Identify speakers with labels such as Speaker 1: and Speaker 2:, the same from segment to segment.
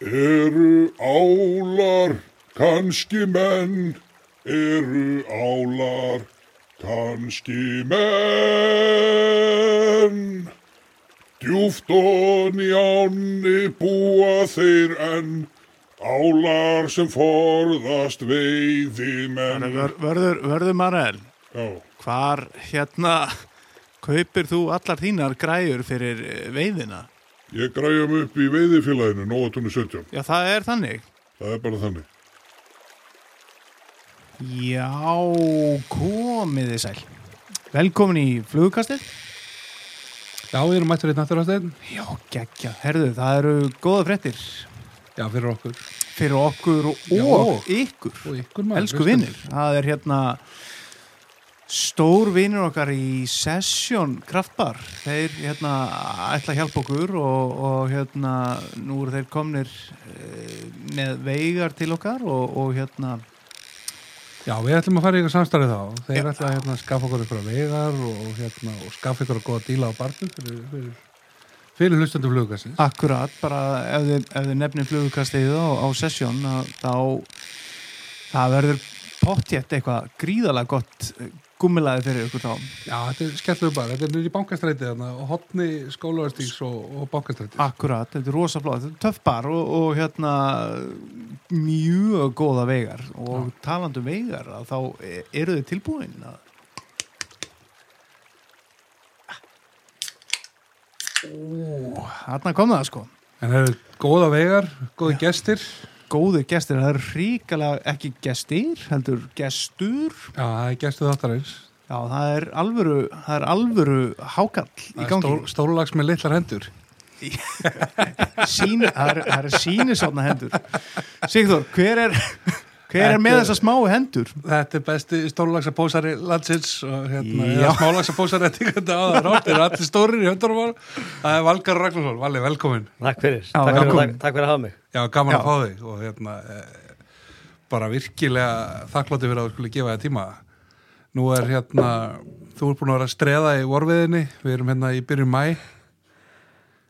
Speaker 1: Eru álar kannski menn? Eru álar kannski menn? Djúft og í ánni búa þeir enn Álar sem forðast veiði menn
Speaker 2: Vör, vörður, vörður Marel,
Speaker 1: Já,
Speaker 2: hvar hérna kaupir þú allar þínar græjur fyrir eh, veiðina?
Speaker 1: ég græjum upp í veiðifélaginu, Nóatúni 17
Speaker 2: Já, það er þannig.
Speaker 1: Það er bara þannig
Speaker 2: Já, komið þið sæl. Velkomin í flugkastið.
Speaker 3: Já, við erum hérna mættur einn afturhástegn.
Speaker 2: Já, geggja. Herðu, það eru góða frettir
Speaker 3: Já, fyrir okkur.
Speaker 2: fyrir okkur og
Speaker 3: Já.
Speaker 2: ykkur.
Speaker 3: Og ykkur maður.
Speaker 2: Elsku
Speaker 3: hlustendur.
Speaker 2: vinnir. Það er hérna stór vinnir okkar í Session Kraftbar. Þeir hérna ætla að hjálpa okkur og, og hérna nú eru þeir komnir eh, með veigar til okkar og, og hérna
Speaker 3: Já, við ætlum að fara í ykkur samstarið þá. Þeir
Speaker 2: Já.
Speaker 3: ætla að hérna, skaffa okkur ykkur vegar og, hérna, og skaffa ykkur góða díla á barnum fyrir, fyrir, fyrir hlustandi flugkastins.
Speaker 2: Akkurat, bara ef þið, ef þið nefnir flugukastið á, á sessjón að þá það verður pottjett eitthvað gríðalega gott gummilaði fyrir ykkur þá
Speaker 3: Já, þetta er skellur bara. Þetta er nýri bankastræti þarna og hotni skólaverstíks og, og bankastræti.
Speaker 2: Akkurat, þetta er rosa flott, þetta er töff bar og, og hérna mjög góða vegar og talandi um vegar að þá e- eru þið tilbúin að Ó, Þarna kom það sko
Speaker 3: En það eru góða vegar, góði gestir.
Speaker 2: Góðir gestir, það eru ríkalega ekki gestir, heldur gestur
Speaker 3: Já, það er gestu þáttarins.
Speaker 2: Já, það er alvöru, það er alvöru hákall í
Speaker 3: Það er
Speaker 2: gangi.
Speaker 3: stól, stólulags með litlar hendur.
Speaker 2: Sýn, það er, það er sínisotna hendur. Sigþór, hver er, hver er með
Speaker 3: Þetta-
Speaker 2: þessa smáu hendur?
Speaker 3: Þetta er besti stórlagsapósari landsins og hérna,
Speaker 2: Já.
Speaker 3: eða smálagsapósari þetta er þetta á það rátt, þeir eru allir stórir í höndunum ára. Það er Valgar Ragnarsson, Valli, velkomin.
Speaker 4: Takk fyrir,
Speaker 2: Já,
Speaker 4: takk, fyrir
Speaker 2: velkomin.
Speaker 4: takk, takk fyrir að hafa mig
Speaker 3: Já, gaman
Speaker 2: Já.
Speaker 3: að fá þig og hérna, eh, bara virkilega þakklátti fyrir að þú skulle gefa þig tíma. Nú er hérna, þú ert búin að vera að streða í vorviðinni, við erum hérna í byrjun mæ,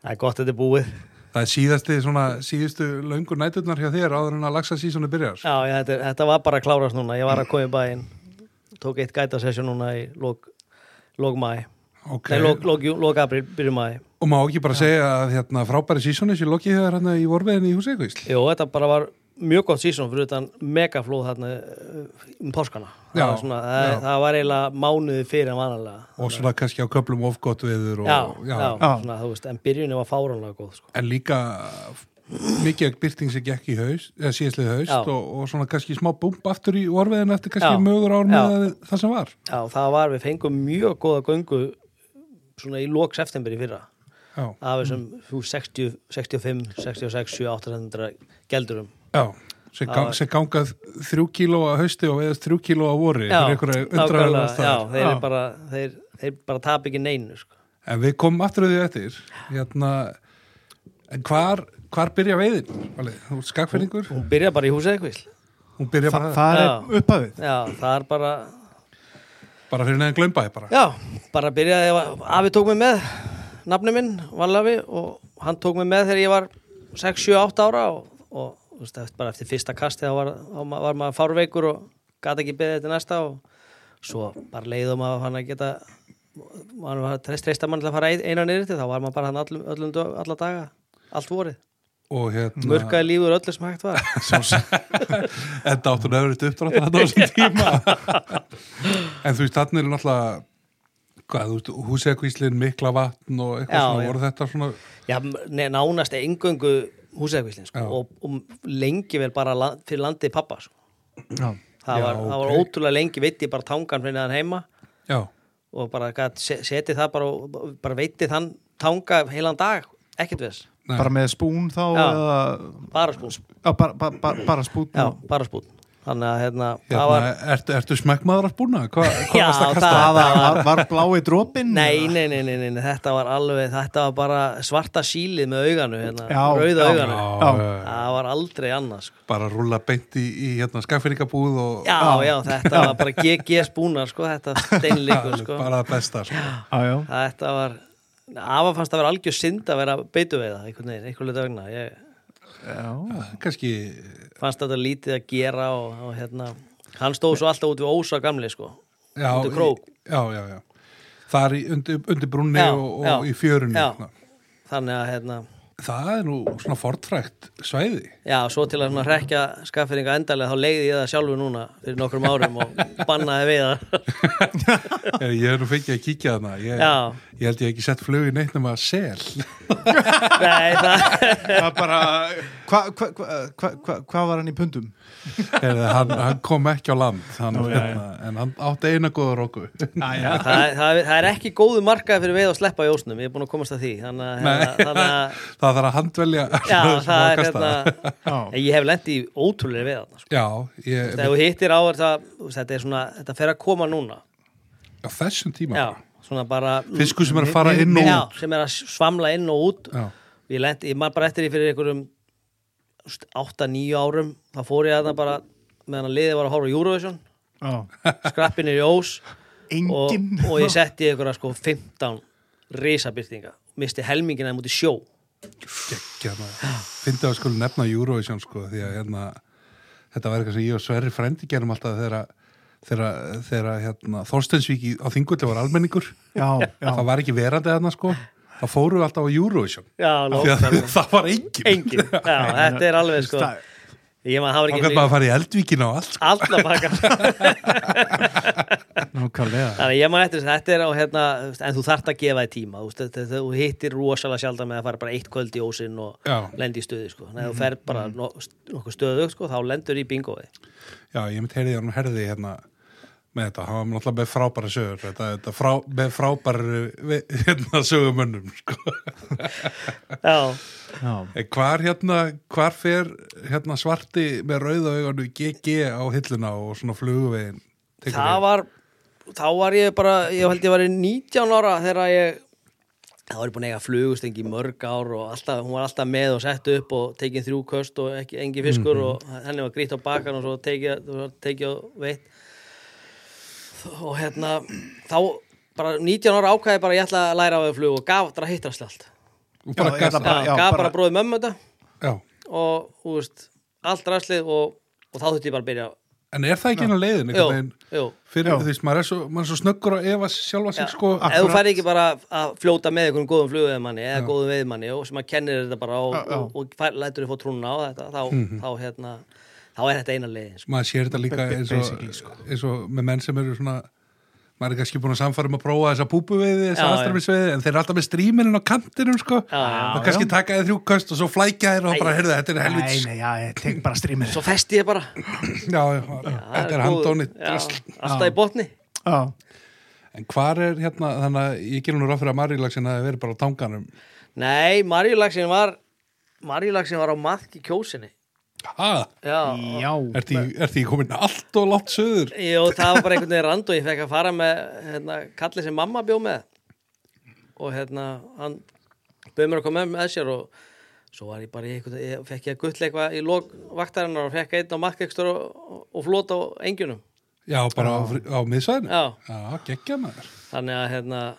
Speaker 4: Það er gott að þetta er búið
Speaker 3: það er síðasti svona, síðustu löngu næturnar hjá þér áður en að lagsa sísónu byrjar.
Speaker 4: Já, ég, þetta, er- þetta var bara að klárast núna Ég var að koma í bæinn Tók eitt gætasessjón núna í lók, lók mæ
Speaker 3: Ok,
Speaker 4: Nei, lók, lók, jú- lók april, byrju mæ
Speaker 3: og má ekki bara segja að hérna, frábæri sísónu sé lokið þegar hérna í vorviðinni í húsíkvísl.
Speaker 4: Jó, þetta bara var mjög gott sísón fyrir utan megaflóð þarna eh, um páskana
Speaker 3: Já,
Speaker 4: það, var svona, það,
Speaker 3: já.
Speaker 4: það var eiginlega mánuði fyrir en vanalega
Speaker 3: og svona kannski á köplum of gott veður og,
Speaker 4: Já, já,
Speaker 2: Já.
Speaker 4: Svona, þú veist, en byrjunni var fáránlega góð sko.
Speaker 3: en líka mikið byrting sem gekk í haust eða síðastlið haust
Speaker 4: Já.
Speaker 3: og, og svona kannski smá búmp aftur í orfiðin eftir kannski
Speaker 4: Já.
Speaker 3: mögur ár
Speaker 4: Já.
Speaker 3: með að það sem var
Speaker 4: Já, það var, við fengum mjög góða göngu svona í lók september í fyrra
Speaker 3: já,
Speaker 4: af þessum þú, 60, 65, 66, 7, 800 geldurum.
Speaker 3: já sem, gang,
Speaker 4: Já.
Speaker 3: sem gangað þrjú kíló að hausti og veðast þrjú kíló að vori fyrir einhverja undraðar
Speaker 4: nákvæmlega, já,
Speaker 3: aðstæður.
Speaker 4: þeir,
Speaker 2: Já.
Speaker 4: já. Bara, þeir, þeir bara tap ekki neinu sko.
Speaker 3: en við komum aftur að því eftir hérna en hvar, hvar byrja veiðin? Valið? Þú ert skagfyrringur?
Speaker 4: hún byrja bara í húsið eitthvað
Speaker 3: Hún byrja
Speaker 2: Þa,
Speaker 3: bara,
Speaker 2: það
Speaker 4: Já.
Speaker 2: er upphafið.
Speaker 4: já, það er bara
Speaker 3: bara fyrir neðan glömbaði bara
Speaker 4: já, bara byrjaði að afi tók mig með nafni minn, Vallafi og hann tók mig með þegar ég var 6, 7, 8 ára og, og þú veist, eftir, bara eftir fyrsta kasti þá var, þá ma- var maður fárveikur og gat ekki beðið til næsta og svo bara leiðum að hann að geta maður var treyst, treysta mann til að fara ein- einan niður til þá var maður bara hann öllum, öllum dö- alla daga allt vorið,
Speaker 3: og hérna
Speaker 4: mörkaði lífur öllu sem hægt var
Speaker 3: Þetta áttu nöðrið uppdrátt að þetta á þessum tíma En þú veist, þannig er náttúrulega hvað, þú veist, húsegvíslin, mikla vatn og eitthvað
Speaker 4: Já,
Speaker 3: svona,
Speaker 4: já.
Speaker 3: voru þetta svona
Speaker 4: Já, ne, nánast engöngu húsæðkvíslin sko,
Speaker 3: Já.
Speaker 4: og, og lengi vel bara land, fyrir landið pappa sko.
Speaker 2: Já.
Speaker 4: það,
Speaker 3: Já,
Speaker 4: var, það var
Speaker 3: ókei.
Speaker 4: ótrúlega lengi veitti ég bara tangan fyrir neðan heima
Speaker 3: Já,
Speaker 4: og bara gat, se- seti það bara, og- bara veitti þann tanga heilan dag ekkert viss,
Speaker 3: Nei.
Speaker 2: Bara með spún þá
Speaker 4: Já.
Speaker 2: eða
Speaker 4: bara spún
Speaker 2: já, bara, bara, bara, bara spún.
Speaker 4: já, bara spún þannig að hérna,
Speaker 3: hérna,
Speaker 4: það var
Speaker 3: ertu, ertu smekkmaður að spúna? Hvað hva
Speaker 4: Já,
Speaker 3: varst að kasta?
Speaker 2: Það var, var blái dropin?
Speaker 4: Nei, nei, nei, nei, nei, nei, þetta var alveg, þetta var bara svarta sílið með auganu, hérna,
Speaker 2: Já,
Speaker 4: rauða
Speaker 2: já.
Speaker 4: auganu.
Speaker 3: Já,
Speaker 2: Já.
Speaker 3: já, já.
Speaker 4: Það var aldrei annars, sko.
Speaker 3: bara rúla beint í, í hérna, skagfyrringabúð og
Speaker 4: Já, já, þetta var bara GG spúnar sko, þetta steinleikur sko.
Speaker 3: bara það besta sko.
Speaker 2: Já, já.
Speaker 4: Þetta var, afa fannst að vera algjör synd að vera beitu við það, einhvern veginn, einhvern veginn vegna. Ég,
Speaker 2: já,
Speaker 3: kannski,
Speaker 4: fannst þetta lítið að gera og, og hérna, hann stóð svo alltaf út við ósa gamli sko
Speaker 3: já,
Speaker 4: Undir krók.
Speaker 3: í- já, já, já þar í- undir, undir brunni
Speaker 4: Já,
Speaker 3: og, og
Speaker 4: já,
Speaker 3: í fjörunni hérna.
Speaker 4: já.
Speaker 3: svona.
Speaker 4: þannig að hérna,
Speaker 3: það er nú svona fortfrækt svæði
Speaker 4: já, svo til að svona rekja skafferinga endalega þá leiði ég það sjálfu núna fyrir nokkrum árum og bannaði við það
Speaker 3: Eh, ég er nú fengið að kíkja þarna ég,
Speaker 4: Já.
Speaker 3: ég held ég hef ekki sett flugin neitt nema að sel
Speaker 4: Nei, það,
Speaker 2: það er bara hvað hva, hva, hva, hva, hva var hann í pundum?
Speaker 3: Heyrðu, hann, hann kom ekki á land hann,
Speaker 2: Nú, já, já.
Speaker 3: hérna, en hann átti eina góða róku
Speaker 2: Æja,
Speaker 4: það, er- það, er- það er ekki góðu markað fyrir veið að sleppa í ósnum, ég er búin að komast að því þannig að,
Speaker 3: Nei.
Speaker 4: hérna, þannig að
Speaker 3: það þarf að handvelja
Speaker 4: já,
Speaker 3: sem
Speaker 4: það er
Speaker 3: ákasta.
Speaker 4: hérna,
Speaker 2: já,
Speaker 4: ég hef lent í ótrúlega veið þarna, sko.
Speaker 3: já, ég,
Speaker 4: þegar þú hittir á þetta, þetta er svona, þetta fer að koma núna
Speaker 3: á þessum tíma
Speaker 4: já, svona bara mm.
Speaker 3: fiskur sem er að fara inn og
Speaker 4: já,
Speaker 3: út
Speaker 4: sem er að svamla inn og út
Speaker 3: Já.
Speaker 4: ég, lent, ég man bara eftir því fyrir einhverjum 8-9 árum þá fór ég að það bara meðan að liðið var að horfa á Eurovision
Speaker 2: já.
Speaker 4: skrappin er í ós og,
Speaker 2: engin
Speaker 4: og ég setti einhverja sko 15 risabyrtinga misti helmingina múti sjó
Speaker 3: Gekkja maður. Fyndi að skulu nefna Eurovision sko, því að hérna, þetta var eitthvað sem ég og Sverri frendi gerum alltaf þegar að- þegar að- þegar að, hérna, Þorstensvík í- á Þingulli var almenningur
Speaker 2: já, já,
Speaker 3: það var ekki verandi þarna sko það fóru við alltaf á Eurovision
Speaker 4: já,
Speaker 3: Af því að það var engin
Speaker 4: engin, já, þetta er alveg sko
Speaker 2: Það-
Speaker 4: ég maður hafa
Speaker 3: þá
Speaker 4: ekki
Speaker 3: gæti maður að fara í eldvíkina og allt sko.
Speaker 4: alla bakar
Speaker 2: nákvæmlega
Speaker 4: Þannig að ég maður eftir þess að þetta er á hérna, þú veist, en þú þart að gefa þið tíma, þú, veist, þú, þú hittir rosalega sjaldan með að fara bara eitt kvöld í ósinn og
Speaker 3: Já.
Speaker 4: lendi í stöði, sko. Þannig að þú fer bara no, nokkuð stöðu, sko, þá lendur í bingoði.
Speaker 3: já, ég mynd heyrið hann herði hérna með þetta, hann var náttúrulega með frábæra sögur þetta, þetta frá, með frábæra hérna, sögumönnum sko.
Speaker 4: Já,
Speaker 2: já.
Speaker 3: Eh, Hvar hérna, hvar fer hérna svarti með rauða auganu GG á hilluna og svona flugvegin? Tekur
Speaker 4: það
Speaker 3: við?
Speaker 4: var, þá var ég bara, ég held ég var 19 ára þegar ég, þá var ég búin að eiga flugustengi í mörg ár og alltaf, hún var alltaf með og sett upp og tekin þrjú köst og ekki, engi fiskur og henni var grýtt á bakan og svo tekið, svo tekið og veitt. og hérna þá bara 19 ára ákvæði bara ég ætla að læra á því flug og gaf þetta að hittast allt
Speaker 3: Og bara
Speaker 2: Já, ég
Speaker 3: gasa.
Speaker 2: ætla bara-
Speaker 4: já, gaf bara,
Speaker 2: bara-
Speaker 4: bara bróðið mömmu þetta
Speaker 3: Já.
Speaker 4: og þú veist, allt ræslið og, og þá þurfti ég bara að byrja
Speaker 3: En er það ekki einu leiðin?
Speaker 4: Jú,
Speaker 3: einhvern veginn?
Speaker 4: jú
Speaker 3: Fyrir
Speaker 2: Já.
Speaker 3: því að maður er svo, maður er svo snöggur að efa sjálfa sig sko.
Speaker 4: ef þú fær ekki bara að fljóta með einhvern góðum flugveðmanni eða góðum veðmanni og sem að kennir þetta bara og,
Speaker 2: Já, já.
Speaker 4: og, og fær, lætur þið fór trúna á þetta þá,
Speaker 3: Mhm.
Speaker 4: þá hérna þá er þetta eina leiðin sko.
Speaker 3: Maður sér þetta
Speaker 2: Ba-
Speaker 3: líka
Speaker 2: ba-
Speaker 3: eins og,
Speaker 2: basically, sko.
Speaker 3: eins og með menn sem eru svona maður er kannski búin að samfara um að prófa þessa púpuveiði, þessa
Speaker 4: Já, já.
Speaker 3: aðstramisveiði en þeir eru alltaf með stríminin á kantinum sko
Speaker 4: Já, já.
Speaker 3: og kannski taka þeir þrjú köst og svo flækja þeir og bara, heyrðu, þetta er helvits
Speaker 2: Nei, nei, já, ég tek bara strímið
Speaker 4: svo festi ég bara
Speaker 3: já, já, þetta er
Speaker 4: góð-
Speaker 3: handónið
Speaker 4: já, alltaf í botni
Speaker 2: Já,
Speaker 3: En hvar er hérna, þannig að ég gerum nú ráð fyrir að Marílaksin hafi verið bara á tanganum.
Speaker 4: nei, Marjulagsin var Marjulagsin var á maðki kjósinni
Speaker 3: Ha?
Speaker 4: já,
Speaker 2: já.
Speaker 3: Ertu í- ertu í komin allt og látt söður?
Speaker 4: Jó, það var bara einhvern veginn rand og ég fekk að fara með hérna, kallið sem mamma bjó með og hérna hann bauð mér að koma með sér og svo var ég bara í einhvern veginn, fekk ég að gull eitthvað í lok vaktarinnar og fekk einn á makkekstur og, og flót á engjunum
Speaker 3: Já, bara á, fri- á miðsvæðinu?
Speaker 4: Já.
Speaker 3: Já, geggja maður.
Speaker 4: þannig að hérna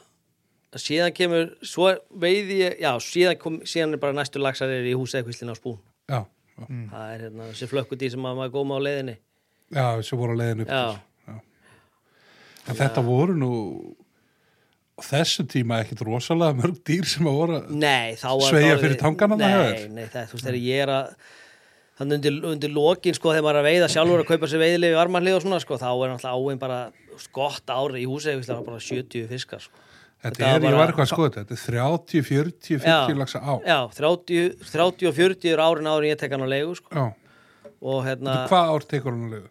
Speaker 4: síðan kemur, svo veiði ég já, síðan, kom, síðan er bara næstu laxar er í húsið eða á spún
Speaker 3: Já, já,
Speaker 4: það er hérna, þessi flökkudý sem maður góma á leiðinni
Speaker 3: já þessu voru á leiðinu upp.
Speaker 4: Já.
Speaker 3: til. já. En þetta voru nú á þessu tíma ekkit rosalega mörg dýr sem að voru að...
Speaker 4: Nei, þá var
Speaker 3: Sveigja
Speaker 4: þetta orðið-
Speaker 3: fyrir tankana þarna hjá
Speaker 4: Nei,
Speaker 3: þér?
Speaker 4: nei, það, þú veist, þegar ég er að þannig undir, undir lokin, sko, þegar maður er að veiða sjálfur að kaupa sér veiðilefi varmanlið og svona, sko, þá er náttúrulega áin bara skott ári í húsi, það var bara 70 fiskar, sko.
Speaker 3: Þetta
Speaker 4: Þetta
Speaker 3: er,
Speaker 4: var bara-
Speaker 3: ég var eitthvað að skoða þetta, þetta er 30, 40, 50 laxa á.
Speaker 4: Já, 30, 30 og 40 er árin árin ég tek hann á leigu, sko,
Speaker 3: Já.
Speaker 4: og hérna,
Speaker 3: Þetta hvað ár tekur hann að leiðu?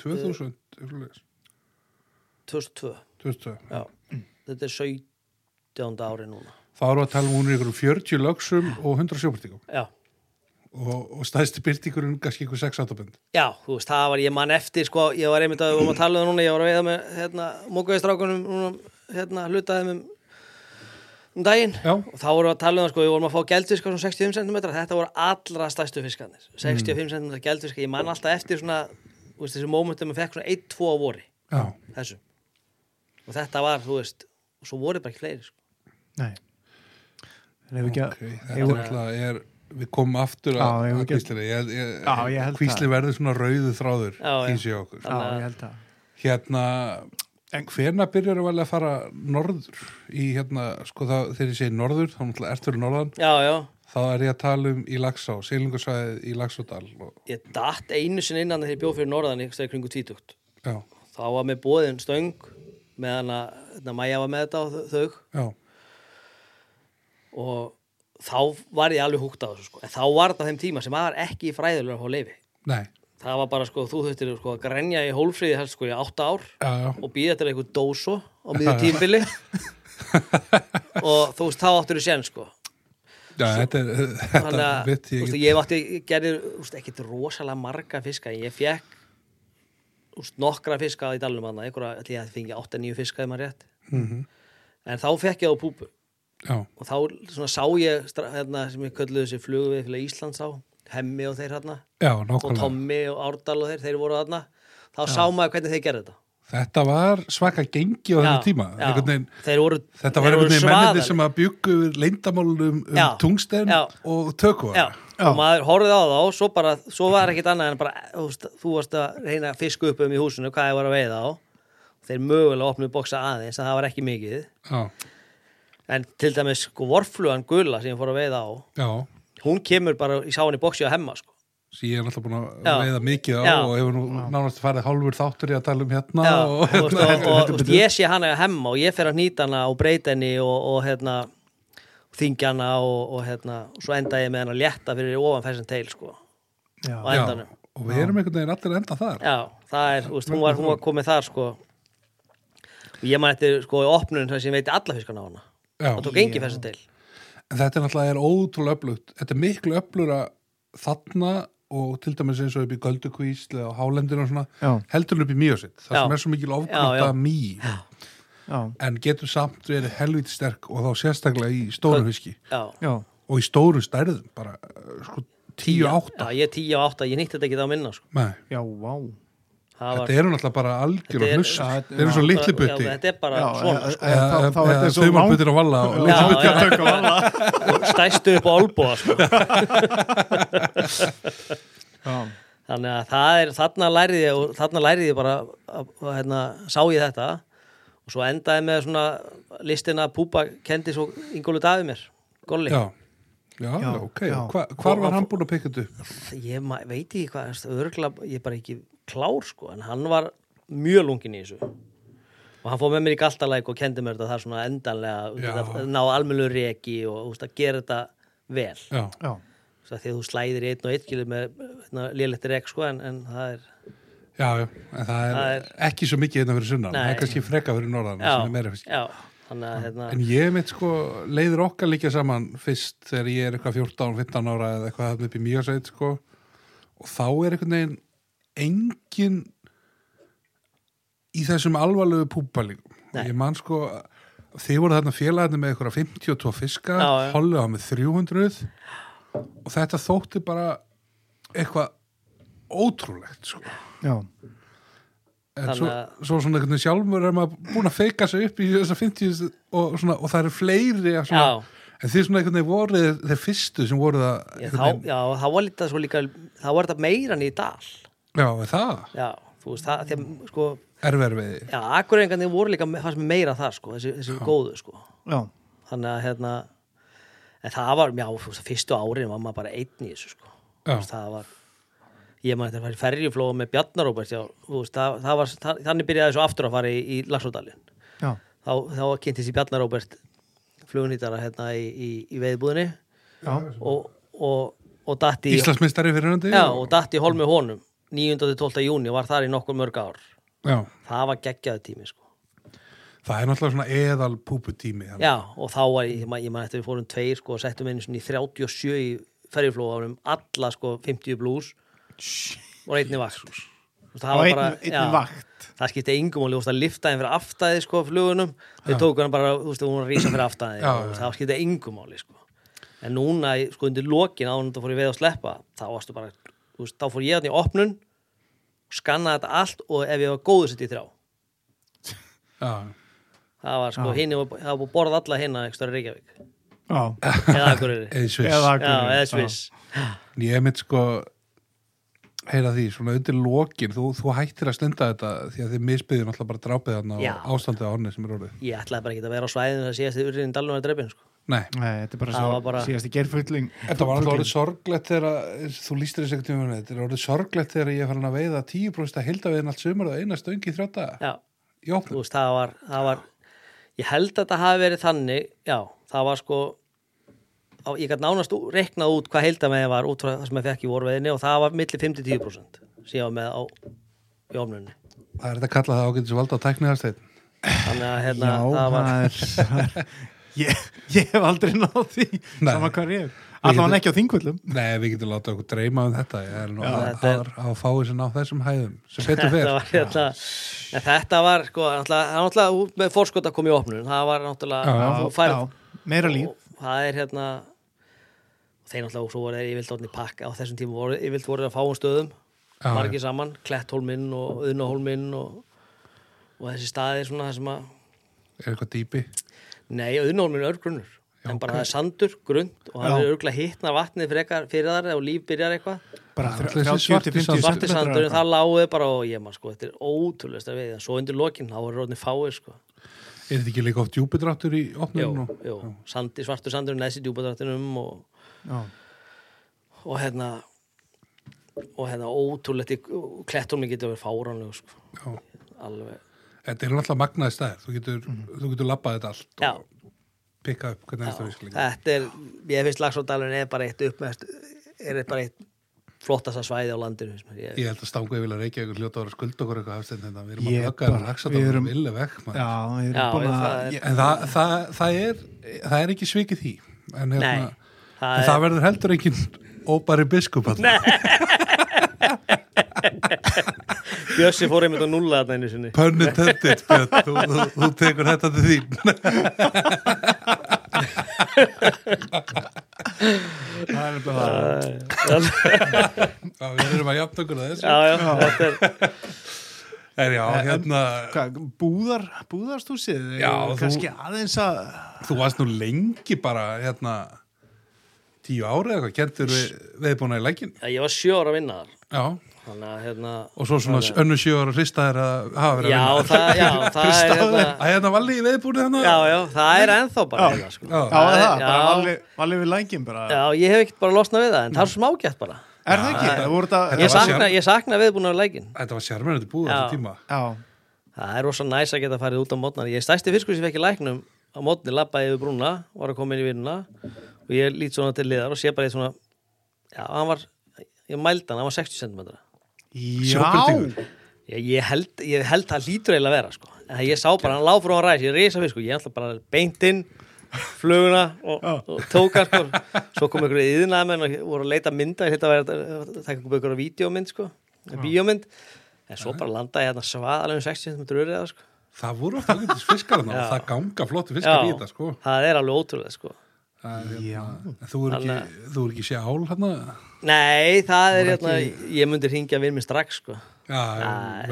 Speaker 3: 2000, eitthvað leiðis.
Speaker 4: 2002,
Speaker 3: 2000.
Speaker 4: já, þetta er 17. ári núna,
Speaker 3: Þá erum við að tala um hún er ykkur um 40 lögsum og 100 sjóbyrtingum
Speaker 4: já.
Speaker 3: og, og stæðsti byrtingurinn kannski ykkur 6 átabönd.
Speaker 4: Já, þú veist, það var ég mann eftir, sko, ég var einmitt að við vorum að tala um það núna, ég var að veiða með, hérna, mókaðistrákunum, núna, hérna, hlutaðum um, um daginn
Speaker 3: Já.
Speaker 4: og þá vorum við að tala um það, sko, við vorum að fá geldfiskar svona 65 cm, þetta voru allra stærstu fiskarnir, 65 mm. cm geldfiskar, ég mann alltaf eftir svona, þú veist, þessi mómentum að fekk svona 1-2 á vori,
Speaker 3: Já.
Speaker 4: þessu, og þetta var, þú veist, og svo voru bara ekki fleiri, sko.
Speaker 2: Nei En ef ekki að
Speaker 3: Okay. Þetta er alltaf, er, við komum aftur að,
Speaker 2: Já, ég
Speaker 3: að
Speaker 2: get-
Speaker 3: kvíslir ég, ég,
Speaker 2: Já, ég held
Speaker 3: kvíslir verður svona rauðu þráður
Speaker 4: Já, já.
Speaker 3: í sig á okkur
Speaker 2: Já, ég held að
Speaker 3: hérna hvena byrjar að velja að fara norður í hérna, sko það þegar ég segi norður, þá náttúrulega ertur norðan
Speaker 4: já, já
Speaker 3: þá er ég að tala um í Laxá seilingarsvæðið í Laxódal og,
Speaker 4: ég datt einu sinni innan þegar ég bjóð fyrir norðan í kringu tvítugt
Speaker 3: já,
Speaker 4: þá var mér bóðin stöng meðan að hérna, Maja var með þetta og þau- þau
Speaker 3: já,
Speaker 4: og þá var ég alveg húgt á þessu sko. en þá var þetta á þeim tíma sem maður ekki fræðilega að fá leifi
Speaker 3: nei
Speaker 4: það var bara sko, þú þurftir sko, að grenja í hólfríði helst sko í átta ár
Speaker 3: já, já,
Speaker 4: og býða eftir eitthvað dóso á miður tímbili og þú veist, þá áttur þú sén sko
Speaker 3: já þetta er
Speaker 4: þannig
Speaker 3: þetta er
Speaker 4: að,
Speaker 3: vitt
Speaker 4: þú
Speaker 3: ég
Speaker 4: veist,
Speaker 3: get-
Speaker 4: ég átti ég gerði, þú veist, ekkit rosalega marga fiska en ég fekk, þú veist, nokkra fiska í dalnum hann, einhverja, ætli ég að fengi 8-9 fiska ef maður rétt
Speaker 3: Mhm.
Speaker 4: en þá fekk ég á púpu
Speaker 3: já,
Speaker 4: og þá svona sá ég stra- hérna, sem ég kölluði þessi flugu við fyrir Íslands á Hemmi og þeir hérna
Speaker 3: já,
Speaker 4: og
Speaker 3: nákvæmlega
Speaker 4: Tommi og Árdal og þeir, þeir voru þarna þá sá maður hvernig þeir gerðu þetta
Speaker 3: þetta var svaka gengi á þenni
Speaker 4: Já,
Speaker 3: tíma
Speaker 4: já.
Speaker 3: Einhvern veginn,
Speaker 4: þeir voru,
Speaker 3: þetta
Speaker 4: þeir
Speaker 3: var einhvern
Speaker 4: voru
Speaker 3: veginn mennir
Speaker 4: svaðalegir.
Speaker 3: sem að bjuggu við leindamálunum um
Speaker 4: Já,
Speaker 3: tungsten
Speaker 4: já.
Speaker 3: og tökum
Speaker 4: Já, og maður horfið á þá svo bara, svo var ekkit annað en bara þú, veist, þú varst að reyna að fiska upp um í húsinu hvað ég var að veiða á þeir mögulega opnuðu boksa aðeins en það var ekki mikið
Speaker 3: já,
Speaker 4: en til dæmis sko vorflugan gula sem ég fór að veiða á
Speaker 3: já
Speaker 4: hún kemur bara, ég sá hann í boksi á hemma sko.
Speaker 3: sem ég er alltaf búin að
Speaker 4: Já.
Speaker 3: veiða mikið á
Speaker 4: Já.
Speaker 3: og hefur nú nánast farið hálfur þáttur í að tala um hérna
Speaker 4: Já,
Speaker 3: og,
Speaker 4: og, og, og, og, og ég sé hana að hemma og ég fer að nýta hana og breyta henni og, og hérna þingja hana og, og hérna svo enda ég með hana létta fyrir ofan fæsinn teil sko á
Speaker 2: Já.
Speaker 3: Já,
Speaker 4: endanum
Speaker 3: og við erum einhvern veginn allir að enda þar
Speaker 4: Já, það er, úst, hún, var, hún var komið þar sko og ég man eftir sko í opnun þess að ég veiti alla fiskana á hana
Speaker 3: Já.
Speaker 4: og tók engi fæsum til
Speaker 3: En þetta er náttúrulega er ótrúlega öflugt. Þetta er miklu öflugra þarna og til dæmis eins og upp í Göldukvísl eða Hálendinu og svona,
Speaker 2: Já.
Speaker 3: heldur en upp í Mýjósitt. Það
Speaker 4: Já.
Speaker 3: sem er svo mikil
Speaker 4: Já,
Speaker 3: ofgrúta
Speaker 4: já.
Speaker 3: mý,
Speaker 2: Já,
Speaker 3: en getur samt verið helviti sterk og þá sérstaklega í stóru fiski
Speaker 4: Já,
Speaker 2: já,
Speaker 3: og í stóru stærðum, bara eh, sko, tíu átta.
Speaker 4: já ég tíu á átta, ég nýtti þetta ekki þá minna sko
Speaker 3: Nei,
Speaker 2: já, vá
Speaker 4: Það
Speaker 3: þetta eru náttúrulega bara algjör
Speaker 4: Þetta
Speaker 3: og
Speaker 4: er-
Speaker 3: hluss.
Speaker 2: Já, þetta-
Speaker 3: Þetta eru svo
Speaker 4: bara-
Speaker 3: litli
Speaker 4: já,
Speaker 3: butti.
Speaker 4: Þetta er bara
Speaker 2: Já,
Speaker 4: svona sko.
Speaker 2: eh, eh, þá- þá er þetta svo
Speaker 3: Þau maður
Speaker 2: langt
Speaker 3: buttir á valla og
Speaker 4: Já,
Speaker 3: litli butti
Speaker 4: já.
Speaker 3: að taka á valla.
Speaker 4: Og stæstu upp á olbúa sko
Speaker 2: Já,
Speaker 4: Þannig að það er, þarna lærið ég og þarna lærið ég bara að- að, hérna, sá ég þetta og svo endaði með svona listina að Púpa kendi svo Ingólu Davi mér, Golli
Speaker 3: Já, já, já, ok.
Speaker 2: já.
Speaker 3: Hva, hvar var hann búin að pekja þetta upp?
Speaker 4: ég ma- veit ekki hvað þú veist, örugglega- ég er bara ekki klár sko, en hann var mjög lungin í þessu og hann fór með mér í galtalæk og kendi mér þetta þar svona endanlega
Speaker 3: Já.
Speaker 4: að ná almennlu reki og þú veist, að gera þetta vel
Speaker 3: Já,
Speaker 2: já,
Speaker 4: Svo að því að þú slæðir í einn og einn kilur með hérna, lélegt rek sko, en, en það er
Speaker 3: Já, já, en það er,
Speaker 4: Það er-
Speaker 3: ekki svo mikið hérna fyrir sunnan, það
Speaker 4: Nei.
Speaker 3: er kannski freka fyrir norðan
Speaker 4: já,
Speaker 3: sem er meira fisk.
Speaker 4: já, þannig að hérna,
Speaker 3: En ég mitt sko, leiðir okkar líka saman fyrst þegar ég er eitthvað 14, 15 ára eða eitthvað þarna upp í mjögarsveit sko og þá er einhvern veginn engin í þessum alvarlegu púbalingum.
Speaker 4: Nei.
Speaker 3: Ég man sko, þið voru þarna félagarnir með eitthvað 52 fiska,
Speaker 4: Já, já.
Speaker 3: hollið á með 300 og þetta þótti bara eitthvað ótrúlegt sko.
Speaker 2: já,
Speaker 3: En
Speaker 4: Þannig
Speaker 3: svo,
Speaker 4: að-
Speaker 3: svo svona einhvern veginn sjálfur er maður búin að feika sig upp í þessa 50 og, svona, og það eru fleiri að svona,
Speaker 4: Já.
Speaker 3: en þið svona einhvern veginn voru þeir fyrstu sem voru það
Speaker 4: ég,
Speaker 3: einhvern
Speaker 4: þá, já, þá var lítið svo líka þá var þetta meira enn í dal
Speaker 3: já, er það
Speaker 4: já, þú veist, það, þegar, sko
Speaker 3: erverfiði
Speaker 4: já, akkurrengarnir voru líka, fannst mér meira það sko, þessi, þessi góðu sko
Speaker 2: já
Speaker 4: þannig að hérna en það var, já, þú veist, fyrstu árin var maður bara einn í þessu sko Þú veist, það var, ég maður þetta að fara í ferjuflóa með Bjarnar Róbert, já, þú veist, það, það var það, þannig byrjaði svo aftur að fara í, í Laxódalinn
Speaker 2: Já,
Speaker 4: þá, þá kynntist ég Bjarnar Róbert flugunýtara hérna í, í, í veiðbúðinni
Speaker 2: já,
Speaker 4: og, og, og datt í
Speaker 3: Íslandsmeistari fyrir hundi
Speaker 4: já, og datt í holmi honum 9. til 12. júni var þar í nokkur mörg ár
Speaker 3: já,
Speaker 4: það var geggjaðu tími sko
Speaker 3: það er náttúrulega svona eðal púputími hann.
Speaker 4: Já, og þá var ég, ég man- ég man eftir við fórum tveir sko og settum einu svona í 37 í ferjuflóðanum, alla sko 50 blús og einni vakt og það
Speaker 2: á
Speaker 4: var
Speaker 2: einn,
Speaker 4: bara,
Speaker 2: einn
Speaker 4: já,
Speaker 2: vakt
Speaker 4: það skipti engum og ljóst að lifta þeim fyrir aftæði sko flugunum, þau tóku hann bara, þú veist, hún var að rísa fyrir aftæði
Speaker 3: Já,
Speaker 4: og það skipti engum áli sko en núna, í- sko undir lokin án þetta fór ég veið að sleppa, þá varstu bara þú veist, þá fór ég hann í opnun skannaði þetta allt og ef ég var góður sett í þrjá
Speaker 3: Já.
Speaker 4: það var sko, hinn, það var búið að borða alla hinn að ekstra Reykjavík
Speaker 2: já,
Speaker 4: eða Akureyri
Speaker 3: eða sviss
Speaker 2: Eða-
Speaker 4: já,
Speaker 2: Akureyri,
Speaker 4: eða
Speaker 2: já.
Speaker 4: Sviss
Speaker 3: ég mitt sko heyra því, svona undir lokin þú, þú hættir að stunda þetta því að þið misbyður náttúrulega bara drápið þarna
Speaker 4: Já.
Speaker 3: og ástandið á ánni sem er orðið
Speaker 4: ég ætlaði bara ekki að vera á svæðinu það síðast yfir urriðin dalun að dreipin sko.
Speaker 3: Nei,
Speaker 2: nei, þetta er bara,
Speaker 4: Það
Speaker 2: svo,
Speaker 4: var bara-
Speaker 2: síðasti gerfulling
Speaker 3: þetta var alltaf orðið sorglegt þegar að- þú lístir þess ekkert tíma þetta er orðið sorglegt þegar ég er farin að veiða 10% að hilda veiðin allt sömur og eina stöngi þrjóta
Speaker 4: já,
Speaker 3: í
Speaker 4: þú
Speaker 3: opnum
Speaker 4: veist, það var, það var ég held að þetta hafi verið þannig já, það var sko á, ég gæti nánast ú- reiknað út hvað heildamæði var út frá það sem ég fekk í vorveðinni og það var milli 5-10% sem ég var með á í ofnunni
Speaker 3: það er þetta að kalla það ágætis valda á tækniðarsteinn
Speaker 4: þannig að hérna,
Speaker 2: já,
Speaker 4: það var
Speaker 2: það er, það er ég, ég hef aldrei náð því
Speaker 3: Nei.
Speaker 2: sama hvað er ég, allavega ekki á þingvöldum
Speaker 3: Nei, við getum látað okkur dreyma um þetta ég er nú
Speaker 4: Já,
Speaker 3: að,
Speaker 4: þetta
Speaker 3: að, að fáið sem á þessum hæðum sem betur
Speaker 4: þetta
Speaker 3: fer
Speaker 4: var, hérna, en þetta var sko, náttúrulega, það var náttúrulega út með fórskot að koma í opnun það var náttúrulega
Speaker 3: Já,
Speaker 4: þú færð-
Speaker 2: já, meira líf
Speaker 4: og það er hérna þeir náttúrulega svo voru þeir yfirlt orðin í pakka á þessum tíma voru yfirlt voru þeir að fáum stöðum
Speaker 3: Já,
Speaker 4: margir saman, Kletthólminn og Unnahólminn og, og þessi staðir svona það sem að
Speaker 3: er eitthvað dýpi
Speaker 4: nei, Unnahólminn er örgrunnur
Speaker 3: Já,
Speaker 4: en bara
Speaker 3: ok.
Speaker 4: það er sandur, grund og það
Speaker 2: Já.
Speaker 4: er örgulega hittna vatnið frekar fyrir þar og líf byrjar eitthvað
Speaker 2: bara
Speaker 3: Já, þessi
Speaker 2: 30-50
Speaker 3: svarti
Speaker 4: svarti sandurinn,
Speaker 2: cm
Speaker 4: það láguði bara og ég maður sko, þetta er ótrúlega við en svo undir lokin, þá voru orðin fáið sko
Speaker 3: Er þetta ekki líka oft djúpidráttur í
Speaker 4: Jó,
Speaker 3: opnum?
Speaker 4: jó, sandi, svartur sandurinn neðs í djúpadrættinum og og hérna og hérna ótrúlegt í klettunum getur verið fáránlegu sko.
Speaker 3: Já.
Speaker 4: alveg
Speaker 3: Þetta er náttúrulega magnaði stæðir. Þú getur, þú getur labbað þetta allt
Speaker 4: Mhm. já,
Speaker 3: og pikka upp hvernig þetta
Speaker 4: já,
Speaker 3: vissklinga.
Speaker 4: þetta er, ég finnst Lagsóldalun er bara eitt upp með, er bara eitt flottasta svæði á landinu finnst mér. ég,
Speaker 3: Ég held að stangu ég vilja reykja ykkur hljóta ára skulda okkur eitthvað hafstinn þetta. hérna, Við erum
Speaker 2: Ég
Speaker 3: að plugga
Speaker 2: bara-
Speaker 3: þetta lagsat
Speaker 2: við
Speaker 3: og
Speaker 2: erum-
Speaker 3: vilja vekk. maður.
Speaker 2: já, við
Speaker 4: Já,
Speaker 2: erum búin
Speaker 4: það
Speaker 2: að
Speaker 4: er-
Speaker 2: ég-
Speaker 3: En það, það, það, er, það er ekki svikið því. En, hérna,
Speaker 4: Nei, það
Speaker 3: en
Speaker 4: er-
Speaker 3: það verður heldur engin óbæri biskup alltaf. Nei.
Speaker 4: Bjössi fór einmitt að nulla þarna einu sinni
Speaker 3: Pönnu töndið, Björn. Þú, þú, þú tekur þetta til þín.
Speaker 2: það er nefnilega það
Speaker 3: Já, við erum að jafna okkur að þessu.
Speaker 4: já, já, þetta er
Speaker 3: En já, hérna,
Speaker 2: Hvað, búðar, búðarstúsið
Speaker 3: Já,
Speaker 2: kannski
Speaker 3: þú-
Speaker 2: aðeins að
Speaker 3: þú varst nú lengi bara, hérna, tíu ári eitthvað, kentur við, viðbúna í leggin.
Speaker 4: Já, ég var sjö ára að vinna þar
Speaker 3: Já,
Speaker 4: þannig að hérna
Speaker 3: og svo svona önnu sjö ára hrista er að hafa verið
Speaker 4: já,
Speaker 3: að vinna.
Speaker 4: það, já, það er hérna
Speaker 3: Að hérna valli í viðbúni þannig.
Speaker 4: já, já, það er ennþá bara hérna, sko.
Speaker 3: Já.
Speaker 2: Já, það,
Speaker 4: er-
Speaker 2: það, bara
Speaker 4: já.
Speaker 2: valið valið við lækin bara
Speaker 4: já, ég hef ekkert bara losnað við það en það er svo smágætt bara
Speaker 2: Er það ekki? Það voru þetta
Speaker 4: ég
Speaker 3: var sér-
Speaker 4: sakna, ég sakna viðbúna á lækin
Speaker 3: Þetta var sérmennandi búið
Speaker 4: Já.
Speaker 3: þessu tíma.
Speaker 2: Já,
Speaker 4: Það er rosa næs að geta farið út á mótnar. Ég er stæsti fiskur sem fekk í læknum á mótni, labbaði yfir brúna, var að koma inn í vinnuna og ég lít svona til liðar og sé bara eitt svona, já, hann var, ég mældi hann, hann var 60 cm.
Speaker 2: já.
Speaker 3: Sjóbirtingur.
Speaker 4: Ég, ég, held, ég held það hlýtur eiginlega að vera, sko. En ég sá bara, hann lág frá hann ræs, ég reysa fiskur, ég ætla bara beint inn, fluguna og, og tók hann, sko. Svo kom ykkur yðnaðamenn og voru að leita mynda, þetta var að taka ykkur ykkur vídeómynd, sko, bíómynd. En svo bara landaði ég hérna svaðalegum 60 cm röriða, sko.
Speaker 3: Það voru alltaf auðvitað fiskar þarna og
Speaker 4: Já.
Speaker 3: það ganga flott fiskar í
Speaker 4: Já,
Speaker 3: þetta, sko.
Speaker 4: það er alveg ótrúlega sko
Speaker 3: Það er,
Speaker 2: Já.
Speaker 3: hérna, en þú er
Speaker 4: Þannig
Speaker 3: ekki, þú er ekki sjál hérna.
Speaker 4: nei, það er hérna ég myndi hringja við mig strax sko
Speaker 3: Já,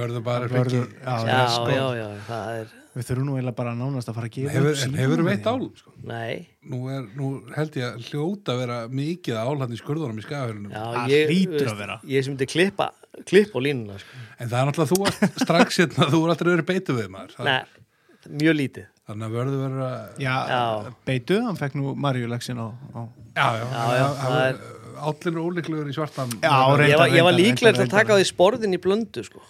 Speaker 3: verður bara
Speaker 2: Vörður,
Speaker 3: ekki.
Speaker 2: já,
Speaker 4: já,
Speaker 2: já,
Speaker 4: já,
Speaker 2: sko,
Speaker 4: já, það er
Speaker 2: Við þurfum nú eiginlega bara nánast að fara að gefa
Speaker 3: Hefur,
Speaker 2: upp símann
Speaker 3: hefur
Speaker 2: þinn.
Speaker 3: veitt álum, sko.
Speaker 4: nei,
Speaker 3: Nú, er, nú held ég að hljóta að vera mikið álhann í skurðunum í skafhörnum.
Speaker 4: já,
Speaker 2: Það
Speaker 4: ég
Speaker 2: hlýtur
Speaker 4: veist,
Speaker 2: að vera.
Speaker 4: ég sem myndi klippa, klippa á línuna sko.
Speaker 3: En það er náttúrulega þú varst strax hérna, þú er alltaf verið beitu við maður. Það-
Speaker 4: nei, mjög lítið
Speaker 3: Þannig að verður vera... Já,
Speaker 2: Já,
Speaker 4: Já.
Speaker 2: beitu, hann fekk nú Marjulexin á, á
Speaker 3: já, já.
Speaker 4: Já, já, það er-
Speaker 3: Állin er ólíklegur í svartan.
Speaker 2: Já, reyndar,
Speaker 4: ég var, ég var
Speaker 2: reyndar,
Speaker 4: líklega til
Speaker 2: reyndar,
Speaker 4: að taka á því sporðin í blöndu sko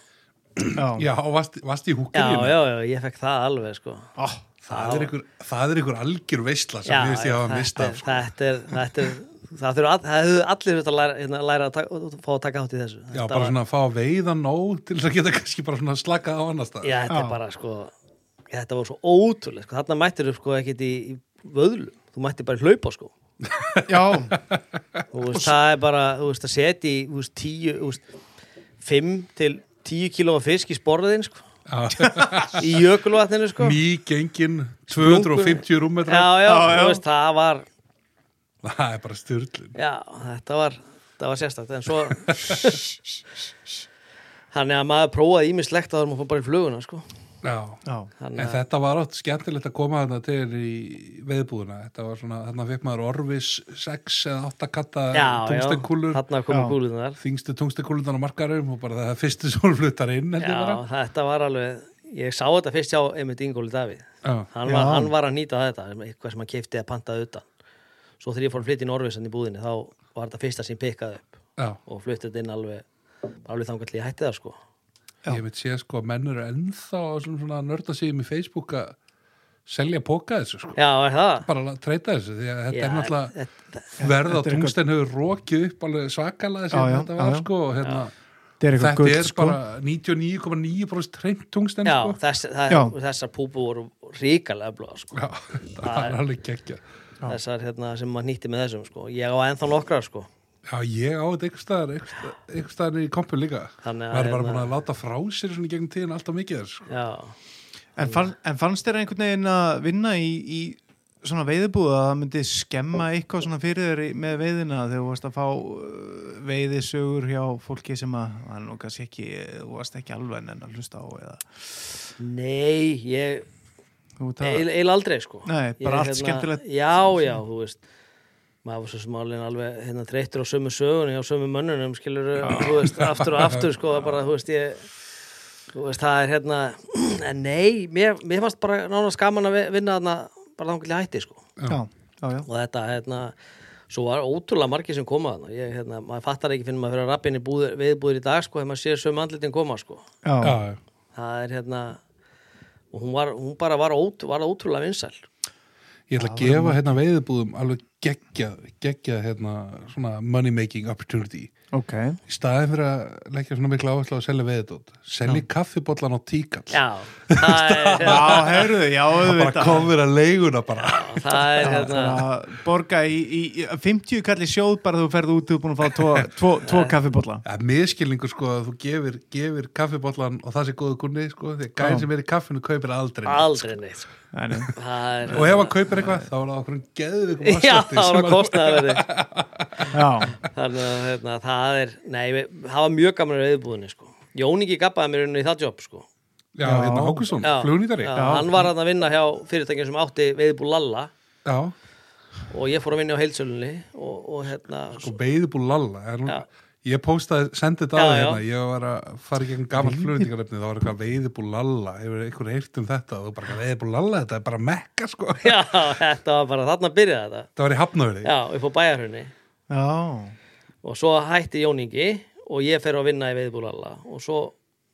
Speaker 2: Já,
Speaker 3: Já, og varst, varst í
Speaker 4: já,
Speaker 3: húkirínu.
Speaker 4: já, já, ég fekk það alveg sko
Speaker 2: Ó,
Speaker 3: Það er ykkur, það er ykkur algjör veistla sem
Speaker 4: já,
Speaker 3: við veist ég hafa
Speaker 4: þetta,
Speaker 3: mistað.
Speaker 4: er,
Speaker 3: Sko.
Speaker 4: þetta er þetta er Það þurfa all- það hefðu allir þetta læra, hérna, læra að taka, fá að taka átt í þessu.
Speaker 3: Já,
Speaker 4: Þetta
Speaker 3: bara
Speaker 4: var-
Speaker 3: svona að fá að veiða nóg til þess að geta kannski bara svona slakað á annars það.
Speaker 4: Já, þetta
Speaker 2: Já.
Speaker 4: er bara sko Þetta voru svo ótrúlega, sko, þarna mættir upp sko ekkit í, í vöðlum, þú mættir bara í hlaupa sko,
Speaker 2: já,
Speaker 4: þú veist, það er bara þú veist, að setja í, þú veist, tíu þú veist, fimm til tíu kílóa fisk í sporðin, sko í jökulvatninu, sko já,
Speaker 3: Nýgengin, 250 rúmmetra.
Speaker 2: Já,
Speaker 4: já,
Speaker 2: já.
Speaker 4: þú veist, það var
Speaker 3: Það er bara styrlun.
Speaker 4: já, þetta var, það var sérstakt en svo þannig að maður prófaði ímislegt að það maður fór bara í fluguna, sko
Speaker 3: Já.
Speaker 2: Já,
Speaker 3: En
Speaker 4: Þannig að-
Speaker 3: þetta var átt skemmtilegt að koma þarna til í veðbúðuna. Þetta var svona, þarna fekk maður orvis 6 eða 8 katta tungstenkúlur,
Speaker 4: þarna
Speaker 2: Já.
Speaker 4: komið kúlunar
Speaker 3: þingstu tungstenkunlunar á markarum og bara það er fyrstu sem voru fluttar inn heldur
Speaker 4: já,
Speaker 3: bara.
Speaker 4: þetta var alveg ég sá þetta fyrst hjá einmitt Ingóli Davíð
Speaker 3: Já,
Speaker 4: hann var, hann var að nýta þetta eitthvað sem hann keipti eða pantaði utan svo þegar ég fór að flytja í Norvisan í búðinni þá var þetta fyrsta sem pikkaði upp
Speaker 3: já.
Speaker 4: og fluttið þetta inn alveg bara alveg þangar til ég hætti það sko
Speaker 3: Ég veit sé sko að menn eru ennþá á svona, svona nörda síðum í Facebook að selja póka þessu sko.
Speaker 4: já, er það?
Speaker 3: Bara að treyta þessu því að þetta
Speaker 4: já,
Speaker 3: er náttúrulega verð á
Speaker 4: þetta,
Speaker 2: Þetta er eitthvað-
Speaker 3: tungsten hefur rokið upp alveg svakalega sem
Speaker 2: Já, já,
Speaker 3: þetta
Speaker 2: já,
Speaker 3: var
Speaker 2: já.
Speaker 3: sko. og Hérna,
Speaker 2: þetta er eitthvað
Speaker 3: þetta
Speaker 2: gull
Speaker 3: er
Speaker 2: sko.
Speaker 3: bara 99,9% treymt tungsten
Speaker 4: já,
Speaker 3: sko.
Speaker 4: þess, það,
Speaker 2: Já.
Speaker 4: þessar púpu voru ríkalega blóða sko
Speaker 3: Já, það er alveg geggja.
Speaker 4: þessar hérna, sem maður nýtti með þessum sko. ég á ennþá nokkrar sko.
Speaker 3: Já, ég á þetta einhvers staðar- einhvers staðar- einhvers staðar í kompu líka.
Speaker 4: Þannig að
Speaker 3: Maður er bara
Speaker 4: hérna-
Speaker 3: búin að láta frá sér svona í gegnum tíðin alltaf mikið þess. sko.
Speaker 4: já,
Speaker 2: En, fann, en fannst þér einhvern veginn að vinna í, í svona veiðbúða að það myndi skemma eitthvað svona fyrir þér í- með veiðina þegar þú varst að fá uh, veiðisögur hjá fólki sem að það er nú kannski ekki, þú varst ekki alveg en að hlusta á eða
Speaker 4: nei ég,
Speaker 2: þú veit það
Speaker 4: eil, eil aldrei sko
Speaker 2: Nei, bara
Speaker 4: Ég,
Speaker 2: allt skemmtilegt.
Speaker 4: já, já, þú veist maður var svo smálinn alveg hérna þreyttur á sömu sögunni á sömu mönnunum skilur þú veist, aftur og aftur sko það bara, þú veist, ég þú veist, það er hérna en nei, mér, mér fannst bara nánast gaman að vi- vinna þarna bara þangilega hætti sko
Speaker 2: Já, já, já,
Speaker 4: og þetta, hérna svo var ótrúlega margir sem koma þarna ég, hérna, maður fattar ekki fyrir maður fyrir að rappinni búður, viðbúður í dag sko, þegar maður sér sömu andlitin koma sko
Speaker 2: já, já.
Speaker 3: Já,
Speaker 4: það er hérna og hún, var, hún bara var, ót, var ótrúlega vinsæl
Speaker 3: ég ætla að gefa hérna veiðbúðum alveg geggja, geggja hérna svona money making opportunity.
Speaker 2: ok
Speaker 3: Í staðin fyrir að leggja svona mikla áherslu á að selja veiðdótt. Selja kaffibollan á tíkall.
Speaker 4: Já, það er,
Speaker 2: Já, heyrðu, já,
Speaker 3: Það bara
Speaker 2: auðvitað
Speaker 3: komur að leiguna bara.
Speaker 4: það er
Speaker 2: Já,
Speaker 4: hérna
Speaker 2: bara borga í, í í 50 kalli sjóð bara þú ferð út og búin að fá tvo, tvo, tvo kaffibólla
Speaker 3: Það er miskilningur sko að þú gefir, gefir kaffibollan og það sé góðu kunni sko. Því að gæðin
Speaker 2: Já.
Speaker 3: sem er í kaffinu kaupir aldrei. neitt.
Speaker 4: aldrei neitt sko.
Speaker 2: Nei, nei.
Speaker 4: það er,
Speaker 3: Og ef hann kaupir eitthvað, þá er það okkur geðvikum
Speaker 4: Já, það var kostnaðarverði
Speaker 2: Já,
Speaker 4: Þannig að hérna, það er Nei, við- það var mjög gaman að auðbúðinni sko. Jóningi gappaði mér inn í það jobb sko.
Speaker 3: Já,
Speaker 2: Já.
Speaker 3: hérna Hákusson,
Speaker 4: Já,
Speaker 3: flugnýtari
Speaker 4: já,
Speaker 3: Já,
Speaker 4: Hann var hann að vinna hjá fyrirtækjum sem átti veiðbú Lalla
Speaker 3: já.
Speaker 4: og ég fór að vinna á heilsölunni og, og hérna
Speaker 3: sko veiðbúl lalla er hún,
Speaker 4: Já.
Speaker 3: Ég postaði, sendið það
Speaker 4: Já, já.
Speaker 3: hérna Ég var að fara í gegn gamal flugnýtingarefni Það var eitthvað veiðbúl lalla Hefur einhver heyrt um þetta Þú bara veiðbúl lalla, þetta er bara mekka sko
Speaker 4: já, þetta var bara þarna að byrja þetta
Speaker 3: Það var í hafnöfri
Speaker 4: já, upp á bæjarhunni
Speaker 2: já
Speaker 4: og svo hætti Jóningi og ég fer að vinna í veiðbúlalla og svo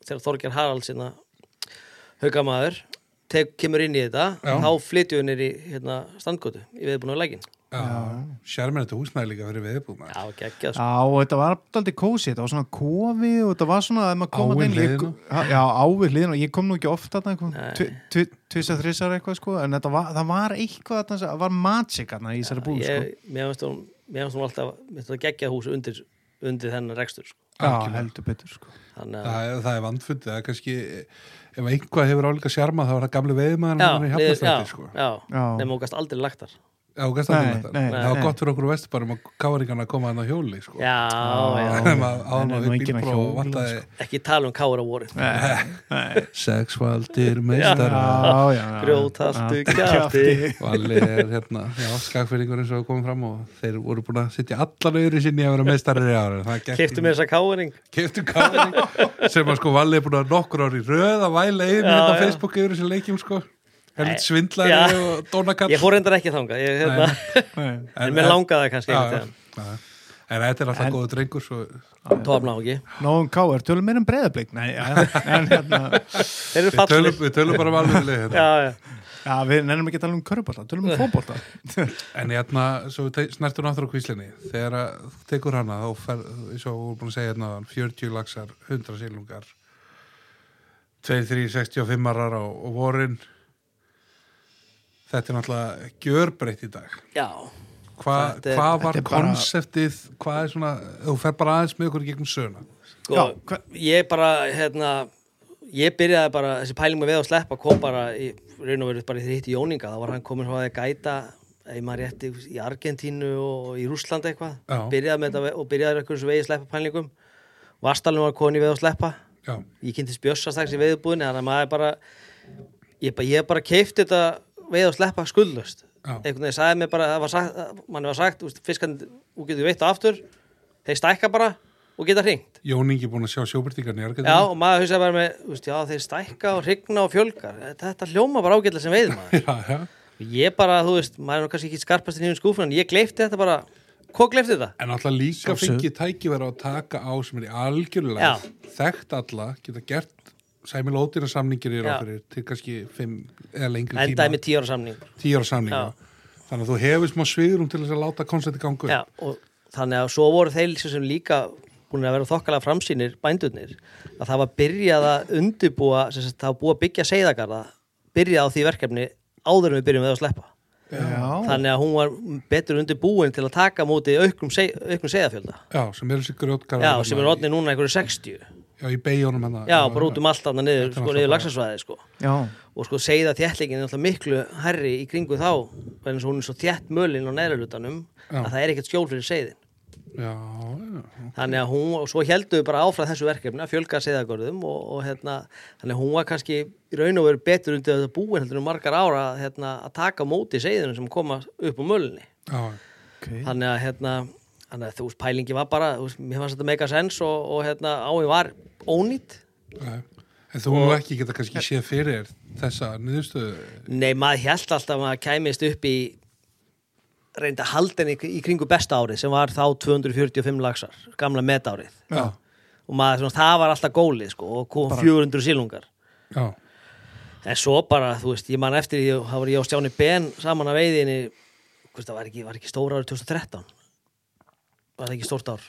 Speaker 4: þegar Þorger Harald sinna haugamaður tek, kemur inn í þetta,
Speaker 3: Já.
Speaker 4: þá flytjum við nýri hérna, standgötu í veiðbúlalækin
Speaker 3: Sjármenn þetta húsnaði líka fyrir veiðbúl
Speaker 4: já, geggjað sko.
Speaker 2: Já, og þetta var aldrei kósi, þetta var svona kofi og þetta var svona að maður koma
Speaker 3: Áin
Speaker 2: inn ég-
Speaker 3: hliðina.
Speaker 2: Já, ávið hliðin og ég kom nú ekki ofta þarna tvisa þrissar eitthvað sko en þetta var, það var eitthvað þarna, sem- það var magic þarna í þessari búð sko
Speaker 4: ég, mér finnst hún mér finnst hún alltaf, mér finnst það geggjað hús undir, undir þennan rekstur sko.
Speaker 2: Já, heldur betur sko
Speaker 4: þannig að
Speaker 3: Það er, það er vandfundið, það er kannski Ef einhvað hefur álíka sjarma þá er það gamli veiðmaður
Speaker 4: Já,
Speaker 3: hann er í
Speaker 4: niður- já,
Speaker 3: hafnöfri sko.
Speaker 4: já,
Speaker 2: Já.
Speaker 4: nema hún gæst aldrei lagtar
Speaker 3: Já, og gæst
Speaker 2: Nei,
Speaker 3: aldrei með þetta.
Speaker 2: nei,
Speaker 3: Það var
Speaker 2: nei.
Speaker 3: gott fyrir okkur vesturbærum að káringarna koma hann á hjóli sko.
Speaker 4: Já, já,
Speaker 2: Já,
Speaker 3: Þeim
Speaker 2: já.
Speaker 3: að áðan
Speaker 2: Nei, nú
Speaker 3: að við
Speaker 2: enginn að
Speaker 3: bílpróf og
Speaker 2: hjóla, sko.
Speaker 3: vantaði
Speaker 4: ekki tala um kára voru
Speaker 3: sexfaldir meistar
Speaker 2: Já, já, já
Speaker 4: Grjóthaltu
Speaker 2: Já,
Speaker 4: kjafti.
Speaker 3: Valli er hérna já, skagfyrringur eins og komum fram og þeir voru búin að setja allan öðru sinni að vera meistarri í ára
Speaker 4: keftu mér þessa káring
Speaker 3: Keftu káring sem að sko Valli er búin að nokkur ári röð að væla yfir
Speaker 4: Já,
Speaker 3: hérna á
Speaker 4: já.
Speaker 3: Facebook yfir þessum leikjum sko Helvit
Speaker 4: Já.
Speaker 3: svindlari og dónakall
Speaker 4: ég fór reyndar ekki þangað ég, hérna,
Speaker 2: Nei.
Speaker 4: en mér langaði það kannski einhvern
Speaker 3: Já,
Speaker 4: tíðan
Speaker 3: já. En þetta er alltaf
Speaker 2: En-
Speaker 3: góðu drengur svo
Speaker 4: tófna áhugi
Speaker 2: Nóum káar, tölum meir um breðablík Nei, en, en hérna
Speaker 4: þeir eru
Speaker 3: Við tölum,
Speaker 4: fallir
Speaker 3: við tölum bara valmiðlega hérna.
Speaker 4: já, já.
Speaker 2: Já, við nennum ekki að tala um körubólta, tölum um fótbolta
Speaker 3: En hérna, svo við te- snertum náttúrulega á kvíslinni þegar að þú tekur hana þá fer, eins og við erum búin að segja hérna áðan, 40 laxar, 100 silungar 2, 3, 65 arar á, á vorin Þetta er náttúrulega gjörbreytt í dag
Speaker 4: já,
Speaker 3: Hva,
Speaker 4: Þetta er-
Speaker 3: Hvað
Speaker 2: þetta
Speaker 3: var
Speaker 2: er bara-
Speaker 3: konseptið hvað er svona, þú fer bara aðeins með okkur í gegnum söna
Speaker 4: sko,
Speaker 2: Já, hva-
Speaker 4: ég bara hérna, ég byrjaði bara þessi pæling með veð og sleppa kom bara í raun og verið bara í þegar ég hitti Jóninga þá var hann komin hóðið að gæta ef maður rétti í Argentínu og í Rússlandi
Speaker 3: Já.
Speaker 4: eitthvað byrjaði með þetta ve- og byrjaði eitthvað vegi sleppa pælingum Vastalinn var koni veð og sleppa
Speaker 3: Já,
Speaker 4: ég kynntist Bjössa strax í veðubúðinni þannig að maður bara ég bara, ég bara keifti þetta veið að sleppa skuldlust
Speaker 3: Já.
Speaker 4: einhvern veginn sagði mér bara, það var sagt mann var sagt, úst, fiskan, þú getur veitt það aftur þeir stækka bara og geta hringt
Speaker 3: Jón Ingi er búin að sjá sjóbyrtingarni í
Speaker 4: já,
Speaker 3: Argentínu.
Speaker 4: og maður hugsaði bara með, úst, já, þeir stækka og hrigna og fjölgar þetta hljóma bara ágætlega sem veiðum
Speaker 3: já, já.
Speaker 4: ég bara, þú veist, maður er nú kannski ekki skarpast í nýjum skúfuna, en ég gleifti þetta bara hvað gleifti þetta?
Speaker 3: En alltaf líka
Speaker 2: Sjálfsögðu.
Speaker 3: fengið tækifæra að taka á sem er í algjörlega
Speaker 4: Já.
Speaker 3: þekkt alla, geta gert sæmil ódýra samningir í
Speaker 4: Já.
Speaker 3: ráfyrir til kannski 5 eða lengri
Speaker 4: endaði
Speaker 3: tíma,
Speaker 4: með tíu ára samning
Speaker 3: 10 ára samninga. Þannig að þú hefur smá sviðrum til þess að láta koncepti gangu.
Speaker 4: Já, og þannig að svo voru þeir sem líka búin að vera þokkalega framsýnir bændurnir að það var byrjað að undibúa sem sagt, það var búið að byggja seiðagarða byrjað á því verkefni áður en við byrjum við að sleppa
Speaker 2: já,
Speaker 4: þannig að hún var betur undibúin til að taka á móti auknum, seg, auknum seiðafjölda
Speaker 3: Já, sem eru sér grjótkar.
Speaker 4: Já, sem er orðni núna einhverju 60 Já,
Speaker 3: Já, í hérna. beigjónum hennar.
Speaker 4: bara út um allt annað niður,
Speaker 3: Þetta er
Speaker 4: sko,
Speaker 3: náttúrulega
Speaker 4: niður
Speaker 3: bara-
Speaker 4: lagsasvæði sko.
Speaker 2: já,
Speaker 4: og sko seiða þjættlingin er náttúrulega miklu herri í kringu þá en hún er svo þjætt mölin á neðralutanum
Speaker 3: Já.
Speaker 4: að það er ekkert skjól fyrir seiðin
Speaker 3: Já, já.
Speaker 4: þannig að hún, og svo heldur við bara áfram þessu verkefni að fjölga seðagörðum og, og hérna, þannig að hún var kannski í raun og veru betur undir þetta búin heldur en margar ára hérna, að taka á móti seðinu sem koma upp á mölunni
Speaker 3: já.
Speaker 2: ok
Speaker 4: þannig að, hérna, þannig að þú veist, pælingi var bara, þú veist, mér fannst þetta mega sens og, og hérna, áin var ónýtt
Speaker 3: já. En þú nú ekki geta kannski séð fyrir þér þessa niðurstöðu.
Speaker 4: Nei, maður held alltaf að maður kæmist upp í reynda haldin í, í kringu besta árið sem var þá 245 laxar, gamla metárið
Speaker 3: Já.
Speaker 4: og maður, svona, það var alltaf gólið sko, og kom 400 sílungar
Speaker 3: Já,
Speaker 4: En svo bara, þú veist, ég man eftir því, þá var ég á Stjáni Ben saman að veiðinni, hvist, það var ekki, var ekki stór árið 2013. Var það ekki stórt ár?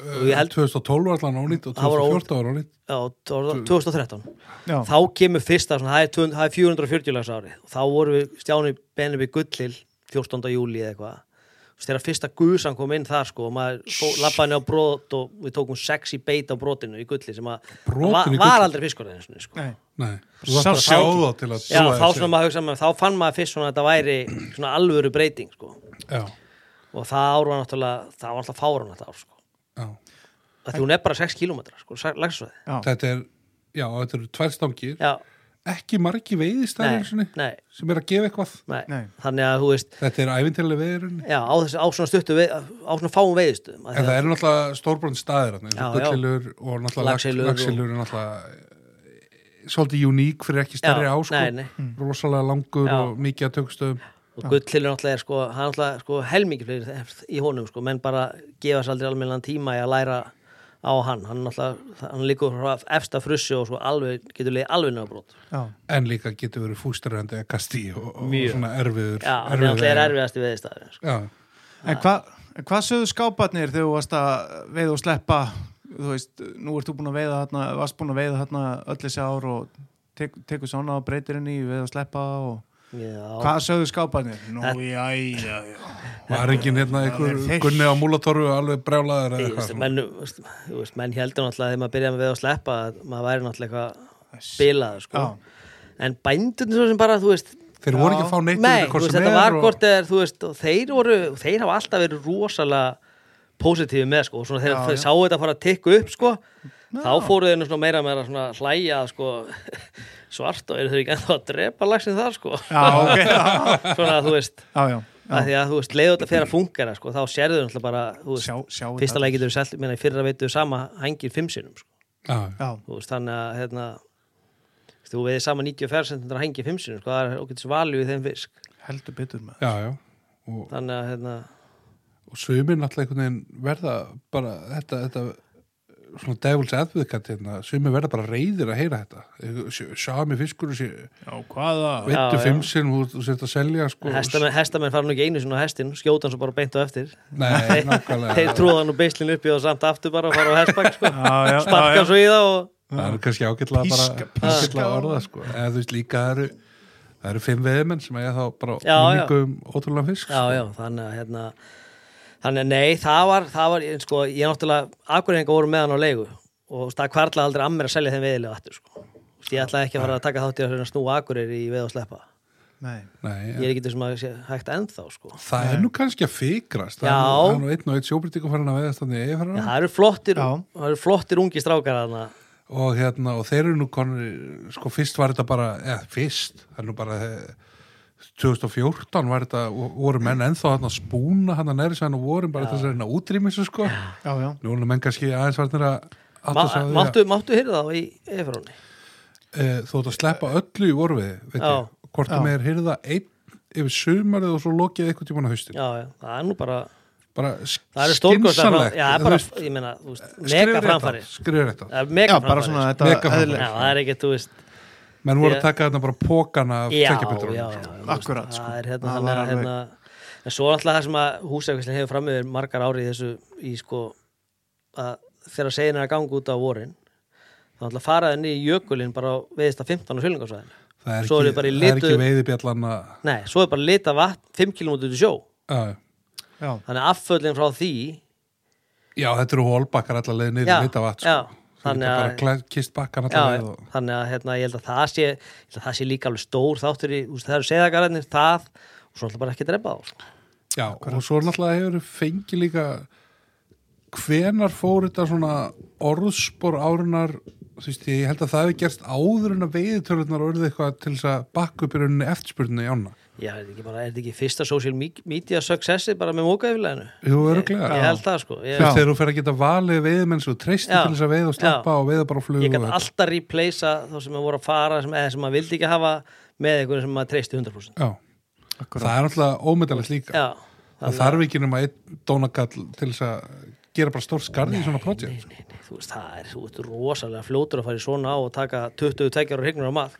Speaker 4: Og ég held,
Speaker 3: 2012 var allan ónýtt og
Speaker 4: Það var
Speaker 3: 2014 var ónýtt.
Speaker 4: já, það var það 2013.
Speaker 2: já,
Speaker 4: Þá kemur fyrsta, svona, það er 200 það er 440 lags ári. Og þá voru við Stjáni Ben upp í Gullil 14. júli eða eitthvað. Þú veist, Þegar fyrsta guðsan kom inn þar, sko, og maður lappaði henni á brot og við tókum sex í beit á brotinu í Gulli sem að
Speaker 3: Brotin
Speaker 4: var,
Speaker 3: í
Speaker 4: var
Speaker 3: Gulli?
Speaker 4: aldrei fiskur einu sinni, sko.
Speaker 2: nei,
Speaker 3: Nei, þú þarf
Speaker 2: Sá-
Speaker 3: að sjá þá til að
Speaker 4: Já,
Speaker 3: trúa
Speaker 4: þá,
Speaker 3: þessu.
Speaker 4: svona maður hugsa, með- þá fann maður fyrst svona að þetta væri svona alvöru breyting sko.
Speaker 3: Já,
Speaker 4: og það ár var náttúrulega það var náttúrulega fáran þetta ár sko.
Speaker 3: já.
Speaker 4: að því hún er bara 6 km sko, lagsveði
Speaker 2: já,
Speaker 3: Þetta er, já, þetta eru tvær stangir.
Speaker 4: Já,
Speaker 3: Ekki margi
Speaker 4: nei,
Speaker 3: veiðistæðir sinni
Speaker 4: nei,
Speaker 3: sem er að gefa eitthvað.
Speaker 4: nei.
Speaker 2: Nei.
Speaker 4: þannig að þú veist
Speaker 3: Þetta er æfintilega veiðurinn.
Speaker 4: já, á, þessi, á svona stuttu veið, á svona fáum veiðistöðum af
Speaker 3: En
Speaker 4: því
Speaker 3: það
Speaker 4: að-
Speaker 3: eru náttúrulega stórbrönd staðir, þannig
Speaker 4: Já,
Speaker 3: að gullilur og náttúrulega
Speaker 4: Laxilur
Speaker 3: laxilur,
Speaker 4: og-
Speaker 3: laxilur er náttúrulega eh, svolítið uník fyrir ekki stærri
Speaker 4: Já,
Speaker 3: ásku.
Speaker 4: nei, nei.
Speaker 2: Mm.
Speaker 3: Rosalega langur
Speaker 4: Já.
Speaker 3: og mikið að tökstöðum.
Speaker 4: og gullilur náttúrulega er sko, hann er náttúrulega sko, helmingi fleiri í honum sko, menn bara gefa sér aldrei almennan tíma í að læra á hann, hann er náttúrulega hann líkur frá efsta frussi og sko alveg getur leiði alveg nefnabrót
Speaker 2: já,
Speaker 3: En líka getur verið fústrandi eða kastí og, og
Speaker 4: Mjög.
Speaker 3: svona erfiður.
Speaker 4: Já, hann er
Speaker 3: erfiður
Speaker 4: náttúrulega
Speaker 3: veiðar.
Speaker 4: erfiðast í veiðistæðin sko.
Speaker 3: Já,
Speaker 2: En hvað hva sögðu skáparnir þegar þú varst að veiða og sleppa þú veist, nú ert þú búin að veiða þarna varst búin að veiða þarna öll þessi ár og tek, tekur svona og breytir henni í veiða og sleppa og
Speaker 4: Já.
Speaker 2: hvað sögðu skáparnir? Nú, já, já, já
Speaker 3: Var enginn hérna
Speaker 2: er
Speaker 3: einhver
Speaker 2: fisk.
Speaker 3: gunni á múlatorfu alveg brjálaður eða
Speaker 4: Ég veist,
Speaker 3: eitthvað?
Speaker 4: menn, veist, þú veist, menn heldur náttúrulega þegar maður byrjaði með að sleppa að maður væri náttúrulega eitthvað bilaður sko.
Speaker 2: Já.
Speaker 4: en bændunir svo sem bara þú veist,
Speaker 3: Þeir voru ekki að fá neitt
Speaker 4: nei,
Speaker 3: undir
Speaker 4: þú
Speaker 3: hvort
Speaker 4: veist,
Speaker 3: sem
Speaker 4: þetta
Speaker 3: er
Speaker 4: var
Speaker 3: og-
Speaker 4: hvort eða þú veist, og þeir voru, þeir hafa alltaf verið rosalega pósitífi með sko, og svona þegar
Speaker 2: Já,
Speaker 4: þeir
Speaker 2: já.
Speaker 4: sáu þetta fara að tikka upp sko, þá fóru þeir nú svona meira meira svona hlæja sko, svart og eru þau ekki ennþá að drepa lagsin þar sko,
Speaker 2: Já, ok, já,
Speaker 4: svona þú veist
Speaker 2: já, já.
Speaker 4: að því að þú veist, leiðu þetta fyrir að fungera sko, þá sérðu náttúrulega bara, þú veist,
Speaker 2: Sjá, sjá
Speaker 4: fyrsta
Speaker 2: þetta.
Speaker 4: leið getur við selt, menna í fyrra veitum við sama hangir fimm sinnum, sko,
Speaker 3: Já,
Speaker 2: Já,
Speaker 4: þú veist, þannig að hérna, þú veist, þú veiði sama 94 centundar hangi fimm sinnum, sko, það er okkur til valju í þeim fisk,
Speaker 2: heldur betur með
Speaker 3: já, já. Og,
Speaker 4: þannig að hérna,
Speaker 3: og sumir náttúrulega einhvern veginn verða bara þetta, þetta svona devils advocate hérna, sumir verða bara reyðir að heyra þetta. Sjá- Sami fiskur og sé,
Speaker 2: Já, hvaða?
Speaker 4: Já,
Speaker 3: veittu
Speaker 4: já.
Speaker 3: fimm sinn og þú sért að selja sko.
Speaker 4: hestamenn, hestamenn fara nú ekki einu sinni á hestin, skjóta hann svo bara beint á eftir
Speaker 3: Nei,
Speaker 4: þeir
Speaker 3: nákvæmlega.
Speaker 4: trúða nú beislinn upp í það samt aftur bara og fara á hestbakk, sko
Speaker 2: Já, já, já,
Speaker 4: sparka
Speaker 2: já.
Speaker 4: svo í það og
Speaker 3: Það er kannski ágætlega bara
Speaker 2: Píska, píska.
Speaker 3: ágætlega orða sko. Eða þú veist líka það eru, það eru fimm veðmenn sem eiga þá bara
Speaker 4: Já, já.
Speaker 3: minningum ótrúlega fisk. sko.
Speaker 4: já, já, þannig að hérna, þannig að nei, það var, það var ég- sko, ég náttúrulega, akkurrengar voru með hann á leigu og þú veist, það kvarlaði aldrei að mér að selja þeim veiðilega aftur, sko. Þú veist, Ég ætlaði ekki að fara að taka þátt í að reyna að snúa akkurir í veið og sleppa.
Speaker 2: Nei,
Speaker 3: Nei,
Speaker 4: Ég er ekki þessum að sé hægt ennþá, sko.
Speaker 3: Það er nú kannski að fikrast
Speaker 4: Já.
Speaker 3: Það er nú- það er nú einn og einn sjóbritíku farin að veiðast þannig eða
Speaker 4: Já,
Speaker 3: farin
Speaker 4: það eru flottir,
Speaker 2: Já.
Speaker 4: það eru flottir ungi strákar þarna.
Speaker 3: og hérna, og þeir eru nú konur sko fyrst var þetta bara, eða fyrst það er nú bara eh, 2014 var þetta, vo- voru menn ennþá hann að spúna hann að næri sæðan og vorum bara þess að hérna útrýmisu sko
Speaker 2: já, já.
Speaker 3: nú er menn kannski aðeins varnir að
Speaker 4: Ma,
Speaker 3: átta sig á því að-
Speaker 4: máttu, máttu hyrða þá í Efróni
Speaker 3: Eh, þú ert að sleppa öllu í vorfið veit
Speaker 4: Já.
Speaker 3: ég, hvort
Speaker 2: Já.
Speaker 3: að með er hyrða einn yfir sumarið og svo lokið eitthvað tíma á haustin
Speaker 4: já, já, það er nú bara
Speaker 3: bara
Speaker 4: það eru stórkostar
Speaker 3: skinsamlegt
Speaker 4: já, það er bara, ég meina, þú veist, mega framfæri
Speaker 3: skrifur þetta,
Speaker 4: það er mega
Speaker 2: já,
Speaker 4: framfæri
Speaker 2: bara svona þetta
Speaker 3: Mega framfarir.
Speaker 4: já,
Speaker 2: eðlilega.
Speaker 4: það er ekki, þú veist
Speaker 3: menn voru
Speaker 4: Ég-
Speaker 3: að taka þarna bara pókana af
Speaker 4: já, já,
Speaker 3: tveggjapunktunum,
Speaker 4: já,
Speaker 3: sko.
Speaker 4: já, þú veist,
Speaker 2: Akkurat, sko.
Speaker 4: það er hérna,
Speaker 2: Það
Speaker 4: þannig
Speaker 2: var
Speaker 4: að hérna en svo er alltaf það sem að húsækvislega hefur framöður margar ári í þessu í sko að þegar segin er að ganga út á vorin þá alltaf faraði niður í jökulinn bara á veðist að 15 og sjölingarsvæðinu
Speaker 3: það er
Speaker 4: Svo eru
Speaker 3: ekki,
Speaker 4: bara í
Speaker 3: það er
Speaker 4: litu-
Speaker 3: ekki veiðibjallanna
Speaker 4: nei, svo er bara lita vatn 5 km út í sjó
Speaker 3: já,
Speaker 2: já.
Speaker 4: þannig að afföllin frá því
Speaker 3: já, þetta eru hólbakkar allar leið niður
Speaker 4: Já,
Speaker 3: í litavat
Speaker 4: já,
Speaker 3: sko. þannig
Speaker 4: þannig að-
Speaker 3: að bara kist bakkan
Speaker 4: já,
Speaker 3: allar leið og,
Speaker 4: þannig að hérna, ég held að það sé ég held að það sé líka alveg stór þáttur í, úst, það eru segðagararnir, það og svo alltaf bara ekki drepa þá sko.
Speaker 3: já, og svo náttúrulega hefur fengið líka hvenar fór þetta svona orðspor árunar þú veist, ég held að það hefur gerst áður en að veiðitölunar orðið eitthvað til þess að bakka upp í rauninni eftirspurninni í ána
Speaker 4: já, er þetta ekki, bara, er þetta ekki fyrsta social me- media successi bara með mókaðifleginu
Speaker 3: Jú,
Speaker 4: ég,
Speaker 3: öruglega
Speaker 4: ég held það sko ég,
Speaker 3: Fyrst þegar þú fer að geta valið veiðmenn sem þú treystir
Speaker 4: Já.
Speaker 3: til þess að veiða og sleppa
Speaker 4: Já.
Speaker 3: og veiða bara á flug
Speaker 4: ég
Speaker 3: og
Speaker 4: gæti alltaf replacea þá sem maður voru að fara sem, eða sem maður vildi ekki hafa með einhverjum sem maður treysti 100%
Speaker 3: Já, það er alltaf ómyndalegt líka
Speaker 4: já,
Speaker 3: Það þarf ekki nema einn dónagall til þess að gera bara stór skarði í svona projekt.
Speaker 4: nei, nei, þú veist, það er, þú veist, rosalega fljótur að fara í svona á og taka 22 ára hrygnur á mað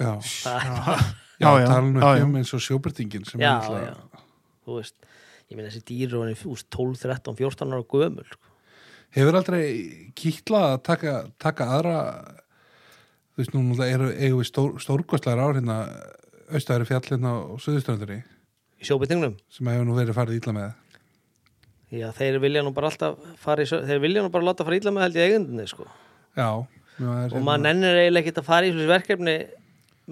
Speaker 3: Já,
Speaker 4: það er
Speaker 3: já,
Speaker 2: Já, já,
Speaker 3: talan
Speaker 2: já, já.
Speaker 3: um eins og sjóbyrtingin sem
Speaker 4: já,
Speaker 3: er
Speaker 4: já,
Speaker 3: alltaf,
Speaker 4: þú veist ég meina þessi dýr og hann er úst, 12, 13, 14 ára gömul sko.
Speaker 3: hefur aldrei kýtlað að taka, taka aðra, þú veist, nú náttúrulega eru- eigum við stór, stórkostlegar ár hérna austæðri fjallin á Suðuströndri
Speaker 4: í sjóbyttingnum,
Speaker 3: sem hefur nú verið farið ítla með.
Speaker 4: já, þeir vilja nú bara alltaf fara í, sjó- þeir vilja nú bara láta fara ítla með held í eigundinni, sko
Speaker 3: Já, það er,
Speaker 4: og maður nennir eiginlega ekkert að fara í þessu verkefni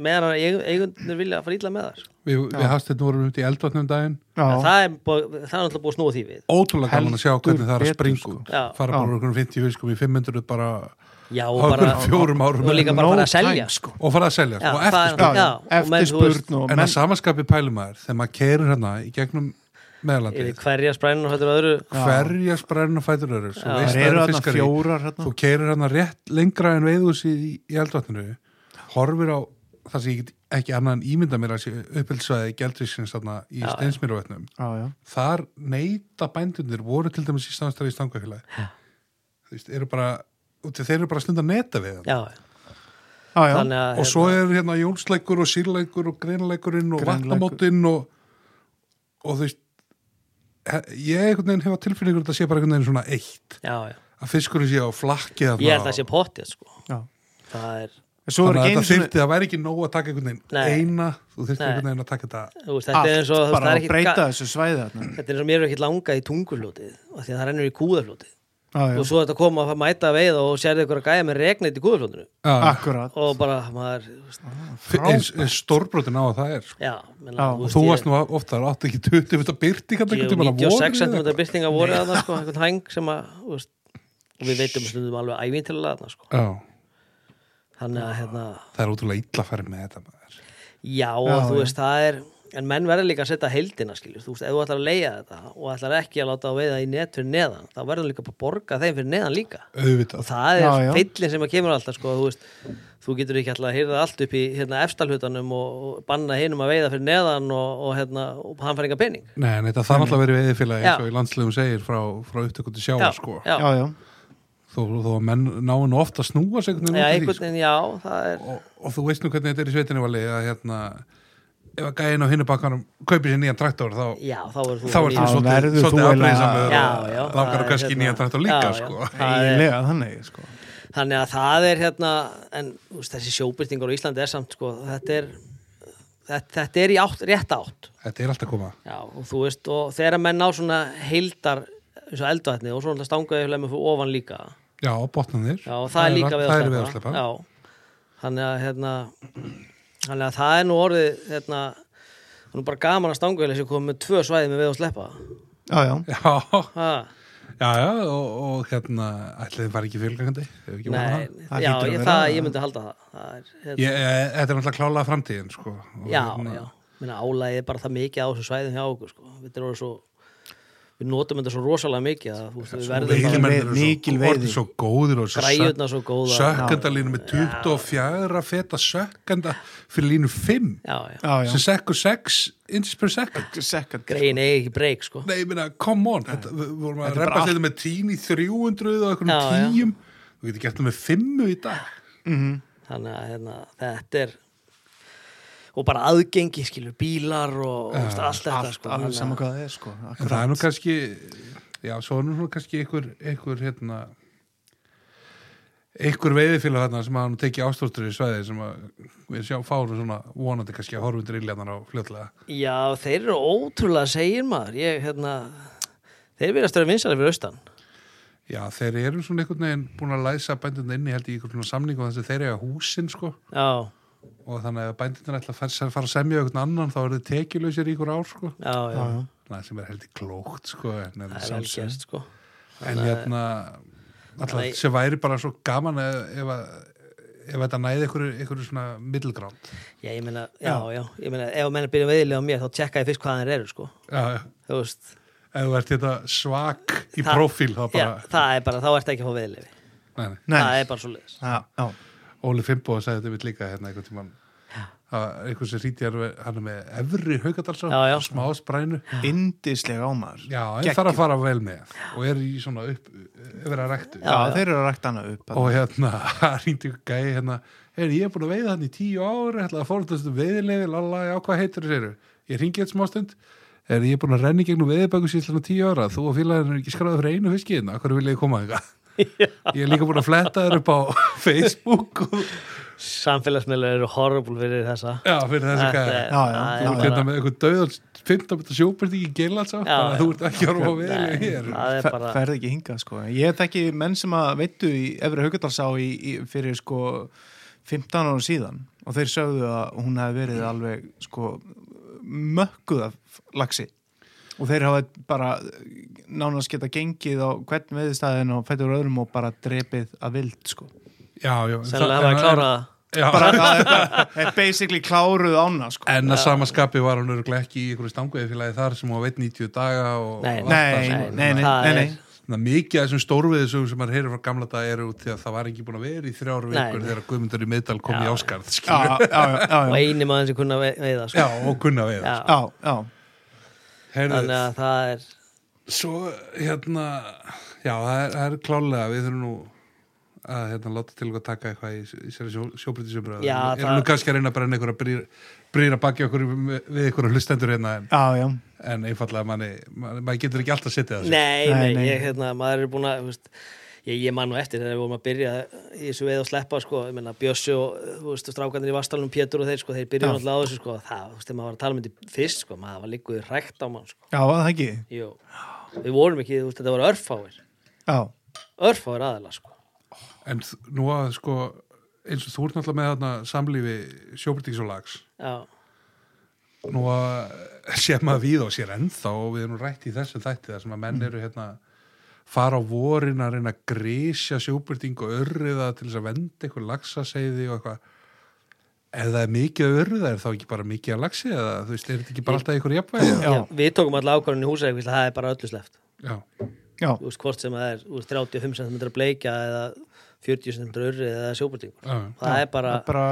Speaker 4: meðan að eigundinni vilja að fara ítla með þar sko.
Speaker 3: við, við hafstum vorum út í eldvatnum daginn.
Speaker 2: já.
Speaker 4: En það er, búið- það er alltaf búið að snúa því við
Speaker 3: Ótrúlega gaman að sjá hvernig það er að
Speaker 2: Heldur betur,
Speaker 3: springa
Speaker 2: sko.
Speaker 3: út.
Speaker 4: Já.
Speaker 3: Fara bara okkur 50 fiskum í 500 bara
Speaker 4: já,
Speaker 3: á
Speaker 4: og bara,
Speaker 3: okkur fjórum árum.
Speaker 4: og líka bara
Speaker 2: No
Speaker 4: fara að selja
Speaker 2: time, sko.
Speaker 3: og fara að selja
Speaker 4: Já,
Speaker 3: og
Speaker 4: það er-
Speaker 2: já,
Speaker 3: eftirspurn
Speaker 2: já.
Speaker 4: Já, og menn, þú veist-
Speaker 2: eftirspurn og
Speaker 3: en að
Speaker 2: menn
Speaker 3: samanskapi pælum maður þegar maður kerur hérna í gegnum meðlandi
Speaker 4: yfir hverja spræninu og þetta öðru
Speaker 3: hverja sprenn og fætur öðru
Speaker 4: Já.
Speaker 2: það eru þarna fjórar
Speaker 3: þú
Speaker 2: hérna.
Speaker 3: kerur hérna rétt lengra en veiðhúsið í, í eldvatninu horfir á það sem ég get ekki annan ímynda mér að sé uppheldsvæði gældvísins þarna í
Speaker 4: Já, já.
Speaker 3: steinsmýruvötnum
Speaker 2: já, já.
Speaker 3: þar neyta bændunir voru til dæmis í stannstæði í stangafélagi þú veist, eru bara og þeir eru bara að stunda að neta við
Speaker 4: já,
Speaker 2: Já, já.
Speaker 4: þannig að
Speaker 3: og svo er hérna jólsleikur og sírleikur og greinleikurinn og
Speaker 2: Greinleikur.
Speaker 3: vatnamótinn og, og þú veist he- ég einhvern veginn hefa tilfinningur að þetta sé bara einhvern veginn svona eitt
Speaker 4: já, já.
Speaker 3: að fiskurinn sé á flakki þarna
Speaker 4: ég held að það sé
Speaker 3: og-
Speaker 4: pottið sko.
Speaker 2: já.
Speaker 4: það er,
Speaker 2: En svo er
Speaker 3: þannig að
Speaker 2: ekki einu
Speaker 3: þetta
Speaker 2: sinni
Speaker 3: þyrfti, það væri ekki nóg að taka einhvern veginn
Speaker 4: Nei.
Speaker 3: eina, þú þyrfti
Speaker 4: Nei.
Speaker 3: einhvern veginn að taka þetta
Speaker 4: þú veist, þetta er
Speaker 2: allt
Speaker 4: eins og þú veist,
Speaker 2: bara
Speaker 4: það er
Speaker 2: að
Speaker 4: ekkit
Speaker 2: breyta
Speaker 4: ga-
Speaker 2: þessu svæði þarna.
Speaker 4: þetta er eins og mér er ekki langað í tungufljótið af því að það rennur í kúðafljótið
Speaker 2: já,
Speaker 4: og
Speaker 2: já.
Speaker 4: svo er þetta koma að mæta að veiða og sérði ykkur að gæja með regnit í kúðafljótinu
Speaker 2: akkurat
Speaker 4: og bara maður þú veist,
Speaker 3: F- eins, eins stórbrotin á að það er sko.
Speaker 4: já, menna,
Speaker 2: Já,
Speaker 4: þú
Speaker 3: og
Speaker 4: veist,
Speaker 3: þú
Speaker 4: ég-
Speaker 3: varst nú ofta, áttu ekki 20 þetta byrti kannski
Speaker 4: ég
Speaker 3: einhvern
Speaker 4: hef
Speaker 3: tímann að
Speaker 4: 96
Speaker 3: voru
Speaker 4: cm byrtinga voru að það sko, einhvern hæng sem að þú veist, og við veitum stundum alveg ævintilega þarna, sko.
Speaker 3: já,
Speaker 4: þannig að hérna,
Speaker 3: það er ótrúlega illa að fara með þetta maður
Speaker 4: já, og
Speaker 2: Já,
Speaker 4: þú
Speaker 2: já.
Speaker 4: veist það er en menn verður líka að setja heildina skilur þú veist, ef þú ætlar að leiða þetta og ætlar ekki að láta að veiða í net fyrir neðan þá verður líka bara að borga þeim fyrir neðan líka og
Speaker 3: auðvitað,
Speaker 4: það
Speaker 2: Já, já.
Speaker 4: er feillin sem að kemur alltaf sko, þú, veist, þú getur ekki alltaf að hýrða allt upp í hérna, efstalhutanum og, og banna hinum að veiða fyrir neðan og, og, hérna, og hann fær enga pening
Speaker 3: nei, nei, þetta þarf alltaf að vera veiðfélagi
Speaker 4: Já.
Speaker 3: eins og í landslegum segir frá, frá upptökum til sjáar sko.
Speaker 4: já,
Speaker 2: já, já,
Speaker 3: þó, þó að menn náu nú ofta að snúa sig einhvern
Speaker 4: já,
Speaker 3: veginn út í
Speaker 4: einhvern
Speaker 3: því,
Speaker 4: veginn, já, það er
Speaker 3: sko. og, og þú veist nú hvernig þetta er í sveitinu vali að hérna ef að gæðin á hinni bakkanum kaupir sér nýjan traktor þá,
Speaker 4: já, þá er þú
Speaker 3: þá er
Speaker 2: Já,
Speaker 3: þú svolítið
Speaker 2: verður þú
Speaker 3: svolítið
Speaker 2: eiginlega-
Speaker 3: afbreyðsamur
Speaker 4: Já, já,
Speaker 3: og langar
Speaker 4: það
Speaker 3: og
Speaker 4: er
Speaker 3: kannski
Speaker 4: hérna-
Speaker 3: nýjan traktor líka
Speaker 4: Já, já.
Speaker 3: sko.
Speaker 4: Það er-
Speaker 2: eiginlega þannig sko.
Speaker 4: þannig að það er hérna en þú veist, þessi sjóbyrtingur á Íslandi er samt sko, þetta er þetta, þetta er í átt, rétt átt
Speaker 3: þetta er alltaf að koma
Speaker 4: já, og þú veist, og þegar að menn ná svona heildar, eins og eldvætni og svona stangaði með fyrir ofan líka
Speaker 3: já, og botnanir
Speaker 4: Já, og það er líka
Speaker 3: það er
Speaker 4: við
Speaker 3: við
Speaker 4: að sleppa Já, þannig að hérna þannig að það er nú orðið hérna, það er nú bara gaman að stanguðlega sem komið með tvö svæði með við að sleppa
Speaker 2: já, já,
Speaker 3: já,
Speaker 4: ha,
Speaker 3: Já, já, og, og hérna, ætli þið fari ekki fjölgangandi? Ef ekki voru
Speaker 4: Nei,
Speaker 3: það.
Speaker 2: Það
Speaker 4: já,
Speaker 2: hlýtur að
Speaker 4: ég,
Speaker 2: vera
Speaker 4: það,
Speaker 2: það.
Speaker 4: ég myndi halda það, það er, hérna,
Speaker 3: Ég, ég- þetta er náttúrulega klálega framtíðin, sko. Og
Speaker 4: Já,
Speaker 3: hérna,
Speaker 4: já, minna álægið er bara það mikið á þessu svæðum hjá okkur sko. við, erum orðin svo, við notum þetta svo rosalega mikið að, þú veist, við verðum bara
Speaker 3: Veiðimenn eru
Speaker 2: Mikil
Speaker 3: svo,
Speaker 2: veiði.
Speaker 3: orðin svo góðir og svo
Speaker 4: Græjurnar svo góðar.
Speaker 3: Sökkandalínu með 24 feta sökkanda fyrir línu 5
Speaker 4: já, já,
Speaker 2: Já, já.
Speaker 3: sem sekkur 6 inches per second.
Speaker 2: Second.
Speaker 4: grein eigi ekki breyk sko.
Speaker 3: Nei, ég meina, come on, þetta, við við vorum að
Speaker 2: er bara
Speaker 3: reppa þetta með 10 í 300 og
Speaker 4: Já, já.
Speaker 3: einhvernum 10 Þú getur gert það með 5 í dag.
Speaker 4: þannig að hérna, þetta er og bara aðgengi skilur bílar og ja, allt þetta
Speaker 2: Allt,
Speaker 4: sko,
Speaker 2: alveg
Speaker 4: þannig
Speaker 2: saman
Speaker 4: að-
Speaker 2: hvað það er sko
Speaker 3: En það er nú kannski, já, svo er nú svona kannski einhver, einhver hérna, einhver veiðifélag þarna sem hafa nú tekið ástórstur í svæði sem að við sjá fáum svona vonandi kannski að horfa undir illjarnar á fljótlega.
Speaker 4: já, þeir eru ótrúlega segir maður ég, hérna, þeir verðast að vera vinsæli fyrir austan
Speaker 3: Já, þeir eru svona einhvern veginn búin að læsa bændina inn í held í einhvern svona samning og þess að þeir eiga húsin, sko,
Speaker 4: já,
Speaker 3: og þannig að ef bændina ætla að fara, fara að semja einhvern annan þá eru þeir tekjuleysir í einhver ár, sko.
Speaker 4: já, já,
Speaker 3: Það sem er held í klókt, sko, en, en,
Speaker 4: það er
Speaker 3: samt sem-
Speaker 4: algjast sko.
Speaker 3: En hérna, alltaf
Speaker 4: Nei.
Speaker 3: sem væri bara svo gaman ef, ef, að, ef þetta næði einhverju, einhverju svona middlegránd.
Speaker 4: já, ég meina, já, já, ég meina ef að menna byrja veðilega á mér þá tjekka ég fyrst hvað þeir eru sko.
Speaker 3: Já, já.
Speaker 4: þú veist
Speaker 3: Ef þú ert þetta svak í
Speaker 4: Það-
Speaker 3: prófíl, þá bara...
Speaker 4: já, það er bara, þá ertu ekki að fá veðilega
Speaker 3: Nei, nei.
Speaker 2: Nei,
Speaker 4: það er bara svo leiðis
Speaker 2: já, já,
Speaker 3: Óli Fimbo sagði þetta við líka hérna einhvern tímann. Það var einhver sem ríti hann með- hann er með efri haugadalsá,
Speaker 4: Já, já.
Speaker 3: smá sprænu.
Speaker 2: indislega ámaður
Speaker 3: Já, en þarf að fara vel með og er í svona upp, yfir að rektu.
Speaker 2: já, þeir eru að rækta hana upp
Speaker 3: og hérna, það ringdi ykkur gæi hérna, er ég er búin að veiða hann í tíu ári ætlaði að fórhaldast um veiðilegi, lalla, já, hvað heitir þér ég ringi eitt smá stund er ég er búin að renni gegnum veiðibæku síðan á tíu ára þú og félagin er ekki skráðið fyrir einu hérna. fiskiðina hvað vil ég koma þig ég er líka búin að fletta þér upp á Facebook og,
Speaker 4: samfélagsmiðlar eru horrible fyrir þessa
Speaker 3: já, fyrir þessi
Speaker 4: Þetta
Speaker 3: gæi
Speaker 4: er-
Speaker 2: Já, já,
Speaker 4: það er
Speaker 3: þú
Speaker 2: þú
Speaker 3: ert
Speaker 4: bara-
Speaker 3: hérna með einhver döðan 15 betur sjópert ekki gila alls
Speaker 4: Já, já.
Speaker 3: þú ert ekki að horfa á veiðilegi
Speaker 4: Nei,
Speaker 3: hér
Speaker 4: það er
Speaker 2: Fer,
Speaker 4: bara
Speaker 2: ferð ekki hingað sko ég þekki menn sem að veittu í Efri Haugardalsá í, í, fyrir sko 15 ára síðan og þeir sögðu að hún hefði verið alveg sko mökkuð af laxi og þeir hafa bara nánast geta gengið á hvern veðistæðin og fættur öðrum og bara drepið að vild sko
Speaker 3: já, já,
Speaker 4: sennilega hafa að klára það
Speaker 3: klára
Speaker 2: bara það er, bara, er basically kláruð ána sko
Speaker 3: En að sama skapi var hún örgulega ekki í einhverju stanguðifélagi þar sem hún veit 90 daga og
Speaker 4: Nei,
Speaker 2: nei, nei, nei, nei,
Speaker 4: Það
Speaker 2: nei,
Speaker 4: er-
Speaker 2: nei.
Speaker 3: Þannig að mikið af þessum stórviðisögum sem maður heyrir frá gamla dag eru út því að það var ekki búin að vera í þrjár vikur
Speaker 4: nei.
Speaker 3: þegar Guðmundur í miðdal kom í áskarð skilur.
Speaker 2: Já, já, já, já,
Speaker 4: og
Speaker 2: já,
Speaker 4: eini maður sem kunna ve- veiða
Speaker 3: Já,
Speaker 4: sko.
Speaker 3: og kunna við
Speaker 4: Já.
Speaker 2: já, já.
Speaker 3: Heyrðu,
Speaker 4: þannig að það er
Speaker 3: Svo hérna Já, það er, það er klálega við þurfum nú að hérna, láta til okkar taka eitthvað í, í sér sjó, sjóbrytisumbröð
Speaker 4: Já,
Speaker 3: Erum
Speaker 4: það-
Speaker 3: nú kannski að reyna að brenna einhverja brýr, brýr að baki okkur við, við einhverja hlustendur hérna en,
Speaker 2: já, já.
Speaker 3: en einfallega manni, manni, maður getur ekki alltaf að setja það
Speaker 4: nei,
Speaker 2: Nei,
Speaker 4: nei,
Speaker 2: nei.
Speaker 4: Ég, hérna, maður er búin að þú veist, ég, ég man nú eftir þegar við vorum að byrja í þessu veið og sleppa sko, ég meina Bjössi og þú veist, strákanir í Vastalunum, Pétur og þeir sko, þeir byrjuðu alltaf á þessu sko, það, þú veist, þegar maður var að tala með þetta fyrst sko, maður var líkuð hrækt á mann sko.
Speaker 2: Já, var það ekki
Speaker 4: Jú. við vorum ekki, þú veist, þetta voru örfáir
Speaker 2: Já,
Speaker 4: örfáir aðeila sko.
Speaker 3: En þ- nú að sko eins og þú ert náttúrulega með þarna samlífi sjóbyrtings og lags
Speaker 4: já,
Speaker 3: nú að sé maður við á sér ennþá og við erum nú rætt í þessu þætti þar sem að
Speaker 4: Mm.
Speaker 3: menn eru hérna fara á vorin að reyna að grísja sjóbyrting og örriða til þess að venda eitthvað lagsaseiði og eitthvað ef það er mikið að örriða er þá ekki bara mikið að lagsi eða þú veist, er þetta ekki bara alltaf einhver jafnvægi
Speaker 2: Já.
Speaker 4: Já, við tókum alltaf ákvarðan í húsæk það er bara öllu sleft
Speaker 3: Já,
Speaker 2: já,
Speaker 4: Þú veist, hvort sem það er úr 35 cm bleikja eða 40 cm urri eða sjóbúrtingur
Speaker 3: já.
Speaker 4: það er bara,
Speaker 2: bara,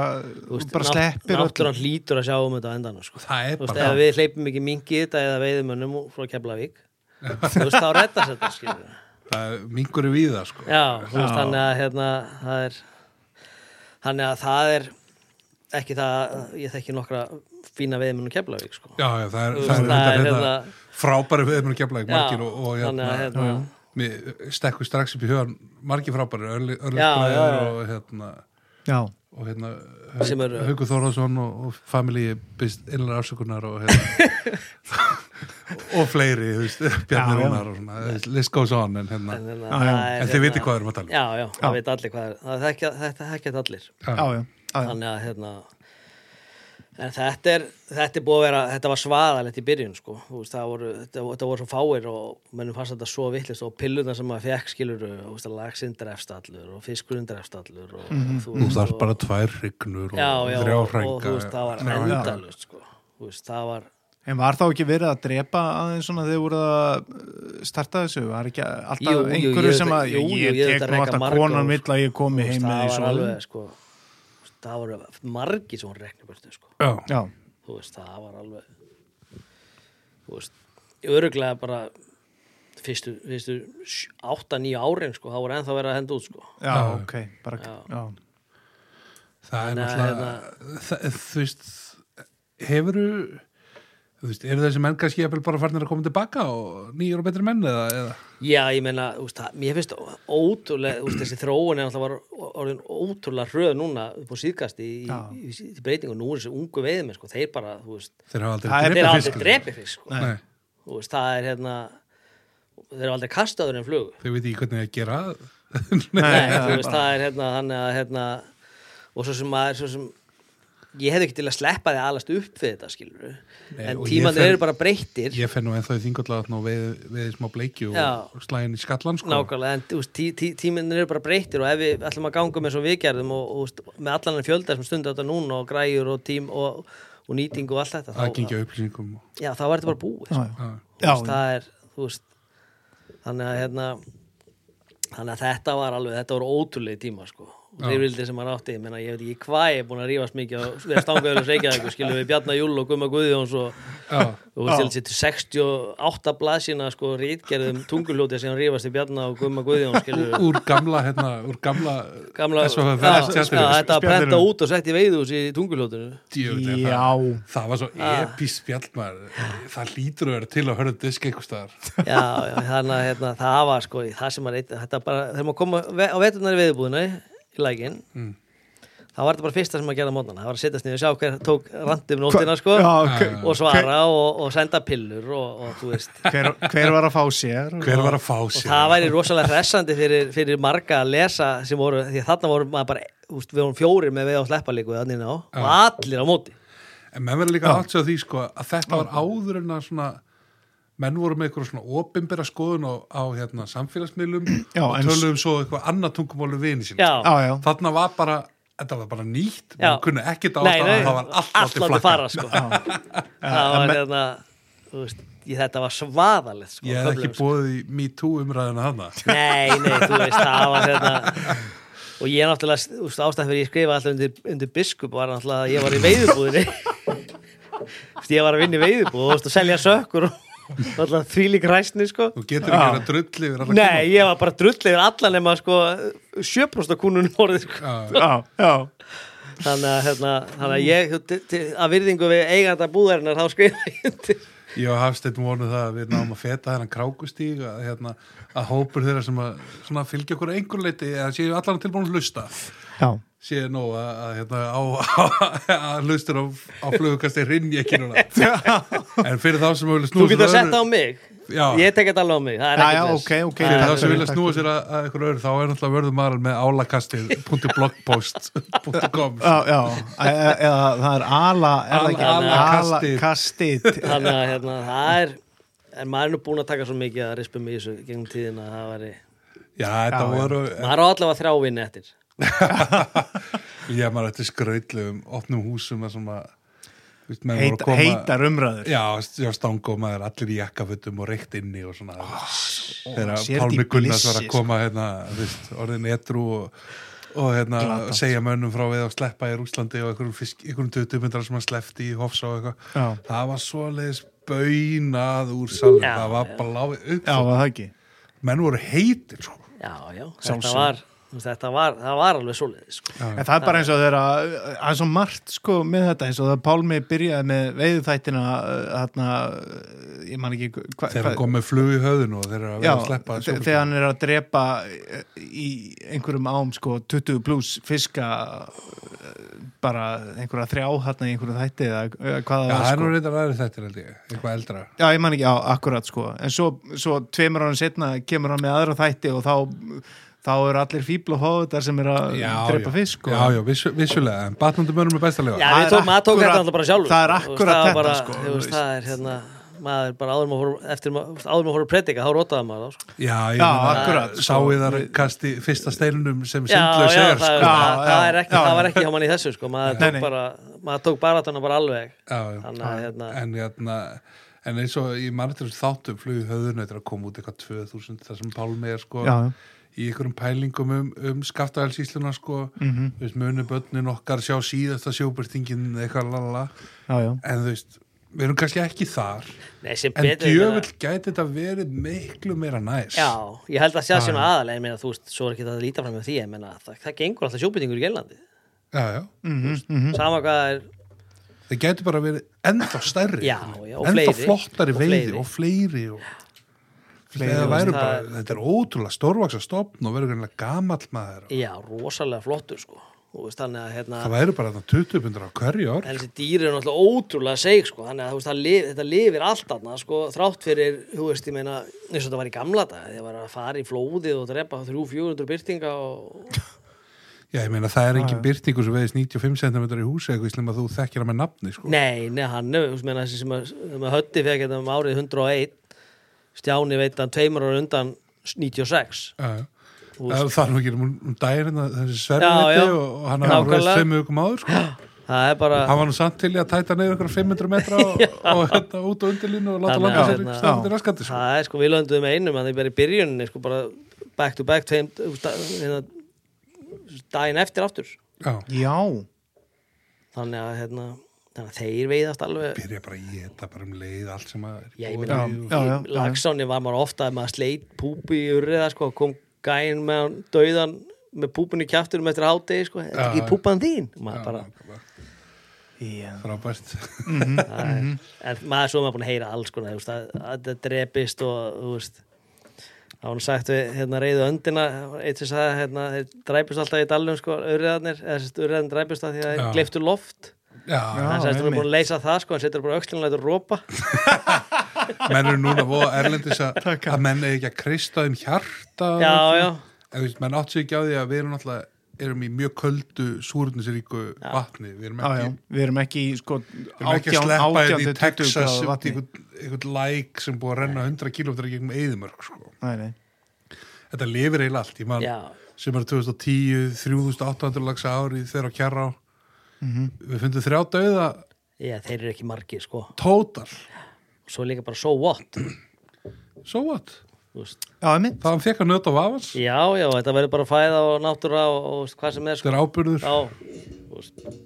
Speaker 4: þú veist,
Speaker 2: bara
Speaker 4: nátt-
Speaker 2: sleppir
Speaker 4: náttúran hlýtur að sjá um þetta á endanum sko.
Speaker 3: Það er
Speaker 4: Þú veist,
Speaker 3: bara-
Speaker 4: ef við hleypum ekki mingi í þetta eða veiðumönnum úr- frá Keflavík þú veist, þá rettast þetta skilur við.
Speaker 3: það er mingur í við það sko
Speaker 4: já, þú veist, þannig að hérna, það er þannig að það er ekki það, ég þekki nokkra fína veiðmönnum Keflavík sko.
Speaker 3: Já, já, það er,
Speaker 4: Þú
Speaker 3: það
Speaker 4: veist,
Speaker 3: er,
Speaker 4: það
Speaker 3: það
Speaker 4: er
Speaker 3: hérna,
Speaker 4: hérna-
Speaker 3: frábæri viðmur kemlaðið margir og, og hérna,
Speaker 4: þannig að hérna,
Speaker 3: mér stekku strax upp í hugan margir frábæri,
Speaker 4: Já, já,
Speaker 3: örluglæður
Speaker 4: já.
Speaker 3: og hérna,
Speaker 2: Já,
Speaker 3: og hérna
Speaker 4: Sem eru-
Speaker 3: Hauku Þórðarsson og, og family byrst innlega afsökunar og hérna og fleiri, þú veist,
Speaker 2: Já,
Speaker 3: Bjarni
Speaker 2: já.
Speaker 3: Rúnar og svona, þú veist, list goes on en hérna,
Speaker 4: en, hérna,
Speaker 2: Já, já.
Speaker 4: það er,
Speaker 3: en þið
Speaker 4: hérna-
Speaker 3: vitið hvað við erum að tala um
Speaker 4: Já, já, það veit allir hvað er, það þekkja, þetta þekkja allir
Speaker 2: já, já, já, já.
Speaker 4: þannig að hérna En þetta er, þetta er búið að vera, þetta var svaðalegt í byrjun sko, þú veist, það voru, þetta, þetta voru svo fáir og mönnum fannst þetta svo vittlist og pilluna sem maður fekk skilur, þú veist, að lagsinn drefst allur og fiskurinn drefst allur og þú
Speaker 3: Þú þarf
Speaker 4: og-
Speaker 3: bara tvær hrygnur og
Speaker 4: já, já,
Speaker 3: þrjá
Speaker 4: og, og þú
Speaker 3: hrænga.
Speaker 4: veist, það var
Speaker 3: Já, já.
Speaker 4: endalust sko, þú veist, það var,
Speaker 2: En var þá ekki verið að drepa aðeins svona þegar voru að uh, starta þessu? Var ekki alltaf
Speaker 4: Jú, jú,
Speaker 2: einhverju
Speaker 4: ég
Speaker 2: sem að
Speaker 4: veit- jú, jú, ég
Speaker 2: ég
Speaker 4: veit
Speaker 2: tek
Speaker 4: að
Speaker 2: nú
Speaker 4: reka
Speaker 2: alltaf
Speaker 4: marga og-
Speaker 2: konan vill að ég komi
Speaker 4: þú
Speaker 2: heim
Speaker 4: veist,
Speaker 2: með
Speaker 4: það
Speaker 2: því
Speaker 4: var
Speaker 2: svona.
Speaker 4: alveg sko, þú veist, það voru margi sem voru reknir burtu sko.
Speaker 3: Já,
Speaker 2: Já,
Speaker 4: þú veist, það var alveg þú veist, öruglega bara fyrstu, fyrstu 8-9 árin, sko, það voru ennþá verið að henda út, sko
Speaker 2: já,
Speaker 3: Já.
Speaker 2: ok, bara,
Speaker 4: Já.
Speaker 2: já.
Speaker 3: það er
Speaker 4: Þannig að hérna-
Speaker 3: náttúrulega, það- þú veist, hefuru, þú veist, eru þessi menn kannski jafnvel bara farnir að koma tilbaka og nýjur og betri menn eða, eða?
Speaker 4: Já, ég meina, þú veist, það, mér finnst ótrúlega, þú veist, þessi þróun er alltaf var orðin ótrúlega hröð núna upp á síðkast í, í,
Speaker 2: Já.
Speaker 4: í, í breytingu nú er þessi ungu veiðum, sko, þeir bara, þú veist
Speaker 3: Þeir hafa aldrei
Speaker 2: Það er
Speaker 4: þeir
Speaker 2: Drepa
Speaker 4: aldrei
Speaker 2: fisk.
Speaker 4: drepi fisk, sko
Speaker 3: Nei,
Speaker 4: þú veist, það er hérna þeir eru aldrei kastaður en flugu
Speaker 3: þeir veit ekki hvernig að gera það.
Speaker 4: Nei,
Speaker 2: Nei,
Speaker 4: þú veist, það er hérna, þannig að hérna, og svo sem maður, svo sem ég hefði ekki til að sleppa því að alast upp við þetta, skilur
Speaker 3: Nei,
Speaker 4: en
Speaker 3: og ég
Speaker 4: tímandir
Speaker 3: fer-
Speaker 4: eru bara breyttir
Speaker 3: Ég fenn nú ennþá í þingallatn og veið, veið smá bleikju
Speaker 4: Já.
Speaker 3: og slæðin í skallan sko.
Speaker 4: nákvæmlega, en þú veist, tí, tí, tímandir eru bara breyttir og ef við ætlum að ganga með svo við gerðum og, og þú veist, með allan en fjölda sem stundu þetta núna og græjur og tím og, og nýting og allt þetta þá,
Speaker 3: Aðgengi að upplýsingum. og-
Speaker 4: já, þá var þetta bara búið
Speaker 2: já,
Speaker 4: sko.
Speaker 2: já.
Speaker 3: Já.
Speaker 4: Þú
Speaker 2: Já,
Speaker 4: veist, það er, þú veist þannig að hérna þannig að þetta var alveg, þetta voru ótrúlega tíma sko, rifrildi sem hann átti ég, meina, ég veit ekki hvað ég er búin að rífast mikið og við stangaður að reykja eitthvað, skilum við Bjarna Júl og Gumma Guðjóns og
Speaker 3: Já.
Speaker 4: þú veist, ég held sér til 68 blaðsina sko, rítgerðum tunguljóti sem hann rífast í Bjarna og Gumma Guðjóns, skilum við
Speaker 3: Úr gamla, hérna, úr gamla,
Speaker 4: gamla,
Speaker 3: SFF,
Speaker 4: Já, já,
Speaker 3: tjaldinu.
Speaker 4: þetta að prenta út og sett í veiðús í tunguljótinu
Speaker 3: Djöfull er
Speaker 2: Já.
Speaker 3: það, það var svo epís spjallmar það lítur að vera til að hörða disk eitthvað staðar
Speaker 4: já, já, þannig að hérna, það var sko í- það sem maður eitt, þetta bara, þegar maður kom á ve- á veturnar í veðubúðinu í lækin
Speaker 3: Mm.
Speaker 4: þá var þetta bara fyrsta sem maður gerði á mótana það var að setjast niður og sjá hver tók randum nóttina sko,
Speaker 2: Já, ok.
Speaker 4: og svara og, og senda pillur og, og þú veist
Speaker 2: hver, hver var að fá sér?
Speaker 3: hver var að fá
Speaker 4: og
Speaker 3: sér
Speaker 4: það væri rosalega hressandi fyrir, fyrir marga að lesa sem voru, því að þarna voru maður bara úst, við vorum fjórir með veið á sleppalíku þannig ná, og allir á móti
Speaker 3: en menn verður líka alls á því sko að þetta var áður en að svona menn voru með eitthvað svona opinbera skoðun á, á hérna, samfélagsmiðlum
Speaker 2: Já,
Speaker 3: og
Speaker 2: en-
Speaker 3: töluðum svo eitthvað annað tungumálu vini sko. sín
Speaker 4: já,
Speaker 2: Já, já.
Speaker 3: þarna var bara, þetta var bara nýtt
Speaker 4: Já.
Speaker 3: og kunni ekkit á
Speaker 4: Nei,
Speaker 3: það
Speaker 4: nei,
Speaker 3: það var allt
Speaker 4: allt
Speaker 3: látið
Speaker 4: látið
Speaker 3: flakka
Speaker 4: fara sko. það var hérna þú veist, ég, þetta var svaðalegt sko,
Speaker 3: ég
Speaker 4: á
Speaker 3: hef
Speaker 4: köflum,
Speaker 3: ekki bóðið í MeToo umræðina þarna
Speaker 4: Nei, nei, þú veist, það var hérna Og ég náttúrulega, þú veist, ástæðan fyrir ég skrifa alltaf undir, undir biskup var náttúrulega að ég var í veiðubúðinni Þú veist, ég var að vinna í veiðubúð og þú veist, að selja sökkur og náttúrulega þvílík ræstni, sko
Speaker 3: þú getur ekki verið að drulli yfir alla
Speaker 4: Nei, ég var bara drull yfir alla nema, sko, sjöprostakúnun orðið, sko
Speaker 3: kúna. Já.
Speaker 2: Já, já.
Speaker 4: Þannig að, hérna, þannig að ég, þú- til- til- að virðingu við eiganda búðarinnar, þá skrifa ég undir
Speaker 3: Ég og Hafsteinn vonuð það að við náum að feta þennan krákustíg að, hérna, að hópur þeirra sem að svona, fylgja okkur að einhver leiti að séu allan tilbúin að hlusta
Speaker 2: Já,
Speaker 3: séu nóg að, að, hérna, á, að hlustur á, á flugukasti rinni ekki núna en fyrir þá sem vilja
Speaker 4: Þú
Speaker 3: snúa
Speaker 4: getur
Speaker 3: sér að
Speaker 4: að setja á
Speaker 3: öðru
Speaker 4: mig
Speaker 3: Já.
Speaker 4: Ég tek þetta alveg á mig, það er
Speaker 2: já,
Speaker 4: ekki
Speaker 2: já,
Speaker 4: þess
Speaker 2: ok, ok.
Speaker 3: fyrir
Speaker 2: takk
Speaker 3: þá sem
Speaker 2: fyrir,
Speaker 3: vilja
Speaker 2: takk
Speaker 3: snúa
Speaker 2: fyrir.
Speaker 3: sér að, að einhver öðru þá er náttúrulega vörðumaral með álakastið.blogpost.com
Speaker 2: Já, já, e- e- eða það er ala, er það ekki?
Speaker 3: Ala-
Speaker 2: kastit.
Speaker 4: þannig að hérna, það er en maður er nú búin að taka svo mikið að rispum í þessu gegnum tíðina að það væri
Speaker 3: Já, þetta
Speaker 2: Já, já.
Speaker 3: voru
Speaker 4: maður á allavega þrjá vinni eftir
Speaker 3: Já, maður ætti skrautlegum opnum húsum að svona veist, menn voru að
Speaker 2: Heit,
Speaker 3: koma-
Speaker 2: heitar umræður.
Speaker 3: Já, já stanga og maður allir í jakkafutum og reykt inni og svona þegar
Speaker 2: Ah, sér þetta
Speaker 3: Pálmi
Speaker 2: í
Speaker 3: Gunnars var
Speaker 2: blissi, sko.
Speaker 3: að koma hérna, viðst, orðin etru og, og hérna, segja mönnum frá við að sleppa í Rúslandi og einhverjum, fisk, einhverjum döðdumundar sem hann sleppti í Hofsá og
Speaker 2: Já.
Speaker 3: eitthvað það var svoleiðis baunað úr salum,
Speaker 4: Já,
Speaker 3: það var
Speaker 4: já.
Speaker 3: bara láfið upp
Speaker 2: Já, var það ekki?
Speaker 3: menn voru heitir sko.
Speaker 4: já, já, þetta
Speaker 2: Sjálfsögðu.
Speaker 4: var, þetta var það var alveg svoleiðis sko.
Speaker 2: En það er bara eins og þeirra, það er svo margt sko með þetta eins og það Pálmi byrjaði með veiðþættina uh, þarna, uh, ég man ekki hva,
Speaker 3: þegar
Speaker 2: hva-
Speaker 3: hann kom með flug í höðun og þegar hann var
Speaker 2: já,
Speaker 3: að sleppa
Speaker 2: þe- þegar hann er að drepa uh, í einhverjum ám sko 20 pluss fiska uh, bara einhverja þrjá þarna í einhverju þætti eða uh, hvað það
Speaker 3: Já,
Speaker 2: var
Speaker 3: það er
Speaker 2: sko.
Speaker 3: nú reyndar aðri þættir held ég, eitthvað eldra
Speaker 2: Já, ég man ekki, já, akkurat sko en svo, svo tveimur ánum setna kemur hann með aðra þætti og þá, þá þá eru allir fíbl og hóðutar sem er að drepa fisk sko. og...
Speaker 3: já, já, vissu, vissulega, en batnandi mönnum er bestalega
Speaker 4: Já,
Speaker 2: Það
Speaker 4: við
Speaker 2: er
Speaker 4: tók, maður tók
Speaker 2: akkúrat-
Speaker 4: þetta alltaf bara sjálfur
Speaker 2: það er
Speaker 4: Þú veist,
Speaker 2: akkúrat
Speaker 4: það var
Speaker 2: þetta,
Speaker 4: bara,
Speaker 2: sko,
Speaker 4: þú veist,
Speaker 2: þú
Speaker 4: það er hérna maður bara áður maður fór eftir ma- áður maður fór að predika, þá rótaði maður þá, sko.
Speaker 3: já,
Speaker 2: Já,
Speaker 3: akkurat
Speaker 2: akkurat, sko.
Speaker 3: sáiðar kasti fyrsta steinunum sem
Speaker 4: Já,
Speaker 3: sindlaus
Speaker 4: já,
Speaker 3: er
Speaker 4: það,
Speaker 3: sko.
Speaker 2: Já,
Speaker 4: það, það,
Speaker 2: já,
Speaker 4: er ekki,
Speaker 2: já.
Speaker 4: það var ekki hjá mann í þessu sko. maður,
Speaker 2: Nei,
Speaker 4: tók
Speaker 2: nei.
Speaker 4: bara, maður tók baratana bara alveg
Speaker 3: Já, já.
Speaker 4: þannig að hérna,
Speaker 3: en hérna en eins og í mannettur þáttum flug höfðunættur að koma út eitthvað 2000 þar sem Pálmi er sko
Speaker 2: Já, já.
Speaker 3: í einhverjum pælingum um, um skaftaðelsísluna sko, mm
Speaker 2: Mhm.
Speaker 3: -hmm. veist, munu börnin okkar sjá síðasta sjóbyrtingin eitthvað lala,
Speaker 2: já, já.
Speaker 3: en þú veist við erum kannski ekki þar
Speaker 4: nei, sem
Speaker 3: en
Speaker 4: betur ég meina-
Speaker 3: djöfull gæti þetta verið miklu meira næs
Speaker 4: Já, ég held að sjá svona aðalega, ég meina, þú veist, svo er ekki það að líta fram með því, ég meina, það, það gengur alltaf sjóbyttingur í Geinlandi,
Speaker 3: já, já.
Speaker 2: Mhm.
Speaker 4: sama hvað er,
Speaker 3: það gæti bara verið ennþá stærri
Speaker 4: Já, já, og
Speaker 3: ennþá
Speaker 4: fleiri.
Speaker 3: flottari
Speaker 4: Og
Speaker 3: veiði
Speaker 4: fleiri.
Speaker 3: og fleiri og
Speaker 2: Fleiri,
Speaker 3: Þegar
Speaker 2: og
Speaker 3: væru
Speaker 4: það
Speaker 3: bara,
Speaker 4: er-
Speaker 3: þetta er ótrúlega stórvaksa stopn og verður greinlega gamall maður
Speaker 4: já, rosalega flottur, sko, þú veist, þannig að, hérna,
Speaker 3: það væru bara þarna 20 pundar á hverju ár
Speaker 4: en þessi dýr eru náttúrulega ótrúlega seig, sko, þannig að, þú veist, það lif, þetta lifir allt aðna, sko, þrátt fyrir, þú veist, ég meina, eins og þetta var í gamla dag, þegar var að fara í flóðið og drepa 300-400 byrtinga og,
Speaker 3: já, ég meina það er engin byrtingu sem veiðist 95 cm í húsi eitthvað slem að þú þekkir það með nafni sko.
Speaker 4: nei, nei, hann, þú veist, meina, þessi sem að, sem að hötti fekk þetta um árið 101, Stjáni veit hann tveimur ára undan 96,
Speaker 3: Já, já.
Speaker 4: Þú
Speaker 3: Það það er nú ekki um, um dærin að þessi
Speaker 4: Já,
Speaker 3: sverðinni
Speaker 4: já.
Speaker 3: og, og hann hafði nú
Speaker 4: Nákvæmlega.
Speaker 3: reist 5 vikum áður sko.
Speaker 4: það er bara...
Speaker 3: hann var nú samt til í að tæta neyður ykkur 500 metra og, og hérna út á undirlínu og láta
Speaker 4: Þannig
Speaker 3: landa
Speaker 4: að
Speaker 3: sér
Speaker 4: hérna-
Speaker 3: stafnir raskandi sko.
Speaker 4: Það er sko, við löndum einum að það er bara í byrjuninni sko bara back to back tveim, da- hérna, daginn eftir aftur
Speaker 3: Já,
Speaker 2: Já,
Speaker 4: þannig að, hérna, þannig að þeir veiðast alveg
Speaker 3: byrja bara að geta bara um leið allt sem að
Speaker 4: Já, ég
Speaker 3: og-
Speaker 4: meina-
Speaker 3: og-
Speaker 2: já, já,
Speaker 4: í lagsáni var maður ofta að maður sleit púpi í urriða sko kom gæinn með hann dauðan með púpinu kjafturum eftir hátegi sko þetta er
Speaker 3: Já,
Speaker 4: ekki
Speaker 3: já.
Speaker 4: púpan þín maður
Speaker 3: Já,
Speaker 4: bara,
Speaker 3: bara
Speaker 2: já.
Speaker 3: frábært
Speaker 2: Mhm.
Speaker 4: það
Speaker 3: Mhm.
Speaker 4: er, en maður svo er maður búin að heyra alls sko, þú veist, að, að þetta drepist og þú veist þá hann sagt við hérna reyðu öndina eitt sem sagði hérna þeir dræpist alltaf í dalnum sko urriðarnir eða sérst urriðarnir dræpist það því að
Speaker 3: Já.
Speaker 4: þeir gleiftu loft
Speaker 3: Já,
Speaker 2: Já.
Speaker 4: hann sagðist hann er
Speaker 2: einmitt.
Speaker 4: búin að leysa það sko hann setur bara öxlinu og lætur rópa
Speaker 3: menn eru núna voða erlendis að
Speaker 2: Takk.
Speaker 3: að menn eigi ekki að krista um hjarta og
Speaker 4: Já,
Speaker 3: svona.
Speaker 4: já.
Speaker 3: En þú veist, menn átt sér ekki á því að við erum alltaf erum í mjög köldu súrnisríku vatni, við erum
Speaker 2: Já, já,
Speaker 3: ekki
Speaker 2: við erum ekki í sko
Speaker 3: Við erum ekki að
Speaker 2: átján,
Speaker 3: sleppa
Speaker 2: átján
Speaker 3: þetta
Speaker 2: til
Speaker 3: í
Speaker 2: 20
Speaker 3: Texas
Speaker 2: gráðu
Speaker 3: út í
Speaker 2: vatni
Speaker 3: einhvern- einhvern læk sem búið að renna 100 km gegnum eðimörk sko.
Speaker 2: Nei, nei,
Speaker 3: Þetta lifir eiginlega allt, ég man
Speaker 4: Já.
Speaker 3: sumar 2010, 3800 lagsa ári þegar á kjarra á
Speaker 2: Mhm.
Speaker 3: Við fundum þrjá dauða
Speaker 4: já þeir eru ekki margir sko
Speaker 3: tótal
Speaker 4: svo er líka bara so what þú
Speaker 3: So what?
Speaker 4: veist
Speaker 2: já, einmitt
Speaker 3: Það hann fekk að nöta á vafans
Speaker 4: já já þetta verður bara fæða og náttúra og, og þú veist, hvað sem er
Speaker 3: Þetta
Speaker 4: sko
Speaker 3: er ábyrður,
Speaker 4: já þú veist,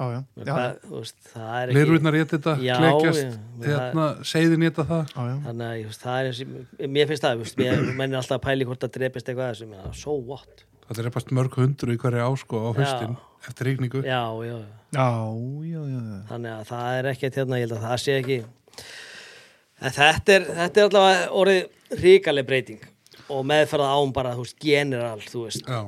Speaker 2: Já, já, já,
Speaker 4: hvað, þú veist, það er ekki
Speaker 3: leirvutnar ég þetta,
Speaker 4: Já,
Speaker 3: klekjast
Speaker 4: já,
Speaker 3: hérna, seiðin ég það
Speaker 2: já, já.
Speaker 4: þannig að ég veist, það er eins og mér finnst það, þú veist, mér mennir alltaf að pæli hvort að drepist eitthvað af þessu, mér, so what
Speaker 3: Það er eitthvað mörg hundru í hverja ásko á
Speaker 4: Já.
Speaker 3: haustin eftir rigningu
Speaker 4: já, já, já.
Speaker 2: já, já, já, já.
Speaker 4: þannig að það er ekkert hérna, ég held að það sé ekki en þetta er, þetta er allavega orðið ríkaleg breyting og meðferða án bara, þú veist, general þú veist,
Speaker 3: Já.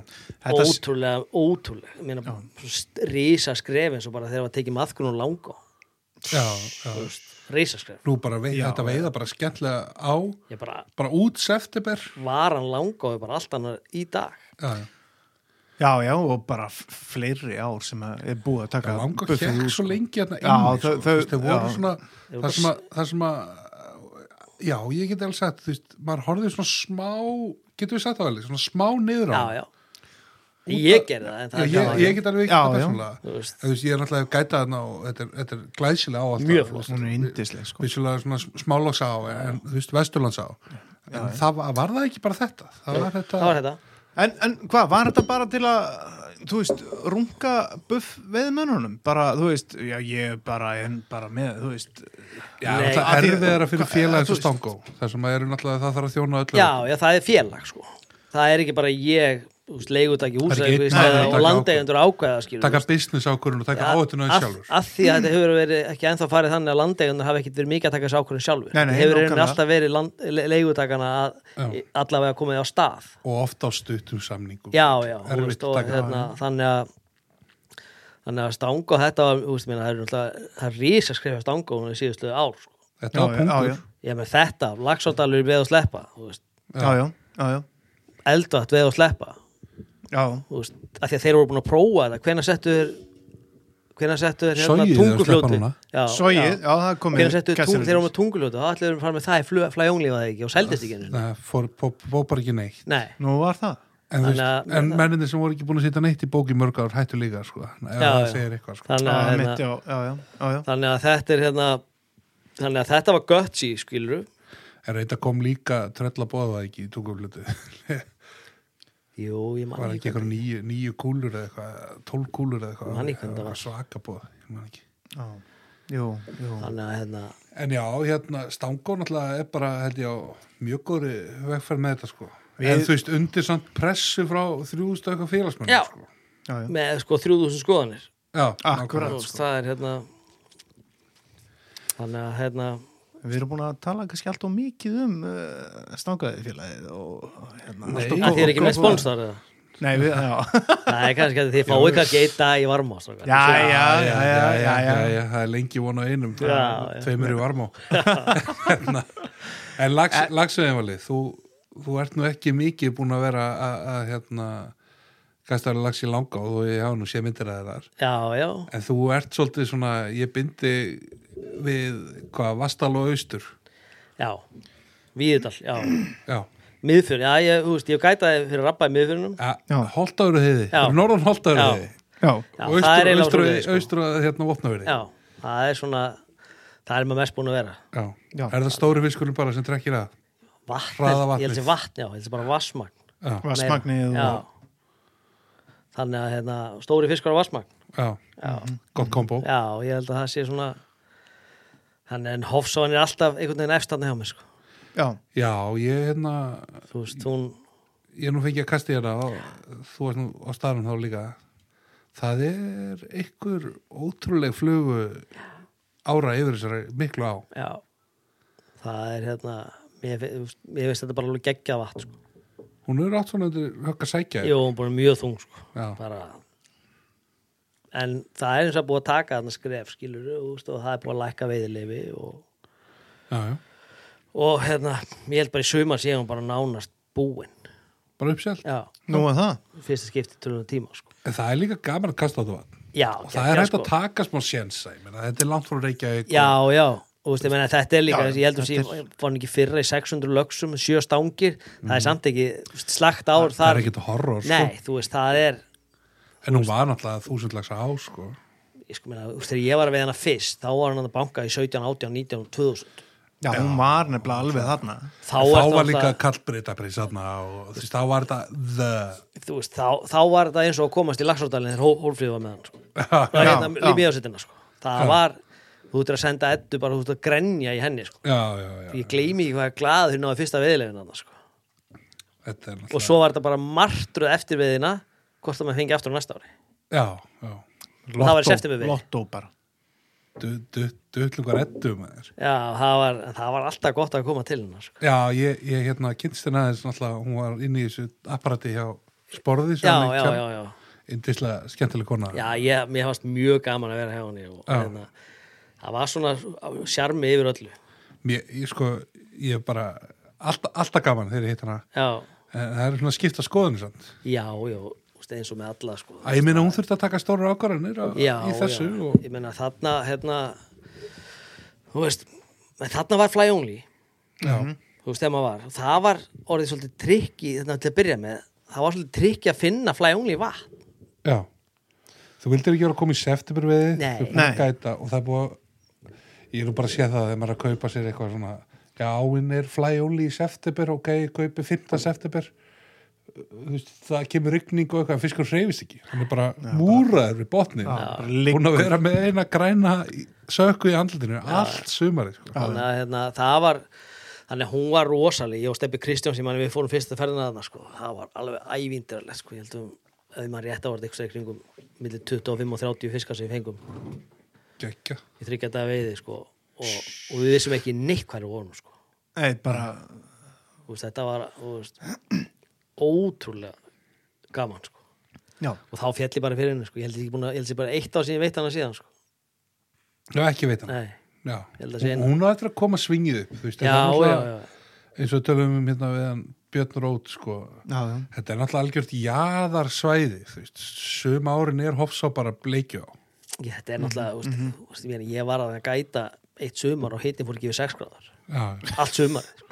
Speaker 2: Þetta s-
Speaker 4: ótrúlega, ótrúlega ég meina, svo rísa skref eins og bara þegar var tekið maðgrun og langa
Speaker 3: Já, já.
Speaker 4: þú veist, rísa skref
Speaker 3: Nú bara veið, þetta veiða bara skemmtilega á
Speaker 4: ég bara,
Speaker 3: bara út september
Speaker 4: varan langa og bara allt annar í dag
Speaker 3: Já, já.
Speaker 2: já, já, og bara f- fleiri ár sem að er búið að taka
Speaker 3: langa
Speaker 2: buffið
Speaker 3: hér
Speaker 2: út,
Speaker 3: svo
Speaker 2: sko.
Speaker 3: lengi hérna
Speaker 2: Já, þau-
Speaker 3: inni sko.
Speaker 2: þau-
Speaker 3: Þú veist, þau voru
Speaker 2: já.
Speaker 3: svona það sem, að, það sem að já, ég geti alveg sagt þú veist, maður horfði svona smá getur við sagt það alveg, svona smá niður á
Speaker 4: já, já ég gerði það, en það
Speaker 3: Já,
Speaker 4: er
Speaker 3: ég,
Speaker 4: gaman.
Speaker 3: ég get alveg ekki
Speaker 2: Já,
Speaker 3: þetta
Speaker 2: já.
Speaker 3: persónulega
Speaker 4: Þú veist.
Speaker 3: Þú veist, ég er náttúrulega að gæta þarna og þetta er, þetta er glæsilega á alltaf
Speaker 4: Mjög flott.
Speaker 2: Hún er yndisleg, sko
Speaker 3: vissulega svona smálagsá en þú veist, vesturlandsá en það var, var það ekki bara þetta það var þetta,
Speaker 4: það var þetta
Speaker 2: En, en hvað, var þetta bara til að, þú veist, runga buff veðmönnunum? Bara, þú veist, já, ég er bara, en bara með, þú veist
Speaker 3: já,
Speaker 4: Nei,
Speaker 3: náttúrulega
Speaker 2: að því-
Speaker 3: erfiðara fyrir
Speaker 2: hvað-
Speaker 3: félagins
Speaker 2: þú
Speaker 3: og stangó þar sem að eru náttúrulega það þarf að þjóna öllu
Speaker 4: já, já, það er félag sko það er ekki bara ég þú veist, leigutaki
Speaker 3: Það er ekki einn
Speaker 4: húsæk
Speaker 3: aðili að
Speaker 4: og
Speaker 3: taka
Speaker 4: landeigendur ákvæða skilur
Speaker 3: taka business ákvörðun og taka áhættinu aðeins sjálfur
Speaker 4: að því að þetta hefur verið ekki ennþá farið þannig að landeigendur hafa ekkit verið mikið að taka þessu ákvörðin sjálfur
Speaker 2: Nei, nei,
Speaker 4: Það hefur
Speaker 2: nákvæmlega.
Speaker 4: reyni alltaf verið land, le- leigutakana að
Speaker 3: Já.
Speaker 4: allavega komið á stað
Speaker 3: og ofta á stuttum samningum
Speaker 4: já, já, þú
Speaker 3: Erfitt
Speaker 4: veist,
Speaker 3: að
Speaker 4: og
Speaker 3: taka-
Speaker 4: hérna, þannig að þannig að stanga þetta var, þú veist, minna, það er náttúrulega það er rísa skrifa stanga hún í síðustu ár sko.
Speaker 3: þetta
Speaker 2: Já,
Speaker 3: var
Speaker 2: já,
Speaker 3: punktur
Speaker 2: já,
Speaker 4: ég með þetta, lagsóttalur við að sleppa þú veist,
Speaker 2: já, já, já, já.
Speaker 4: eldvætt veið að sleppa
Speaker 2: já,
Speaker 4: þú veist, af því að þeir voru búin að prófa þetta hvenær settu þeir hvenær settu þeir
Speaker 3: Sogið
Speaker 4: hérna
Speaker 3: þeir að sleppa
Speaker 4: tungufljóti
Speaker 3: núna?
Speaker 4: Já,
Speaker 2: sogið, já, það er komið
Speaker 4: hvenær settu þeir tung,
Speaker 2: kassarull.
Speaker 4: þeir voru með tungufljóti þá ætlaðu að fara með það í fljó, flæjónglífa það ekki og seldist ekki einu sinni.
Speaker 3: það fór, fór, fór bara ekki neitt
Speaker 4: nei,
Speaker 2: Nú var það
Speaker 3: en, þú
Speaker 4: Þannig
Speaker 3: veist,
Speaker 4: að- hérna-
Speaker 3: en menninni sem voru ekki búin að sitja neitt í bóki mörg ár hættu líka sko, ef
Speaker 4: Já,
Speaker 3: það
Speaker 4: já.
Speaker 3: segir eitthvað sko.
Speaker 4: þannig að,
Speaker 2: Já,
Speaker 4: hérna,
Speaker 2: mitt, já, já, já, já, já.
Speaker 4: þannig að þetta er hérna þannig að þetta var gutsy skilur
Speaker 3: en reynda kom líka tröll að bóða það ekki í tungumlötu var
Speaker 4: jú, ég man
Speaker 3: ekki
Speaker 4: ekki
Speaker 3: eitthvað nýju, nýju kúlur eða eitthvað, tólf kúlur eða eitthvað
Speaker 4: Man ekki hvernig það var.
Speaker 3: eitthvað svaka bóð ég man ekki
Speaker 2: já. Jú, jú.
Speaker 4: þannig að hérna
Speaker 3: En já, hérna, Stangó náttúrulega er bara, held ég, á mjög góðri vegferð með þetta, sko.
Speaker 2: Við-
Speaker 3: En þú veist, undir samt pressu frá 3000 og eitthvað félagsmenn,
Speaker 4: Já.
Speaker 3: sko.
Speaker 2: Já, já.
Speaker 4: með sko 3000 skoðanir
Speaker 3: Já,
Speaker 2: Akkurat. sko.
Speaker 4: Þú
Speaker 3: nákvæmlega,
Speaker 4: veist, það er hérna þannig að hérna
Speaker 2: Við erum búin að tala kannski allt og mikið um uh, stangaði félagið og hérna,
Speaker 3: Nei.
Speaker 2: allt of
Speaker 3: Að
Speaker 4: að
Speaker 2: góð-
Speaker 4: þið er ekki
Speaker 2: góð-
Speaker 4: með sponsor eða?
Speaker 2: Nei, við, já,
Speaker 4: Nei, kannski að þið fáið kannski einn dag í varma strákar.
Speaker 2: Já, já, já, já, já, já.
Speaker 3: það er lengi von á einum,
Speaker 4: Já, já.
Speaker 3: tveimur í varmá. Hérna, en lags, lagsuðinvalið, þú, þú ert nú ekki mikið búin að vera að, að hérna, gæstaðarlega lags í langa og þú- ég hafa nú sé myndir að það þar.
Speaker 4: Já, já,
Speaker 3: En þú ert svolítið svona, ég byndi við, hvað, Vastal og Austur.
Speaker 4: já Víðidal, já
Speaker 3: Já.
Speaker 4: Miðfjörn, já, ég, þú veist, ég hef gætaði fyrir að rappa í miðfjörnum
Speaker 2: Já.
Speaker 3: Holtaveru heiði,
Speaker 4: Já.
Speaker 3: norðan Holtaveru
Speaker 4: Já.
Speaker 3: heiði
Speaker 2: já,
Speaker 4: Já,
Speaker 3: og
Speaker 4: það er
Speaker 3: austur,
Speaker 4: eiginlega
Speaker 3: austur,
Speaker 4: svoleiðis, sko.
Speaker 3: austur að hérna vopnaverði
Speaker 4: Já, það er svona Það er maður mest búin að vera
Speaker 2: Já.
Speaker 3: er það stóri fiskurinn bara sem trekkir að
Speaker 4: Vatn,
Speaker 3: Hraða
Speaker 4: ég held
Speaker 3: vatnið.
Speaker 4: sem vatn, já, ég held sem bara vassmagn
Speaker 3: já,
Speaker 2: vassmagnið
Speaker 4: Já
Speaker 2: og
Speaker 4: Þannig að hérna, stóri fiskar á vassmagn
Speaker 3: já, gott kombo
Speaker 4: Já, ég held að það sé svona Þannig en Hofsson er alltaf einhvern veginn efstann hjá mér, sko
Speaker 2: já,
Speaker 3: já, ég hérna
Speaker 4: Þú veist, hún
Speaker 3: ég er nú fengið að kasta hérna og þú varst nú á staðnum þá líka það er einhver ótrúleg flugu ára yfir þessari miklu á
Speaker 4: Já Það er hérna Mér, fi- þú veist, mér veist þetta bara alveg geggjað vatn sko.
Speaker 3: hún er átt svona undir högg að sækja
Speaker 4: Jó, hún er bara mjög þung sko.
Speaker 3: Já.
Speaker 4: bara en það er eins og búið að taka þarna skref skilur veist, og það er búið að lækka veiðilefi og,
Speaker 3: já, já.
Speaker 4: og hérna, ég held bara í sumar sé hún bara nánast búin
Speaker 3: bara uppselt
Speaker 4: já,
Speaker 2: nú að það
Speaker 4: fyrsta skipti tölunum tíma sko.
Speaker 3: en það er líka gaman að kasta á þetta vatn
Speaker 4: já,
Speaker 3: og það er
Speaker 4: geggjað,
Speaker 3: hægt að taka smá sjensa ég meina, þetta er langt frá Reykjavík og-
Speaker 4: já, já, og veist, ég meina, þetta er líka
Speaker 2: Já,
Speaker 4: ég held að sé, fann ekki fyrra í 600 lögsum sjö stangir, það er samt ekki þú veist, slagt ár
Speaker 3: Mhm. það er
Speaker 4: þar
Speaker 3: ekkert horror sko.
Speaker 4: nei, þú veist, það er
Speaker 3: en hún var náttúrulega þúsundlags á sko.
Speaker 4: ég sko meina, þú veist, þegar ég var við hana fyrst þá var hann að banka í 17, 18, 19, 2000
Speaker 2: Já, hún var nefnilega alveg þarna
Speaker 4: þá,
Speaker 3: þá,
Speaker 4: er
Speaker 3: þá var
Speaker 4: náttúrulega-
Speaker 3: líka kallbreytaprís og þú veist, þá var þetta the
Speaker 4: þú veist, þá, þá var þetta eins og að komast í lagsvartalinn þegar Hólfríð var með hann sko. það var
Speaker 2: Já,
Speaker 4: hérna
Speaker 2: já.
Speaker 4: lífið á sittina sko. það var, þú ert að senda eddu bara, þú ert að grenja í henni sko.
Speaker 3: já, já, já,
Speaker 4: ég gleymi ekki hvað er glað hérna á fyrsta veðilegin hann sko.
Speaker 3: þetta er
Speaker 4: og
Speaker 3: náttúrulega
Speaker 4: svo var þetta bara martruð eftir veðina hvort það maður fengi aftur á næsta ári
Speaker 3: já, já,
Speaker 4: það var í september við
Speaker 2: Lottó bara
Speaker 3: duðlungar ettum já,
Speaker 4: Já, það var, það var alltaf gott að koma til hennar sko.
Speaker 3: ég, ég hérna kynst henni aðeins náttúrulega, hún var inn í þessu apparati hjá sporði
Speaker 4: já, já, já, já.
Speaker 3: indislega skemmtileg kona
Speaker 4: Já, ég, mér fannst mjög gaman að vera hjá henni og
Speaker 3: Já.
Speaker 4: hérna, það var svona sjarmi yfir öllu.
Speaker 3: Mér, ég sko, ég er bara alltaf, alltaf gaman þegar ég hitt hana
Speaker 4: Já,
Speaker 3: en það er svona skipta skoðun samt.
Speaker 4: já, já, þú veist, eins og með alla, sko.
Speaker 3: að ég minna hún þurfti að taka stóra ákvarðanir á-
Speaker 4: já,
Speaker 3: í þessu
Speaker 4: já.
Speaker 3: og
Speaker 4: Ég meina þarna, hérna, þú veist, en þarna var fly only,
Speaker 3: já,
Speaker 4: Mhm. þú veist, þegar maður var. Það var orðið svolítið trikki, þetta til að byrja með, það var svolítið trikki að finna fly only vatn.
Speaker 3: já þú vildir ekki vera að koma í september við
Speaker 4: Nei.
Speaker 2: Nei.
Speaker 3: gæta, og það er búið að ég er nú bara að sé það þegar maður er að kaupa sér eitthvað svona já, áinn er fly only í september ok, ég kaupi 15 september Þú veist, það kemur rigning og eitthvað en fiskur hreyfist ekki, hann er bara múraður við botnin,
Speaker 2: bara
Speaker 3: búin að vera með eina græna í- sökku í andlutinu allt sumarið sko.
Speaker 4: Þannig að hérna, það var, þannig að hún var rosaleg, ég og Steppi Kristjáns, ég manni við fórum fyrsta ferðina þarna, sko, það var alveg ævindirlega, sko, ég heldum, ef maður rétt ávart ykkur í kringum, millir 25 og 30 fiskar sem við fengum
Speaker 3: Gekkja.
Speaker 4: í þryggja daga veiði, sko, og, og við vissum ekki neitt hvað er vonum, sko.
Speaker 2: Nei, bara,
Speaker 4: Þú veist, þetta var þú veist, ótrúlega gaman sko.
Speaker 2: já
Speaker 4: og þá féll ég bara fyrir henni sko. ég held ég ekki búin að, ég held ég bara eitt ár síðan ég veit hana síðan sko.
Speaker 3: já, ekki veit hann
Speaker 4: nei,
Speaker 3: Já,
Speaker 4: Ég held að sé
Speaker 3: hún
Speaker 4: eina.
Speaker 3: hún á eftir að koma svingið upp þú veist,
Speaker 4: já,
Speaker 3: þetta er
Speaker 4: já,
Speaker 3: náttúrulega-
Speaker 4: já,
Speaker 3: eins og tölum um hérna við hann Björn Rót sko
Speaker 2: já, já,
Speaker 3: þetta er náttúrulega algjört jaðarsvæði þú veist, sum árin er Hofsá bara bleikju á
Speaker 4: Ég, þetta er náttúrulega, mm
Speaker 3: Mhm.
Speaker 4: -hmm. úst, úst, ég, meina, ég var að gæta eitt sumar og hittin fór ekki við 6 gráðar
Speaker 3: já,
Speaker 4: allt sumar
Speaker 3: já,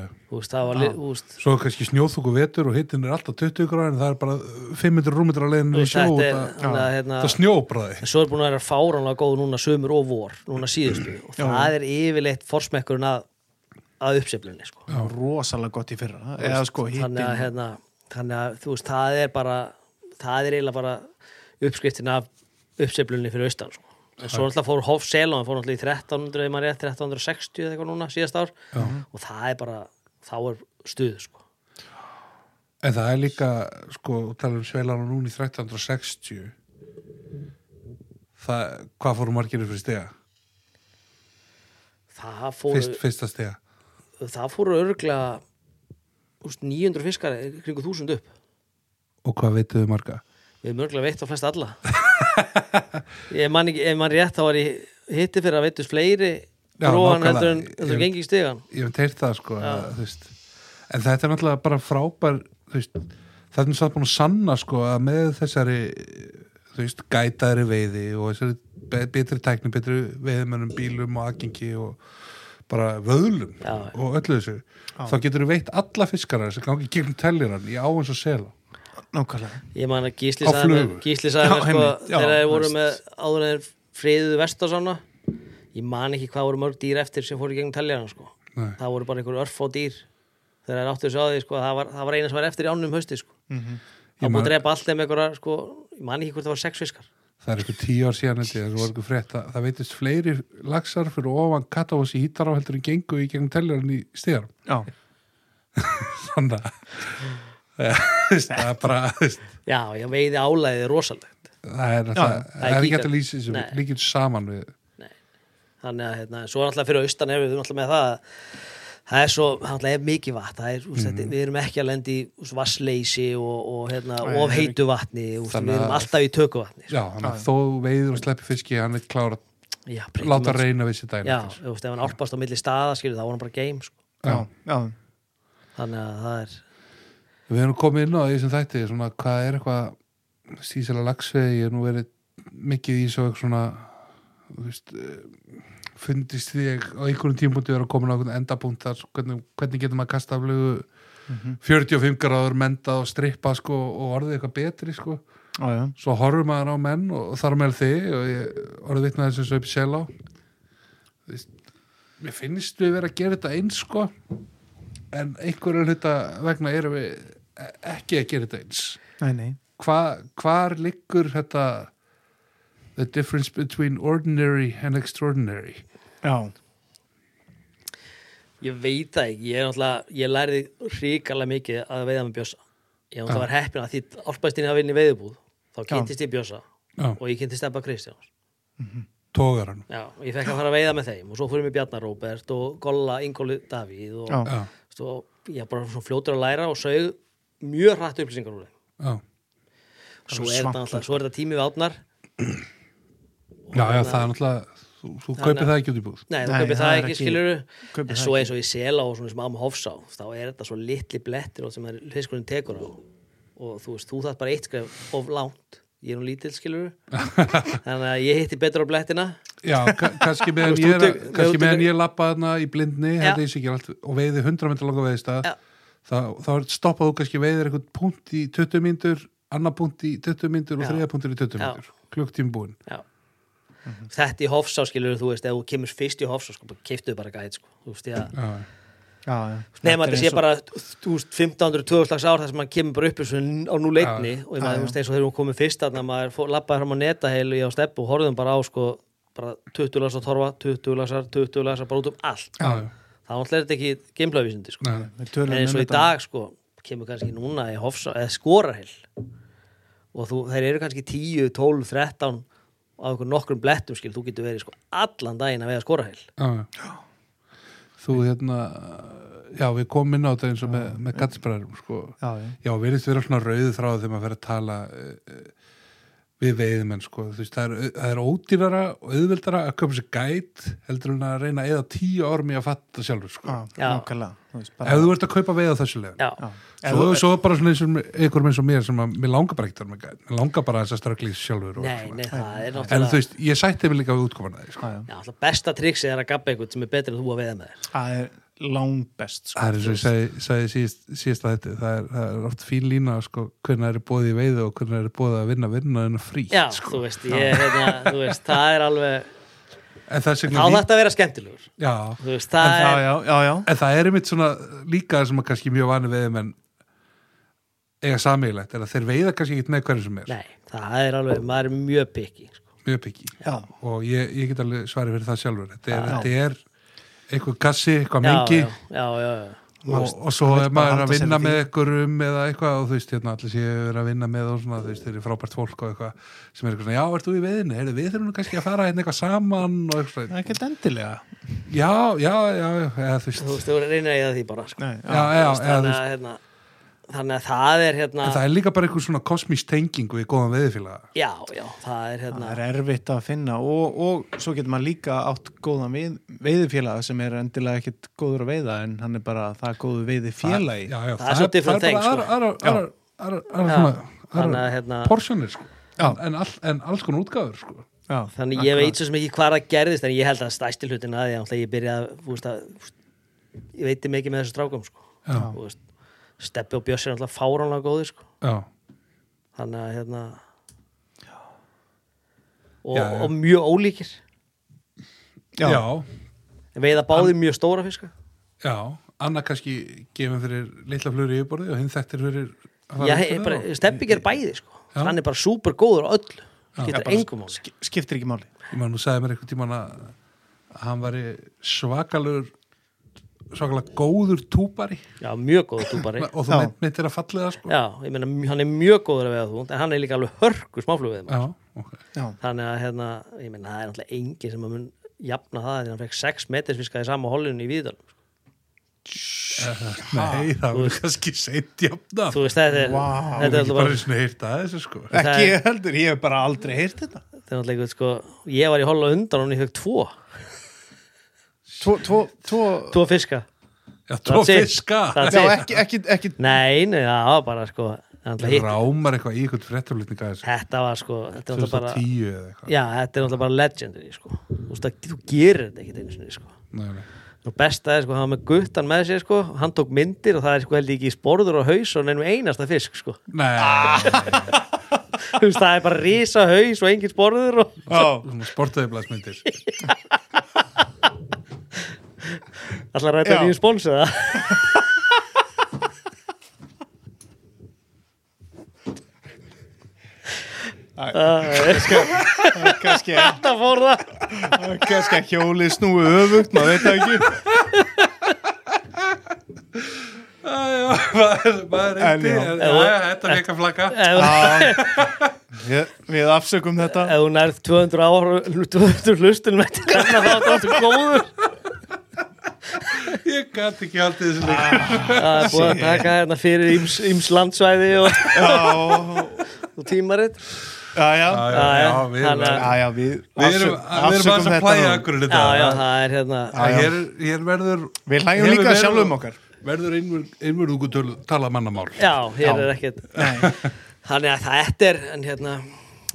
Speaker 3: já.
Speaker 4: úst, það var, ah. úst,
Speaker 3: svo er kannski snjóþúku vetur og hittin er alltaf 20 gráðin það er bara 500 rúmetra leiðin
Speaker 4: Þú
Speaker 3: við
Speaker 4: veist,
Speaker 3: sjó
Speaker 4: þetta
Speaker 3: þetta,
Speaker 4: er-
Speaker 3: þetta,
Speaker 4: þannig að, hérna-
Speaker 3: þetta snjóbraði
Speaker 4: en svo er búin að vera fáránlega góð núna sumur og vor, núna síðustu og það er yfirleitt forsmekkurinn að að uppseflunni sko.
Speaker 2: rosalega gott í fyrra eða sko hittin
Speaker 4: þannig að, hérna, þannig að þú veist, það er bara það er eiginlega bara uppskriftin af uppseflunni fyrir austan sko. En svo alltaf fór Hoff Selon fór alltaf í 1300, ef maður er 1360 eða eitthvað núna síðast ár og það er bara, þá er stuð sko.
Speaker 3: en það er líka, sko, tala um sveilana núna í 1360 það, hvað fóru margirinn fyrir stiga?
Speaker 4: það fóru
Speaker 3: Fyrst, fyrsta stiga
Speaker 4: það fóru örglega 900 fiskar kringu 1000 upp
Speaker 3: og hvað veituðu marga?
Speaker 4: við erum örglega veitt á flest alla ég man ekki, ef mann rétt þá var ég hitti fyrir að veitust fleiri
Speaker 3: Já,
Speaker 4: gróan
Speaker 3: nákvæmlega.
Speaker 4: heldur en, heldur en
Speaker 3: Ég-
Speaker 4: gengi í stegan
Speaker 3: ég hef teirt það sko að, þú veist, en þetta er náttúrulega bara frábær þú veist, það er náttúrulega búin að sanna sko að með þessari þú veist, gætaðri veiði og þessari be- betri tækni, betri veiðmennum bílum og aðgengi og bara vöðlum
Speaker 4: Já.
Speaker 3: og öllu þessu þá getur þú veitt alla fiskara sem gangi í gegnum tellirann í áins og sela
Speaker 2: nákvæmlega
Speaker 4: ég man að Gísli
Speaker 3: Á
Speaker 4: sagði mér-
Speaker 3: flugu.
Speaker 4: Gísli sagði mér
Speaker 2: Já,
Speaker 4: sko
Speaker 2: einmitt. Já,
Speaker 4: þegar þeir voru
Speaker 2: veist.
Speaker 4: með áður en þeir friðuðu vestarsána ég man ekki hvað voru mörg dýr eftir sem fóru í gegnum teljarna sko
Speaker 3: Nei.
Speaker 4: það voru bara einhver örf og dýr þegar þeir áttu þessu á því sko það var, það var eina sem var eftir í ánum hausti sko það
Speaker 3: Mhm. Ég
Speaker 4: búið
Speaker 3: man-
Speaker 4: að drepa allt þeim einhverja sko ég man ekki hvort það var sex fiskar
Speaker 3: það er eitthvað tíu ár síðan held ég, það voru eitthvað frétt að það veitist fleiri laxar fyrir ofan kattafos í hítará heldur en gengu í gegnum tellirann í stíðarum
Speaker 2: já,
Speaker 3: þannig að Eh, þú veist, það er bara þú veist,
Speaker 4: já ég veiði álæðið rosalegt
Speaker 3: það er,
Speaker 2: Já,
Speaker 3: það, það
Speaker 4: það er
Speaker 3: er ekki hægt
Speaker 4: gítar.
Speaker 3: að lýsa þessu
Speaker 4: Nei.
Speaker 3: líkjum saman við
Speaker 4: þannig að hérna, en svo er alltaf fyrir austan ef við erum alltaf með það að það er svo, alltaf er mikið vatn það er, úst,
Speaker 3: Mhm.
Speaker 4: mm. við erum ekki að lenda í úst, vassleysi og, og hérna,
Speaker 2: Nei,
Speaker 4: of heitu vatni úst,
Speaker 3: Þannig
Speaker 4: við erum
Speaker 3: að-
Speaker 4: alltaf í tökuvatni sko.
Speaker 3: já, þannig að þó veiður og sleppi fiski hann er klár að
Speaker 4: já, pretty
Speaker 3: láta
Speaker 4: much.
Speaker 3: reyna við sér dæn
Speaker 4: já, úst, ef hann álpast á milli staða skilur, þá var hann bara game sko.
Speaker 2: já, já,
Speaker 4: þannig að það er
Speaker 3: við erum komið inn á því sem þætti svona, hvað er eitthvað stísela lagsveið ég er nú verið mikið í svo eitthvað svona þú veist, eh, fundist því að á einhvern tímpúnti vera komin á einhvern endapunkt þar, sko, hvernig, hvernig getur maður kasta aflegu 45 gráður mendað og strippa sko, og orðið eitthvað betri sko.
Speaker 2: já, já.
Speaker 3: svo horfum maður á menn og þar með þig og ég orðið vitna þessu svo upp sjálf á mér finnst við vera að gera þetta eins sko en einhverju hluta vegna erum við e- ekki að gera þetta eins
Speaker 2: Nei, nei.
Speaker 3: Hva, hvar liggur þetta the difference between ordinary and extraordinary
Speaker 2: já,
Speaker 4: Ég veit það ekki, ég er náttúrulega, ég lærði hrikalega mikið að veiða með bjössa. Ég náttúrulega var heppin að því álpaðistinn að vinna í veiðubúð, þá kynntist ég bjössa
Speaker 3: Já.
Speaker 4: og ég kynntist Ebba Kristjáns.
Speaker 3: tógar hann
Speaker 4: Já, og ég fekk að fara að veiða með þeim og svo fórum við Bjarnar Róbert og Golla Ingóli Davíð og
Speaker 2: já,
Speaker 3: já,
Speaker 4: svo, ég bara svona fljótur að læra og sögð mjög hrætt upplýsingar úr þeim.
Speaker 3: já,
Speaker 4: Svo er þetta náttúrulega, svo er þetta tími við átnar.
Speaker 3: já, já það er náttúrulega þú, þú kaupir það ekki út í búð
Speaker 4: Nei, þú
Speaker 2: Nei,
Speaker 4: kaupir
Speaker 2: það
Speaker 4: það
Speaker 2: er
Speaker 4: ekki,
Speaker 2: ekki-
Speaker 4: skiluru
Speaker 2: kaupir
Speaker 4: en
Speaker 2: það
Speaker 4: svo eins og ég sela og svona sem áma hofsá þá er þetta svo litli blettir og sem er fiskurinn tekur á og þú veist, þú þarf bara eitt skref of langt ég er nú lítill, skiluru þannig að ég hitti betur á blettina
Speaker 3: Já, ka- kannski meðan
Speaker 4: veist,
Speaker 3: ég, er,
Speaker 4: úti-
Speaker 3: kannski
Speaker 4: úti-
Speaker 3: meðan ég lappa þarna í blindni
Speaker 4: Já.
Speaker 3: held ég sé ekki allt, og veiði 100 metra langa veiðistað
Speaker 4: Já.
Speaker 3: þá, þá stoppaðu kannski veiðir eitthvað punkt í 20 myndur annar punkt í 20 myndur og
Speaker 4: Já.
Speaker 3: þriða punktur í 20
Speaker 4: Já.
Speaker 3: myndur klukktíma búinn
Speaker 4: Já. þetta í hofsá, skiluru, þú veist ef þú kemur fyrst í hofsá, sko, keiftuðu bara gæt sko. þú veist, ég
Speaker 3: Já,
Speaker 2: já, já.
Speaker 4: Nefn
Speaker 2: Þetta
Speaker 4: að
Speaker 2: er
Speaker 4: þetta sé
Speaker 2: eins og-
Speaker 4: bara 1500-2000 slags ár þar sem hann kemur bara upp eins og á núleitni og ég
Speaker 2: Já,
Speaker 4: maður, þú veist, eins og þegar hún komið fyrst þarna maður fór- labbaði fram á netaheilu ég á steppu og horfðum bara á sko bara 20 lasar torfa, 20 lasar, 20 lasar bara út um allt
Speaker 3: já, já,
Speaker 4: þá náttúrulega er þetta ekki geimlavísindi sko.
Speaker 3: já.
Speaker 2: Við
Speaker 4: en
Speaker 2: tölum
Speaker 4: eins
Speaker 2: um
Speaker 4: og í
Speaker 2: þetta.
Speaker 4: dag sko kemur kannski núna í hofsa eða skorarheil og þú, þeir eru kannski 10, 12, 13 á einhver nokkrum blettum skil þú getur verið sko allan daginn að vega skorarheil
Speaker 3: Já, já. Þú hérna já, við komum inn á þetta eins og með, með gattsbræðum sko.
Speaker 2: Já, já.
Speaker 3: Já, við erum vera svona rauðu þráð þegar maður fer að tala eh, eh, við veiðimenn sko, þú veist, það er, það er ódýrara og auðveldara að köpa sér gæt heldur en að reyna að eða tíu árum í að fatta sjálfur sko.
Speaker 4: Já.
Speaker 2: nákvæmlega þú veist, bara-
Speaker 3: ef þú ert að kaupa veiða þessu legin
Speaker 4: já,
Speaker 2: Já.
Speaker 3: svo, svo bara svona eins og einhver minn sem mér sem að mér langar bara ekkert að vera með gæt mér langar bara þess að ströggli sjálfur og
Speaker 4: nei,
Speaker 3: svona.
Speaker 4: nei, það er
Speaker 3: en þú
Speaker 4: náttúrulega
Speaker 3: veist, ég sætti mig líka við útkoman að því sko.
Speaker 2: Já, já.
Speaker 4: já, alltaf besta triksi er að gabba einhvern sem er betur en þú að veiða með þér
Speaker 2: það er langbest sko.
Speaker 3: það er eins og ég segi, segi síðast, síðast að þetta það er, það er oft fín lína sko, hvernig er bóðið í veiði og hvernig er bóðið að vinna vinna en frí
Speaker 4: já,
Speaker 3: sko.
Speaker 4: þú veist, ég, hérna, þú veist það er alveg,
Speaker 3: en það er
Speaker 4: þá
Speaker 3: segna
Speaker 4: þarf þetta að vera skemmtilegur
Speaker 3: já,
Speaker 4: þú veist,
Speaker 2: En
Speaker 4: það
Speaker 2: það,
Speaker 4: er
Speaker 2: já, já, já
Speaker 3: En það er einmitt svona líka sem að kannski mjög vanið veiðum en eiga sameiglegt er að þeir veiða kannski ekkert með hverjum sem er
Speaker 4: nei, það er alveg, maður er mjög pikki sko.
Speaker 3: mjög piggi
Speaker 2: Já,
Speaker 3: og ég, ég get alveg svarið fyrir það sjálfur þetta er,
Speaker 2: Já.
Speaker 3: þetta er eitthvað gassi, eitthvað
Speaker 4: já,
Speaker 3: mengi
Speaker 4: já, já, já, já,
Speaker 3: og, og svo
Speaker 2: vill
Speaker 3: er
Speaker 2: bara
Speaker 3: maður
Speaker 2: halda
Speaker 3: að vinna
Speaker 2: sér við
Speaker 3: með einhverjum eða eitthvað og þú veist, hérna allir séu verið að vinna með og svona, þú veist, þeir eru frábært fólk og eitthvað sem er eitthvað svona, já, ert þú í veiðinu, heyrðu, við þurfum nú kannski að fara hérna eitthvað saman og eitthvað, svona.
Speaker 2: það er ekkert endilega
Speaker 3: já, já, já, já, eða, þú veist,
Speaker 4: þú veist, þú reynir að eiga því bara sko.
Speaker 2: Nei,
Speaker 3: já, já, eða, þú
Speaker 4: þannig, að, hérna, þannig að það er hérna,
Speaker 3: En það er líka bara einhver svona kosmísk tengingu í góðan veðifélaga.
Speaker 4: já, já, það er hérna
Speaker 2: Það er erfitt að finna og, og svo getur maður líka átt góðan veið, veiðifélaga sem er endilega ekkit góður að veiða en hann er bara það góðu veiðifélagi
Speaker 3: Já, já,
Speaker 4: Það er svo
Speaker 3: það
Speaker 4: different
Speaker 3: er
Speaker 4: thing,
Speaker 3: bara
Speaker 4: sko.
Speaker 3: aðra- aðra-
Speaker 2: Já.
Speaker 3: aðra- aðra- aðra
Speaker 4: Já,
Speaker 3: svona-
Speaker 4: þannig
Speaker 3: aðra
Speaker 4: að, hérna-
Speaker 3: Porsjónir sko.
Speaker 2: Já.
Speaker 3: en, all, en alls konar útgáður sko.
Speaker 2: Já,
Speaker 4: Þannig ég veit svo sem ekki hvað það gerðist en ég held að stæsti hlutin að ég, náttúrulega ég byrja að, þú veist að þú veist, ég veitir mikið með þessu strákum sko.
Speaker 3: Já.
Speaker 4: Þú veist, Steppi og Bjössi er náttúrulega fáránlega góði sko.
Speaker 3: Já,
Speaker 4: þannig að hérna og,
Speaker 3: Já, já.
Speaker 4: og mjög ólíkir
Speaker 2: Já.
Speaker 3: já,
Speaker 4: En veiða báði mjög stóra fiska
Speaker 3: já. Anna kannski gefum fyrir litla flöru í yfirborði og hinn þekktir fyrir að fara
Speaker 4: Já,
Speaker 3: út
Speaker 4: ég,
Speaker 3: fyrir
Speaker 4: bara,
Speaker 3: og-
Speaker 4: Steppi ger bæði sko.
Speaker 3: Já.
Speaker 4: hann er bara súper góður á öllu
Speaker 2: Já,
Speaker 4: getur
Speaker 2: bara
Speaker 4: engum máli
Speaker 2: sk- skiptir ekki máli
Speaker 3: Ég man, þú sagði mér einhvern tímann að að hann væri svakalur svakalega góður túbari
Speaker 4: Já, mjög góður túpari
Speaker 3: og
Speaker 2: Já.
Speaker 3: þú myndir að falla það sko.
Speaker 4: Já, ég meina, hann er mjög góður að veiða þú en hann er líka alveg hörku smáflug
Speaker 3: já ok.
Speaker 2: Já,
Speaker 4: þannig að hérna, ég meina, það er náttúrulega engin sem að mun jafna það þegar hann fekk 6 metisfiska í sama hollinu í Víðdalum sko.
Speaker 3: Nei, það
Speaker 4: þú
Speaker 3: verður
Speaker 4: veist-
Speaker 3: kannski seint jafna.
Speaker 4: þú veist, þetta er,
Speaker 2: Vá,
Speaker 4: þetta er
Speaker 3: Ég
Speaker 4: alltaf
Speaker 3: bara
Speaker 4: bara,
Speaker 3: eins og heyrt að þessu sko.
Speaker 4: Það
Speaker 2: ekki
Speaker 4: er-
Speaker 2: heldur, ég hef bara aldrei heyrt þetta
Speaker 4: þetta er náttúrulega eitthvað, sko, ég var í holla undan og ég fekk tvo,
Speaker 2: Tvo, tvo, tvo
Speaker 4: tvo fiska
Speaker 3: Já, tvo
Speaker 4: That's it.
Speaker 3: fiska.
Speaker 4: Það-
Speaker 2: Já, ekki, ekki, ekki
Speaker 4: nei, nei, það var bara sko, náttúrulega hitt-
Speaker 3: Rámar eitthvað í eitthvað fréttamlutninga þessu.
Speaker 4: þetta var sko þetta er náttúrulega bara,
Speaker 3: 2010 eða eitthvað.
Speaker 4: já, þetta er náttúrulega bara legendary sko, þú veist að þú gerir þetta ekkit einu sinni sko
Speaker 3: Nei, nei.
Speaker 4: og besta er sko, hann var með guttan með sér sko hann tók myndir og það er sko held ég ekki í sporður og haus og nefnum einasta fisk sko
Speaker 3: Nei,
Speaker 4: þú veist, það er bara risa haus og engin sporður og
Speaker 2: Já,
Speaker 3: svona sportaði blæsmyndir.
Speaker 4: Alltaf að ræta
Speaker 2: Já.
Speaker 4: nýju spóns eða?
Speaker 2: kannski,
Speaker 4: sko, Þetta fór það
Speaker 2: kannski að hjólið snúi öfugt, maður veit það ekki
Speaker 3: Maður
Speaker 2: En
Speaker 3: reyndi,
Speaker 2: já.
Speaker 3: en já, já, þetta veika flagga.
Speaker 4: Ef
Speaker 2: Já, við, við afsökum þetta
Speaker 4: ef þú nærð 200 ára 200 hlustun með til hérna þá er þetta góður
Speaker 3: Ég gæti ekki haldið þessu líka.
Speaker 4: Það er búið að taka hérna fyrir íms, íms landsvæði og,
Speaker 2: Já,
Speaker 4: og tímarit
Speaker 2: já, já
Speaker 3: Já, já, já, við erum
Speaker 4: Já, já. Þannig
Speaker 3: að-
Speaker 2: Já, já, við,
Speaker 3: við erum
Speaker 2: afsö-
Speaker 3: við erum aðeins að plæja
Speaker 2: nú.
Speaker 3: akkur
Speaker 4: Já, já,
Speaker 3: þetta.
Speaker 4: það er hérna
Speaker 3: Já, Hér, hér verður...
Speaker 2: Við hlægjum
Speaker 3: hefur
Speaker 2: líka
Speaker 3: verið-
Speaker 2: sjálfum okkar.
Speaker 3: Verður einmörðungu tala mannamál.
Speaker 4: Já, hér
Speaker 2: Já.
Speaker 4: er ekkert Þannig að þetta er en hérna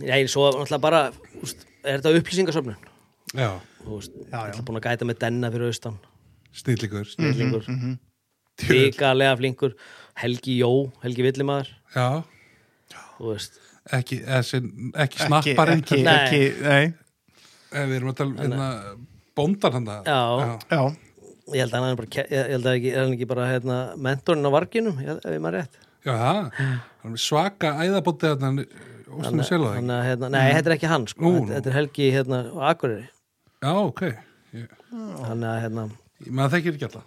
Speaker 4: Já, ég svo náttúrulega bara úst, Er þetta upplýsingasöfnun?
Speaker 3: Já,
Speaker 4: Þú veist, ég
Speaker 2: Já, Mhm, já.
Speaker 4: ætla búin að gæta með denna fyrir austan
Speaker 3: snillingur. snill-
Speaker 4: Flingur, ríkalega flinkur Helgi Jó, Helgi Villimaður
Speaker 2: Mm.
Speaker 3: Já,
Speaker 4: Þú veist
Speaker 3: ekki, þessi, ekki
Speaker 2: Ekki,
Speaker 3: snapparinn.
Speaker 2: ekki,
Speaker 4: Nei.
Speaker 2: ekki, nei
Speaker 3: Eh, Við erum að tala hérna, bóndan hann það.
Speaker 4: Já.
Speaker 2: Já,
Speaker 4: ég held að hann er bara ke- ég held að ekki, er hann ekki bara hérna, mentorinn á varginum, ég- ef ég maður rétt
Speaker 3: Já, það. Hann er svaka æðabóttið að hann óstum að selja það.
Speaker 4: að, hérna,
Speaker 2: Mhm.
Speaker 4: nei, þetta er ekki hann sko.
Speaker 3: Nú,
Speaker 4: þetta,
Speaker 3: nú.
Speaker 4: þetta er Helgi hérna, á Akureyri
Speaker 3: Já, ok. Ég,
Speaker 4: þannig að, hérna,
Speaker 3: ég- maður þekkir ekki alla.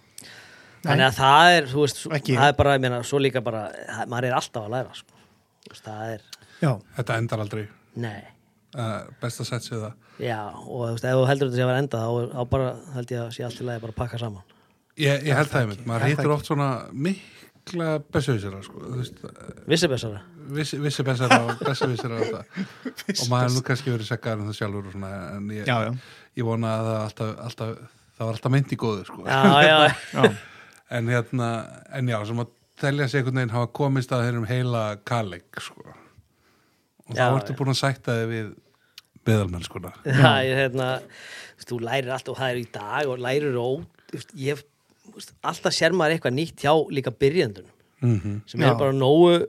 Speaker 4: þannig að það er þú veist, svo-
Speaker 2: Ekki.
Speaker 4: það er bara, ég meina, svo líka bara það- maður er alltaf að læra sko. Þú veist, það er,
Speaker 2: já,
Speaker 3: Þetta endar aldrei.
Speaker 4: nei
Speaker 3: Uh, best að setja það.
Speaker 4: já, og þú veist, ef þú heldur þetta sé að vera enda þá, er- þá bara, held ég að sé allt í lagi bara að pakka saman
Speaker 3: Ég, ég held það einmitt. Maður hittir oft svona miklu ruggla besöðsera sko, þú veist,
Speaker 4: Vissi besara
Speaker 3: vissi, vissi besara og besöðsera og þetta og maður hefur nú kannski verið seggar um það sjálfur og svona, en ég,
Speaker 2: já, já,
Speaker 3: ég vona að það, alltaf, alltaf, það var alltaf meint í góðu sko.
Speaker 4: Já, já,
Speaker 2: já.
Speaker 3: en hérna, en já, sem að telja sig einhvern veginn hafa komist að þeirrum heila kalleg sko. og þá
Speaker 4: Já,
Speaker 3: ertu
Speaker 4: já.
Speaker 3: búin að sætta þig við sko. beðalmennskuna
Speaker 4: já ég, hérna, þú veist, þú lærir allt og það er í dag og lærir ó þú veist, ég, þú veist, alltaf sér maður eitthvað nýtt hjá líka byrjendunum
Speaker 3: Mhm.
Speaker 4: sem er
Speaker 2: Já.
Speaker 4: bara nógu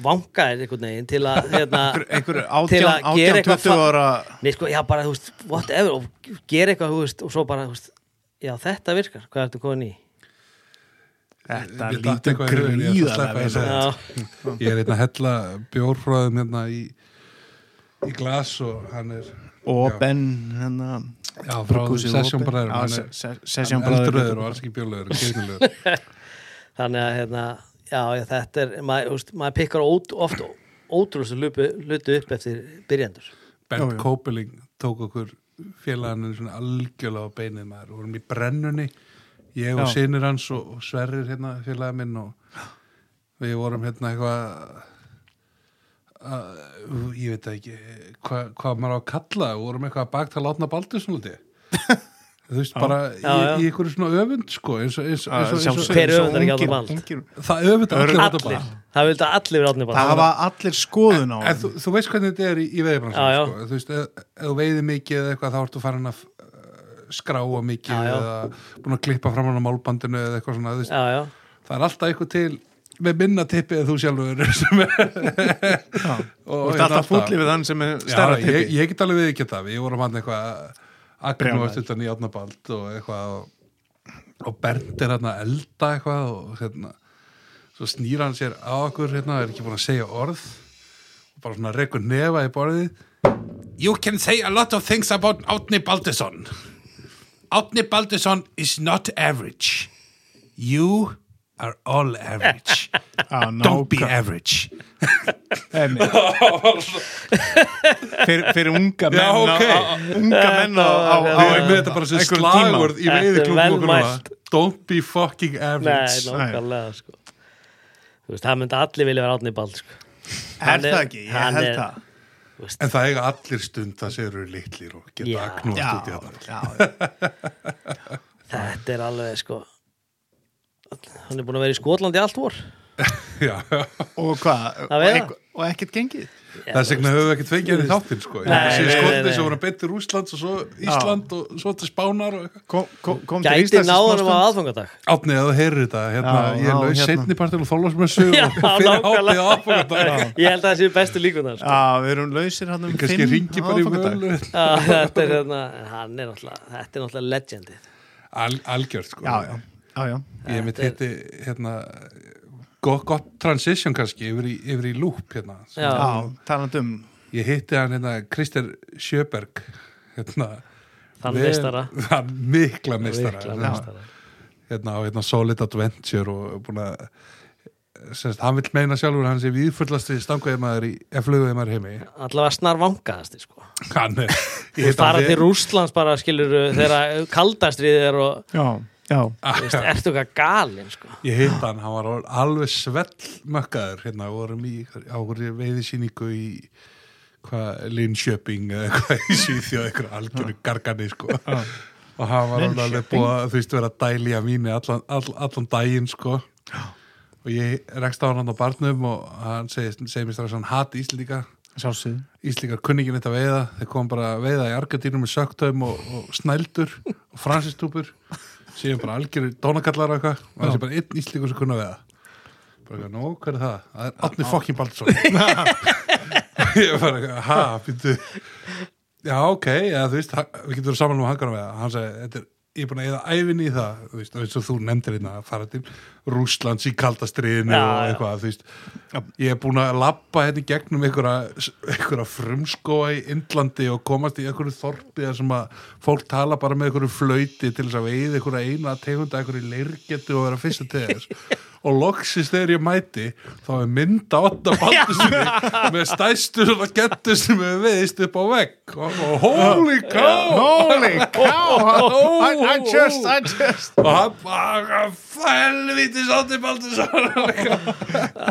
Speaker 4: vangaðir einhvern veginn til að hérna,
Speaker 2: einhver
Speaker 4: til að
Speaker 2: 18,
Speaker 4: gera
Speaker 2: 18
Speaker 4: eitthvað
Speaker 2: 20
Speaker 4: fa-
Speaker 2: ára
Speaker 4: Nei, sko, já, bara, þú veist, whatever, og gera eitthvað, þú veist, og svo bara, þú veist, já, þetta virkar, hvað ertu komin í?
Speaker 2: þetta
Speaker 3: Ég datt
Speaker 2: lítur
Speaker 3: eitthvað í rauninni, ég ætla að sleppa
Speaker 2: gríðarlega
Speaker 3: þessu.
Speaker 2: vel
Speaker 4: Já,
Speaker 3: Ég er einnig að hella bjórfröðum hérna í, í glas og hann er
Speaker 2: og
Speaker 3: Já.
Speaker 2: Ben hérna,
Speaker 3: já, frá
Speaker 2: brugghúsið
Speaker 3: Session
Speaker 2: Open.
Speaker 3: Bræður
Speaker 2: Já,
Speaker 3: hann
Speaker 2: Se-
Speaker 3: er,
Speaker 2: Se-
Speaker 3: hann
Speaker 2: Session
Speaker 3: er
Speaker 2: Bræður
Speaker 3: eldröður og alls ekki bjórlegur kyrnilegur
Speaker 4: þannig að, hérna, já, já, þetta er, maður, þú veist, maður pikkar ót, oft ótrúlustu lutu upp eftir byrjendur.
Speaker 3: Bernd Kópeling tók okkur félaginu svona algjörlega á beinið maður og vorum í brennunni ég og
Speaker 2: Já.
Speaker 3: sinir hans og, og sverrir hérna félagin minn og við vorum hérna eitthvað að- ég veit það ekki hva, hvað maður á að kalla við vorum eitthvað að baktala átna baldur svona úti þú veist bara
Speaker 4: Já, já.
Speaker 3: í, í einhverju svona öfund sko eins og, eins, eins, eins, eins,
Speaker 4: Hver öfundar ekki Árna Bald?
Speaker 2: ungir-
Speaker 3: og það öfund allir átna
Speaker 4: Allir,
Speaker 3: bald
Speaker 4: það vildi að allir vera átni bara.
Speaker 2: það hafa allir skoðun á
Speaker 3: En þú, þú veist hvernig þetta er í, í
Speaker 4: Já, já.
Speaker 3: veiðibransan sko. Þú veist, ef, ef þú veiði mikið eða eitthvað þá ertu farin að uh, skráa mikið
Speaker 4: Já, já.
Speaker 3: eða búin að klippa fram hann á málbandinu eða eitthvað svona, þú veist,
Speaker 4: Já, já,
Speaker 3: það er alltaf eitthvað til með minna tippi eða þú sjálfur sem er
Speaker 2: Þú ert alltaf fúlli við þann sem er stærra
Speaker 3: Já, ég,
Speaker 2: tippi
Speaker 3: ég get alveg við ekki það, við vorum hann eitthvað Agnu
Speaker 2: Brjálæði.
Speaker 3: eftir þetta nýjátnabald og eitthvað og, og Bernd er hann að elda eitthvað og hérna svo snýra hann sér á okkur hérna, er ekki búin að segja orð og bara svona rekur nefa í borðið You can say a lot of things about Átni Baldesson Átni Baldesson is not average You are all average
Speaker 2: Já,
Speaker 3: Don't be
Speaker 2: nákvæm-
Speaker 3: average
Speaker 2: Einmitt. Fyr- fyrir unga menn
Speaker 3: Já,
Speaker 2: á-
Speaker 3: ok.
Speaker 2: á- unga menn á, á, á,
Speaker 3: Já, ég með þetta bara sem
Speaker 2: einhverjum
Speaker 3: slagvörð
Speaker 2: tíma.
Speaker 3: í
Speaker 4: Þetta er
Speaker 3: veiðiklúkum okkur
Speaker 4: velmælt.
Speaker 3: núna Don't be fucking
Speaker 4: nei,
Speaker 3: average
Speaker 4: nákvæmlega, sko. Þú veist, það myndi allir vilja vera átni bald, sko.
Speaker 2: er
Speaker 4: Hann er-
Speaker 2: það ekki, ég
Speaker 4: hann
Speaker 2: held
Speaker 4: er-
Speaker 2: það
Speaker 4: Þú veist,
Speaker 3: En það eiga allir stund það séur eru litlir og geta
Speaker 4: Já.
Speaker 3: yeah. knúst
Speaker 2: já,
Speaker 3: út í það
Speaker 2: já,
Speaker 4: þetta er alveg, sko, hann er búin að vera í Skotlandi allt vor.
Speaker 3: Já, já.
Speaker 2: og hvað, og,
Speaker 4: Það veit
Speaker 2: eitthvað- og ekkert gengið
Speaker 3: Þess vegna höfum við ekki tveggjað í þáttinn sko
Speaker 4: Nei, nei, nei,
Speaker 3: Skotni
Speaker 4: nei.
Speaker 3: sem voru betur Úslands og svo Ísland og svo til Spánar og eitthvað
Speaker 2: kom, kom, kom til
Speaker 4: Gæti
Speaker 2: Íslands í
Speaker 4: náðanum á
Speaker 2: smástund.
Speaker 4: aðfangadag.
Speaker 3: Átni, ef þú heyrir þetta, hérna,
Speaker 2: Já,
Speaker 3: ég
Speaker 2: já,
Speaker 3: laus
Speaker 2: hérna.
Speaker 3: setni partil og þólasmessu
Speaker 4: Já,
Speaker 3: og fyrir
Speaker 4: nákvæmlega.
Speaker 3: átnið áfókata.
Speaker 4: Ég held að það séu bestu líkunar, sko.
Speaker 2: já, við erum lausir hann um
Speaker 3: Kannski ringi bara í
Speaker 2: aðfangadag.
Speaker 3: völu.
Speaker 4: Já, þetta er hérna, en hann er náttúrulega, þetta er náttúrulega legendið.
Speaker 3: Al, algjört, sko.
Speaker 2: já, já, já, já,
Speaker 3: Ég mitt hitti hérna gott, gott transition kannski yfir í, yfir í loop hérna
Speaker 4: Já,
Speaker 2: já, talandi um
Speaker 3: ég hitti hann hérna Krister Sjöberg hérna
Speaker 4: þann
Speaker 3: vel-
Speaker 4: meistara.
Speaker 3: hann mikla meistara
Speaker 4: Mikla meistara.
Speaker 3: hérna á hérna Solid Adventure og búin að semst, hann vill meina sjálfur að hann sé viðfullast við stanguðumæður í fluguðumæður heimi
Speaker 4: Allavega snar vangaðasti, sko.
Speaker 3: hann er ég
Speaker 4: Þú
Speaker 3: hitti hann
Speaker 4: fara til
Speaker 3: við-
Speaker 4: Rústlands bara, skilur, þegar kaldastriðið er og
Speaker 2: já, já,
Speaker 4: Þú veist, ertu eitthvað galinn sko.
Speaker 3: Ég hitt hann, hann var orðinn alveg svellmökkaður hérna, við vorum í áhverju veiðisýningu í hvað, Linköping eða eitthvað í Svíþjóð, eitthvað algjöru gargani sko. og hann var orðinn alveg búið að þú veist vera að dæli að mínu allan, all, allan daginn sko. og ég rekst á hann á barnum og hann segi, segi mér strax að hann hati Íslendinga
Speaker 2: sjálfsögðu
Speaker 3: Íslendingar kunningin eitt að veiða þeir kom bara að veiða í Argadínum með söktöðum og, og snældur og fransistúpur síðan bara algjörir dónakallar og eitthvað og það sé bara einn Íslendingur sem kunna að veiða bara eitthvað, nú, hver er það? Það er Átni fokkin Baldsson ég bara, eitthvað, ha, býttu já, ok, já, þú veist hann- við getum verið saman um að hanga að veiða hann sagði, þetta er ég er búin að eða ævinni í það þú veist, og eins og þú nefndir hérna að fara til Rússlands í kaldastriðinu
Speaker 4: Já,
Speaker 3: og
Speaker 4: já.
Speaker 3: eitthvað, þú veist ég er búin að lappa hérna í gegnum einhverja, einhverja frumskóa í Indlandi og komast í einhverju þorpi þar sem að fólk tala bara með einhverju flöyti til þess að veið einhverja eina tegunda einhverju leirgetu og vera fyrsta til þess og loksist þegar ég mæti þá er mynda otta baldusinni með stæstu svona gettu sem hefur veist upp á vegg og, og holy cow
Speaker 2: Holy cow I, I just, I just
Speaker 3: og hann bara fælvítis otta baldusinni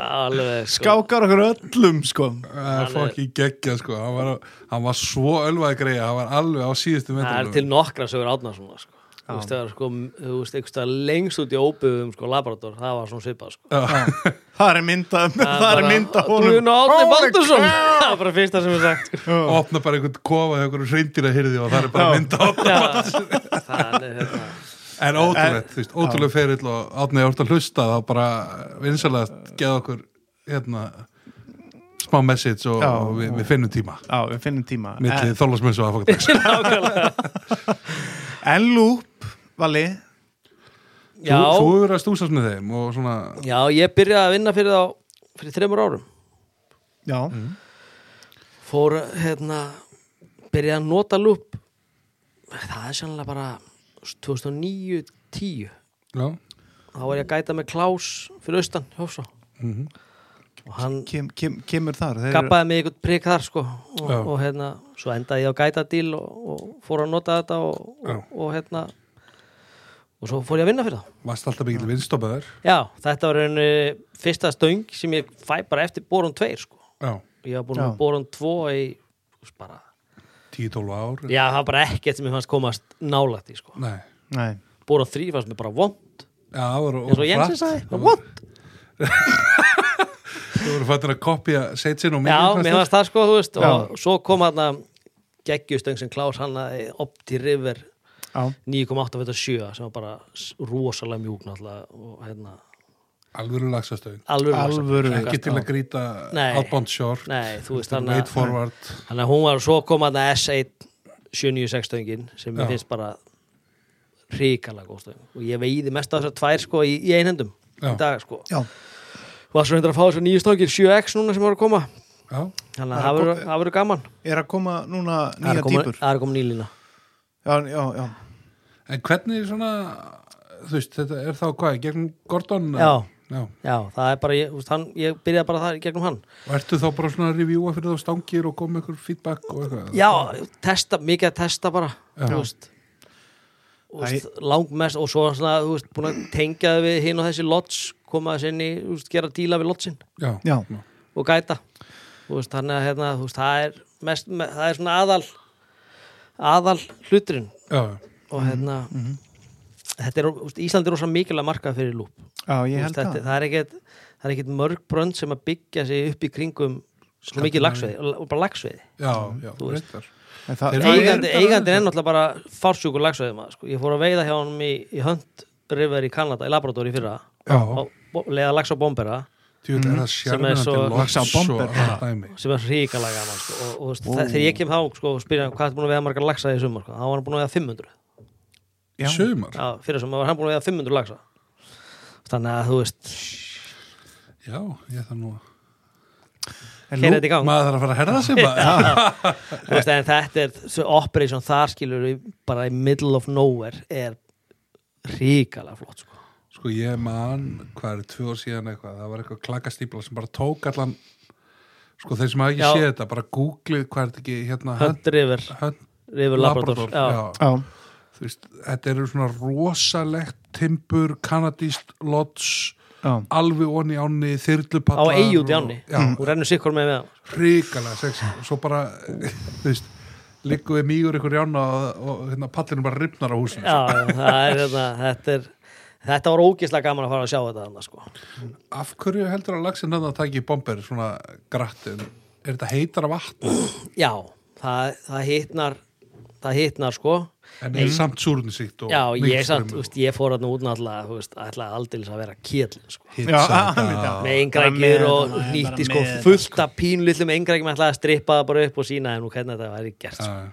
Speaker 4: alveg sko.
Speaker 2: Gákar okkur öllum sko
Speaker 3: Það er fokkin geggja sko hann var, hann var svo ölvaði greið hann var alveg á síðustu
Speaker 4: það er
Speaker 3: metrunum
Speaker 4: til nokkra sögur átnarssonar sko. þú veist það er sko, þú veist eitthvað lengst út í óbyggum sko laborator, það var svona svipað sko.
Speaker 2: Það er mynda, það er
Speaker 4: bara,
Speaker 2: mynda
Speaker 4: "Do you
Speaker 2: honum
Speaker 4: know Árni
Speaker 2: Holy
Speaker 4: Baldursson
Speaker 2: cow.
Speaker 4: það er bara fyrsta sem er sagt sko.
Speaker 3: og opna bara einhvern kofa hjá einhverjum hreindýra hyrði og það er bara mynda otta
Speaker 4: Já, það er hérna
Speaker 3: En ótrúlegt, þú veist, ótrúlega ferill og átnið ég orðið að hlusta þá bara vinsalega geða okkur hérna smá message og,
Speaker 2: Já.
Speaker 3: og við, við finnum tíma
Speaker 2: Já, við finnum tíma
Speaker 3: millið þólasmessu og aðfokatags
Speaker 2: En- En lúp, Valli
Speaker 3: Þú
Speaker 4: já,
Speaker 3: þú hefur að stúsast með þeim og svona
Speaker 4: já, ég byrjaði að vinna fyrir þá fyrir þreymur árum
Speaker 2: Já,
Speaker 4: fór hérna byrjaði að nota lúp það er sannlega bara 2009-10
Speaker 3: já,
Speaker 4: þá var ég að gæta með Klaus fyrir austan Hjófsá
Speaker 3: Mhm.
Speaker 4: og hann
Speaker 2: kem, kem, kemur þar Þeir eru-
Speaker 4: gappaði mig einhvern prik þar sko og,
Speaker 3: Já.
Speaker 4: og hérna, svo endaði ég á gæta díl og, og fór að nota þetta og,
Speaker 3: Já.
Speaker 4: og, og hérna og svo fór ég að vinna fyrir það
Speaker 3: varst alltaf mikil vinstoppaður
Speaker 4: já, þetta var einu fyrsta stöng sem ég fæ bara eftir borun 2 sko
Speaker 3: já,
Speaker 4: ég var búin
Speaker 2: Já.
Speaker 4: með borun 2 í þú veist, bara,
Speaker 3: 10-12 ár
Speaker 4: já, það var bara ekkert sem ég fannst komast nálægt í sko
Speaker 3: Nei,
Speaker 2: Nei,
Speaker 4: borun 3 fannst mér bara vond
Speaker 3: já, það voru
Speaker 4: eins og Jensen sagði, bara vond
Speaker 3: Þú voru fættin að kopja setsin og
Speaker 4: já, mér fannst það sko, þú veist
Speaker 2: Já.
Speaker 4: og svo kom hann að geggjustöng sem Klaus hann að Opti River
Speaker 2: já
Speaker 4: 9,857 sem var bara s- rosalega mjúk náttúrulega og hérna
Speaker 3: alvöru lagsastöðin
Speaker 4: alvöru, lagsafell.
Speaker 2: Alvöru
Speaker 3: ekki til að grýta
Speaker 4: Nei.
Speaker 3: outbound short
Speaker 4: Nei, þú veist hann
Speaker 3: wait
Speaker 4: að
Speaker 3: forward
Speaker 4: hann að hún var svo kom hann að S1 796 stöngin sem mér
Speaker 3: Já.
Speaker 4: finnst bara ríkala góð stöng og ég veiði mest af þessar tvær sko í, í einhendum
Speaker 3: Já.
Speaker 4: í dag sko
Speaker 2: Já,
Speaker 4: var svo hendur að fá þessar nýju stöngir 7X núna sem var að koma
Speaker 3: já,
Speaker 4: þannig
Speaker 2: Það er
Speaker 4: að það
Speaker 2: kom-
Speaker 4: verður- það verður gaman
Speaker 2: er að koma núna
Speaker 4: Það er
Speaker 2: nýja
Speaker 4: að koma-
Speaker 2: týpur
Speaker 4: það er að koma nýlina
Speaker 2: Já, já, já
Speaker 3: En hvernig svona, þú veist, þetta er þá hvað, í gegnum Gordon?
Speaker 4: Já.
Speaker 3: Já.
Speaker 4: já, það er bara, ég, þú veist, hann, ég byrjaði bara það í gegnum hann
Speaker 3: Og ertu þá bara svona að revjúa fyrir þá stangir og koma ykkur feedback og eitthvað?
Speaker 4: Já, testa, mikið að testa bara þú veist Þú
Speaker 2: Æ.
Speaker 4: veist, langmest og svo svona, þú veist, búin að tengja þau við hinn og þessi lots koma þess inn í, þú veist, gera díla við lotsin
Speaker 3: Já.
Speaker 2: Já,
Speaker 4: og gæta þú veist, þannig að hérna, þú veist, það er mest, me, það er svona aðal aðal hluturinn
Speaker 3: Já.
Speaker 4: og
Speaker 2: Mhm,
Speaker 4: hérna þetta er, þú veist, Íslandi er rosa mikilvæg markað fyrir lúp
Speaker 2: já ég held
Speaker 4: þetta,
Speaker 2: það
Speaker 4: það er ekkert það er ekkert mörg brönd sem að byggja sig upp í kringum svo mikið lagsveiði, og bara lagsveiði
Speaker 3: Já, já,
Speaker 4: Þú veist.
Speaker 3: reyndar.
Speaker 2: En það-
Speaker 3: Þeir-
Speaker 2: það er-
Speaker 4: eigandi, eigandi er náttúrulega bara farsjúkur lagsveðum sko. ég fór að veiða hjá honum í, í hönd river í Kanada, í Labrador í fyrra
Speaker 3: Já,
Speaker 4: og bo- leiða lags á bombera
Speaker 3: tjúið er það
Speaker 4: Mhm. Sem er
Speaker 3: sjármennandi
Speaker 4: svo-
Speaker 3: loks
Speaker 2: Laxa á
Speaker 3: og
Speaker 2: bomber.
Speaker 3: allt dæmi.
Speaker 4: sem er ríkala gaman sko. og, og oh. þegar ég kem þá sko, og spyrja hann, hvað er búin að veiða margar lagsa í sumar sko. þá var hann búin að veiða 500
Speaker 2: Já.
Speaker 3: Sumar.
Speaker 4: já, fyrir sumar var hann búin að veiða 500 lagsa þannig að þú veist
Speaker 3: Já, ég þarf nú að...
Speaker 2: En
Speaker 4: hér er
Speaker 2: lúp-
Speaker 4: þetta í gang
Speaker 3: Maður þarf að fara að herða sig bara.
Speaker 4: Þú veist, en þetta er svo operation þar skilur við bara í middle of nowhere er ríkala flott sko.
Speaker 3: Sko, ég man, hvað er, tvö ár síðan eitthvað, það var eitthvað klakastýpla sem bara tók allan, sko, þeir sem hafa ekki
Speaker 4: Já.
Speaker 3: séð þetta, bara googlið hvað er þetta ekki, hérna,
Speaker 4: hönd river,
Speaker 3: hönd,
Speaker 4: river Labrador, Já.
Speaker 2: Já,
Speaker 3: þú veist, þetta eru svona rosalegt timbur, kanadíst, lots,
Speaker 2: já
Speaker 3: alveg onni áni,
Speaker 4: á
Speaker 3: þyrlupallar.
Speaker 4: eigi út í Mm. áni
Speaker 3: Já,
Speaker 4: og rennur sikkur með meðan
Speaker 3: hrikalega sexy. Og svo bara, þú veist, liggum við mýgur ykkur í ána og, og hérna, pallinu bara ripnar á húsinu. sko.
Speaker 4: já, já, það er þetta þetta, er, þetta var ógislega gaman að fara að sjá þetta annars, sko.
Speaker 3: Af hverju heldur að lagsin hann að taka í bomber svona grattin? Er þetta heitara vatn?
Speaker 4: já, það, það hitnar það hitnar sko
Speaker 3: En er samt súrnisíkt og
Speaker 4: já, ég,
Speaker 3: mikill
Speaker 4: samt,
Speaker 3: straumur.
Speaker 4: úst, ég fór hann út náttúrulega þú veist, ætlaði aldeilis að vera kjell sko.
Speaker 3: Hit
Speaker 2: Já,
Speaker 3: samt
Speaker 2: alveg, já.
Speaker 3: að-
Speaker 4: með
Speaker 2: með
Speaker 4: engrækir og
Speaker 2: þetta, bara
Speaker 4: nýtti sko
Speaker 2: með þetta,
Speaker 4: fullt af pínlillum engrækir ætlaði að strippa það bara upp og sína en nú hvernig þetta væri gert sko.
Speaker 3: Já.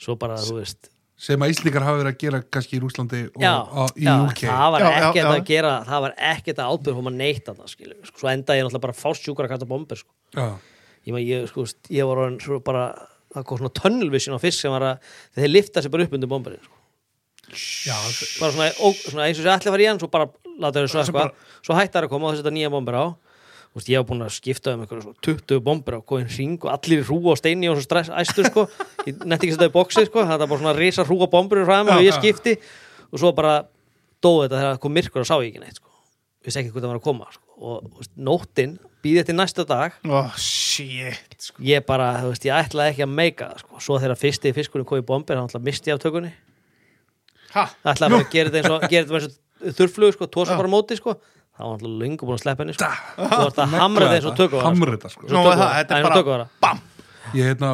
Speaker 4: svo bara, þú veist
Speaker 3: Sem að Íslingar hafa verið að gera kannski í Rúslandi og
Speaker 4: já,
Speaker 3: á, í
Speaker 4: já,
Speaker 3: UK.
Speaker 4: það var
Speaker 2: Já, já,
Speaker 4: ekkert
Speaker 2: já.
Speaker 4: að gera það var ekkert að ábyrgum að neitt þarna, skilurðu, sko. svo endaði ég náttúrulega bara fásjúkur að kasta bombur sko.
Speaker 3: Já.
Speaker 4: ég, man, ég, sko, veist, ég var orðin svo bara það kom svona tunnel vision á fisk sem var að þeir lifta sér bara upp undir bombarinn sko.
Speaker 3: Já,
Speaker 4: bara svona, ó, svona eins og sér allir var í hann svo bara láta þeir svo eitthvað svo hættar að koma og það setja nýja bomber á Þú veist, ég hef búin að skipta um einhverju svo 20 bomber á góðin ring og allir rú á steini og svo stress æstur sko, ég netti ekki setja í boxi sko, það er bara svona risa rú á bombur fram og ég skipti og svo bara dóði þetta þegar það kom myrkur og sá ég ekki neitt sko. ég vissi ekki hvað það var að koma sko. og þú veist, nóttin býði til næsta dag
Speaker 2: oh shit sko.
Speaker 4: ég bara, þú veist, ég ætlaði ekki að meika það sko. svo þegar fyrsti fiskurinn kom í bomber þá misti ég af tökunni
Speaker 2: ha,
Speaker 4: ætlaði bara að gera þetta eins og gera þetta eins og þurrflugur sko, tósa bara á móti sko þá var alltaf löngu búin að sleppa henni sko þú varst að hamra þetta eins og tökur
Speaker 3: Hamra þetta, sko.
Speaker 2: Nú, það, þetta er bara-
Speaker 4: tökur
Speaker 2: bam
Speaker 3: Ég hérna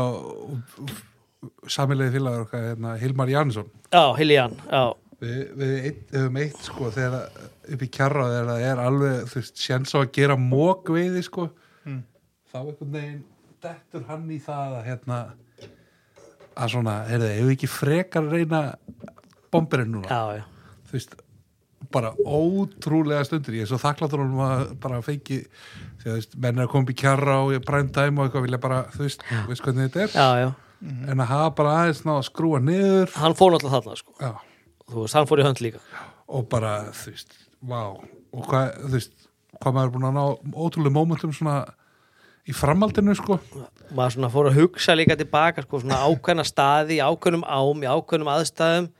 Speaker 3: samilegi félagur okkar, hérna, Hilmar Jansson
Speaker 4: já, Hiljan, já,
Speaker 3: Við, við eitt, höfum eitt sko þegar að- upp í kjarra þegar það er alveg þú veist, séns á að gera mók veiði sko þá einhvern veginn dettur hann í það að hérna að svona, heyrðu, ef við ekki frekar að reyna bomberinn núna
Speaker 4: já, já
Speaker 3: þú veist, bara ótrúlega stundir, ég er svo þakkláttur um að bara fengi, því að þú veist, menn er að koma upp í kjarra og ég prime time og eitthvað vilja bara, þú veist, þú veist hvernig þetta er
Speaker 4: já, já,
Speaker 3: en að hafa bara aðeins ná að skrúa niður
Speaker 4: hann fór náttúrulega þarna sko
Speaker 3: já,
Speaker 4: þú veist, hann fór í hönd líka
Speaker 3: og bara, þú veist, vá og hvað, þú veist, hvað maður er búin að ná ótrúlega mómentum svona í framhaldinu, sko
Speaker 4: maður svona fór að hugsa líka tilbaka sko, svona ákveðna staði, í ákveðnum ám í ákveðnum aðstæðum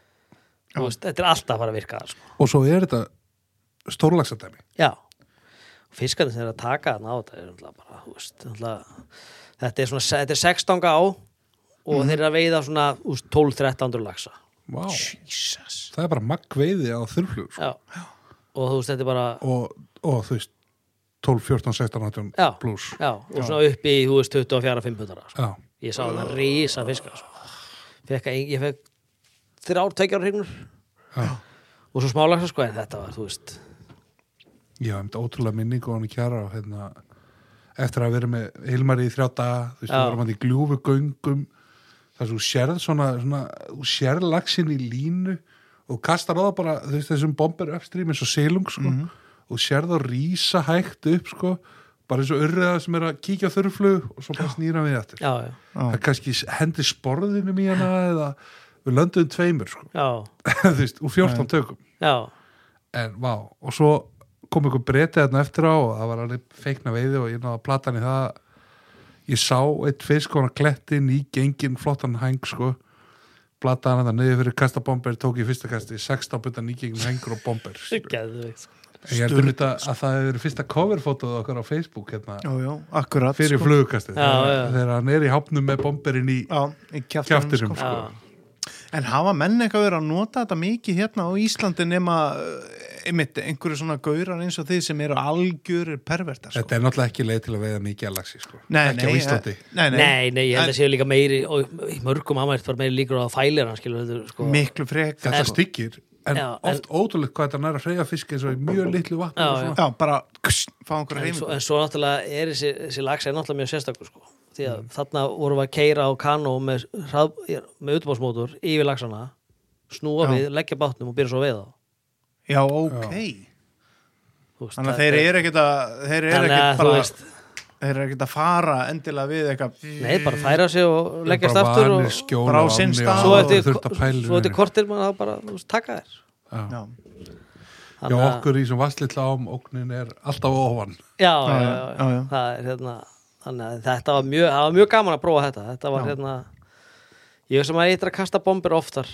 Speaker 4: þú veist, þetta er alltaf að fara að virka sko.
Speaker 3: og svo er þetta stórlagsatæmi
Speaker 4: Já, fiskarnir sem er að taka þarna á þetta er náttúrulega bara, þú veist, náttúrulega, þetta er svona, þetta er 16 á og
Speaker 3: Mhm.
Speaker 4: þeir eru að veiða svona 12-13 lagsa.
Speaker 3: vá,
Speaker 2: Jesus
Speaker 3: það er bara magg veiði á þurflug, sko
Speaker 4: Já, og þú veist, þetta er bara,
Speaker 3: og, og þú veist 12, 14, 16, 18
Speaker 4: já,
Speaker 3: pluss
Speaker 4: já, og svona upp í, þú veist, 24-500 sko.
Speaker 3: já,
Speaker 4: Ég sá það risa fiskar, sko. Fekk að, ég fekk þrjár, tveikjar hregnur
Speaker 3: já
Speaker 4: og svo smálagsa, sko, en þetta var, þú veist,
Speaker 3: Já, um þetta ótrúlega minningu á hann í kjara og hérna, eftir að vera með Hilmari í þrjá daga, þú veist,
Speaker 4: Já.
Speaker 3: við varum hann í gljúfugöngum þar sem þú sérð svona, svona þú sérð laxinn í línu og kastar á það bara, þú veist, þessum bomber uppstrým eins og selung, sko
Speaker 4: Mhm.
Speaker 3: og sérð það rísa hægt upp, sko bara eins og urriða sem er að kíkja á þurrflug og svo bara snýra við aftur
Speaker 4: já, já,
Speaker 3: það kannski hendi sporðinum í hana eða við löndum tveimur, sko
Speaker 4: já,
Speaker 3: þú veist, úr 14 tökum
Speaker 4: já,
Speaker 3: en vá, og svo kom einhver breytið þarna eftir á og það var alveg feikna veiði og ég náði að plata hann í það ég sá eitt fisk og hann klettinn í gengin flottan hæng sko plata hann þetta niður fyrir kasta bomber tók ég fyrsta kasti, 16 butan í gengin hængur og bomber ég
Speaker 4: geðveikt, sko.
Speaker 3: held um þetta að það hefur verið fyrsta coverfótað okkar á Facebook hérna,
Speaker 2: Jú, jú, akkurat
Speaker 3: fyrir
Speaker 2: sko.
Speaker 3: flugukastið
Speaker 4: Já, já.
Speaker 3: þegar, þegar hann er í hápnum með bomberinn í
Speaker 2: Já, í kjaftinum,
Speaker 3: kjaftinum
Speaker 2: sko.
Speaker 3: sko.
Speaker 4: Já.
Speaker 2: En hafa menn eitthvað verið að nota þetta mikið hérna á Íslandi nema eh, einmitt einhverju svona gaurar eins og þið sem eru algjörir pervertar sko.
Speaker 3: þetta er náttúrulega ekki leið til að veiða mikið að lagsi sko.
Speaker 2: Nei,
Speaker 3: ekki á
Speaker 2: nei,
Speaker 3: Íslandi
Speaker 2: eh, Nei, nei,
Speaker 4: Nei, nei, ég held
Speaker 2: En-
Speaker 4: að séu líka meiri og í mörgum amært var meiri líkur á að fælir hann skilur þetta sko
Speaker 2: miklu frekar
Speaker 3: þetta
Speaker 4: En-
Speaker 3: styggir en
Speaker 4: Já, en-
Speaker 3: oft ótrúlegt hvað þetta næra freyja fisk eins og í mjög litlu vatn
Speaker 4: Já,
Speaker 3: og svona.
Speaker 2: Já, bara kss, fá einhverja
Speaker 4: en svo,
Speaker 2: heimil
Speaker 4: en svo náttúrulega er þessi, þessi lags er náttúrulega mjög sérstakur sko því
Speaker 2: Mm.
Speaker 4: að þarna vorum við að keira á kanó með, hrað, með utbásmótur yfir lagsana snúa
Speaker 2: Já.
Speaker 4: við, leggja bátnum og byrja svo að veiða þá.
Speaker 2: Já, ok
Speaker 4: Þú veist,
Speaker 2: Þannig að
Speaker 4: það-
Speaker 2: þeir eru ekkert að þeir eru
Speaker 4: Þannig
Speaker 2: ekkert
Speaker 4: að þú
Speaker 2: bara
Speaker 4: veist-
Speaker 2: þeir eru ekkert að fara endilega við eitthvað
Speaker 4: Nei, bara færa sig og leggjast
Speaker 3: Bara
Speaker 4: aftur
Speaker 3: vanir,
Speaker 4: og
Speaker 3: skjól
Speaker 2: Bara á
Speaker 3: og
Speaker 2: sinn
Speaker 3: ánni
Speaker 2: stað.
Speaker 3: og
Speaker 4: svo
Speaker 2: Já,
Speaker 4: eftir,
Speaker 3: þurft að pæla
Speaker 4: svo
Speaker 3: í
Speaker 4: eftir
Speaker 3: neinu.
Speaker 4: kortir maður þá bara þú veist, taka þér
Speaker 3: Já.
Speaker 2: Já,
Speaker 3: Já,
Speaker 4: Þannig að-
Speaker 3: okkur í sem vastlitla ám ógnin er alltaf ofan
Speaker 4: já,
Speaker 2: Já,
Speaker 4: já,
Speaker 2: já, já,
Speaker 4: já,
Speaker 2: já.
Speaker 4: Það er, hérna, þannig að þetta var mjög, það var mjög gaman að prófa þetta þetta var hérna ég veist að maður eitthvað að kasta bombir oftar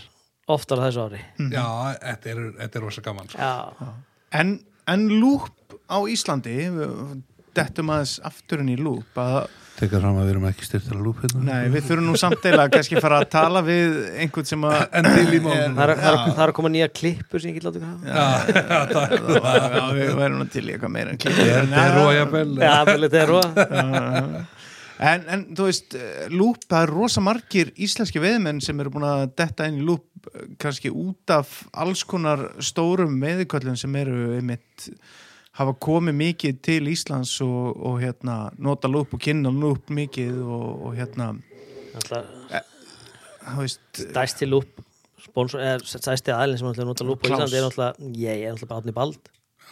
Speaker 4: oftar á þessu ári
Speaker 2: Mhm.
Speaker 3: Já, þetta er, þetta er rosa gaman sko.
Speaker 4: já,
Speaker 2: En, en lúp á Íslandi við dettum aðeins afturinn í lúp að,
Speaker 3: Tekar fram að við erum ekki styrtir að lúp hérna
Speaker 2: nei, við þurfum nú samtila kannski fara að tala við einhvern sem að
Speaker 3: En til í málum
Speaker 4: það er, það, er, það er að koma nýja klippur sem ég get látið að hafa
Speaker 2: Já, við verðum nú til í eitthvað meira en eh, klíkur
Speaker 3: Er þetta rójabel
Speaker 4: já, vel, þetta er róa
Speaker 2: en, en þú veist, eh, lúp, það er rosa margir íslenski veðmenn sem eru búin að detta inn í lúp eh, kannski út af alls konar stórum meðiköllum sem eru einmitt hafa komið mikið til Íslands og, og hérna, nota lúp og kynna lúp mikið og, og hérna, þú veist
Speaker 4: stæsti lúp sponsor, eh, eða stæsti aðlinn sem ætlaði að nota lúp á
Speaker 2: Klaus.
Speaker 4: Íslandi er náttúrulega, ég er náttúrulega bara átni bald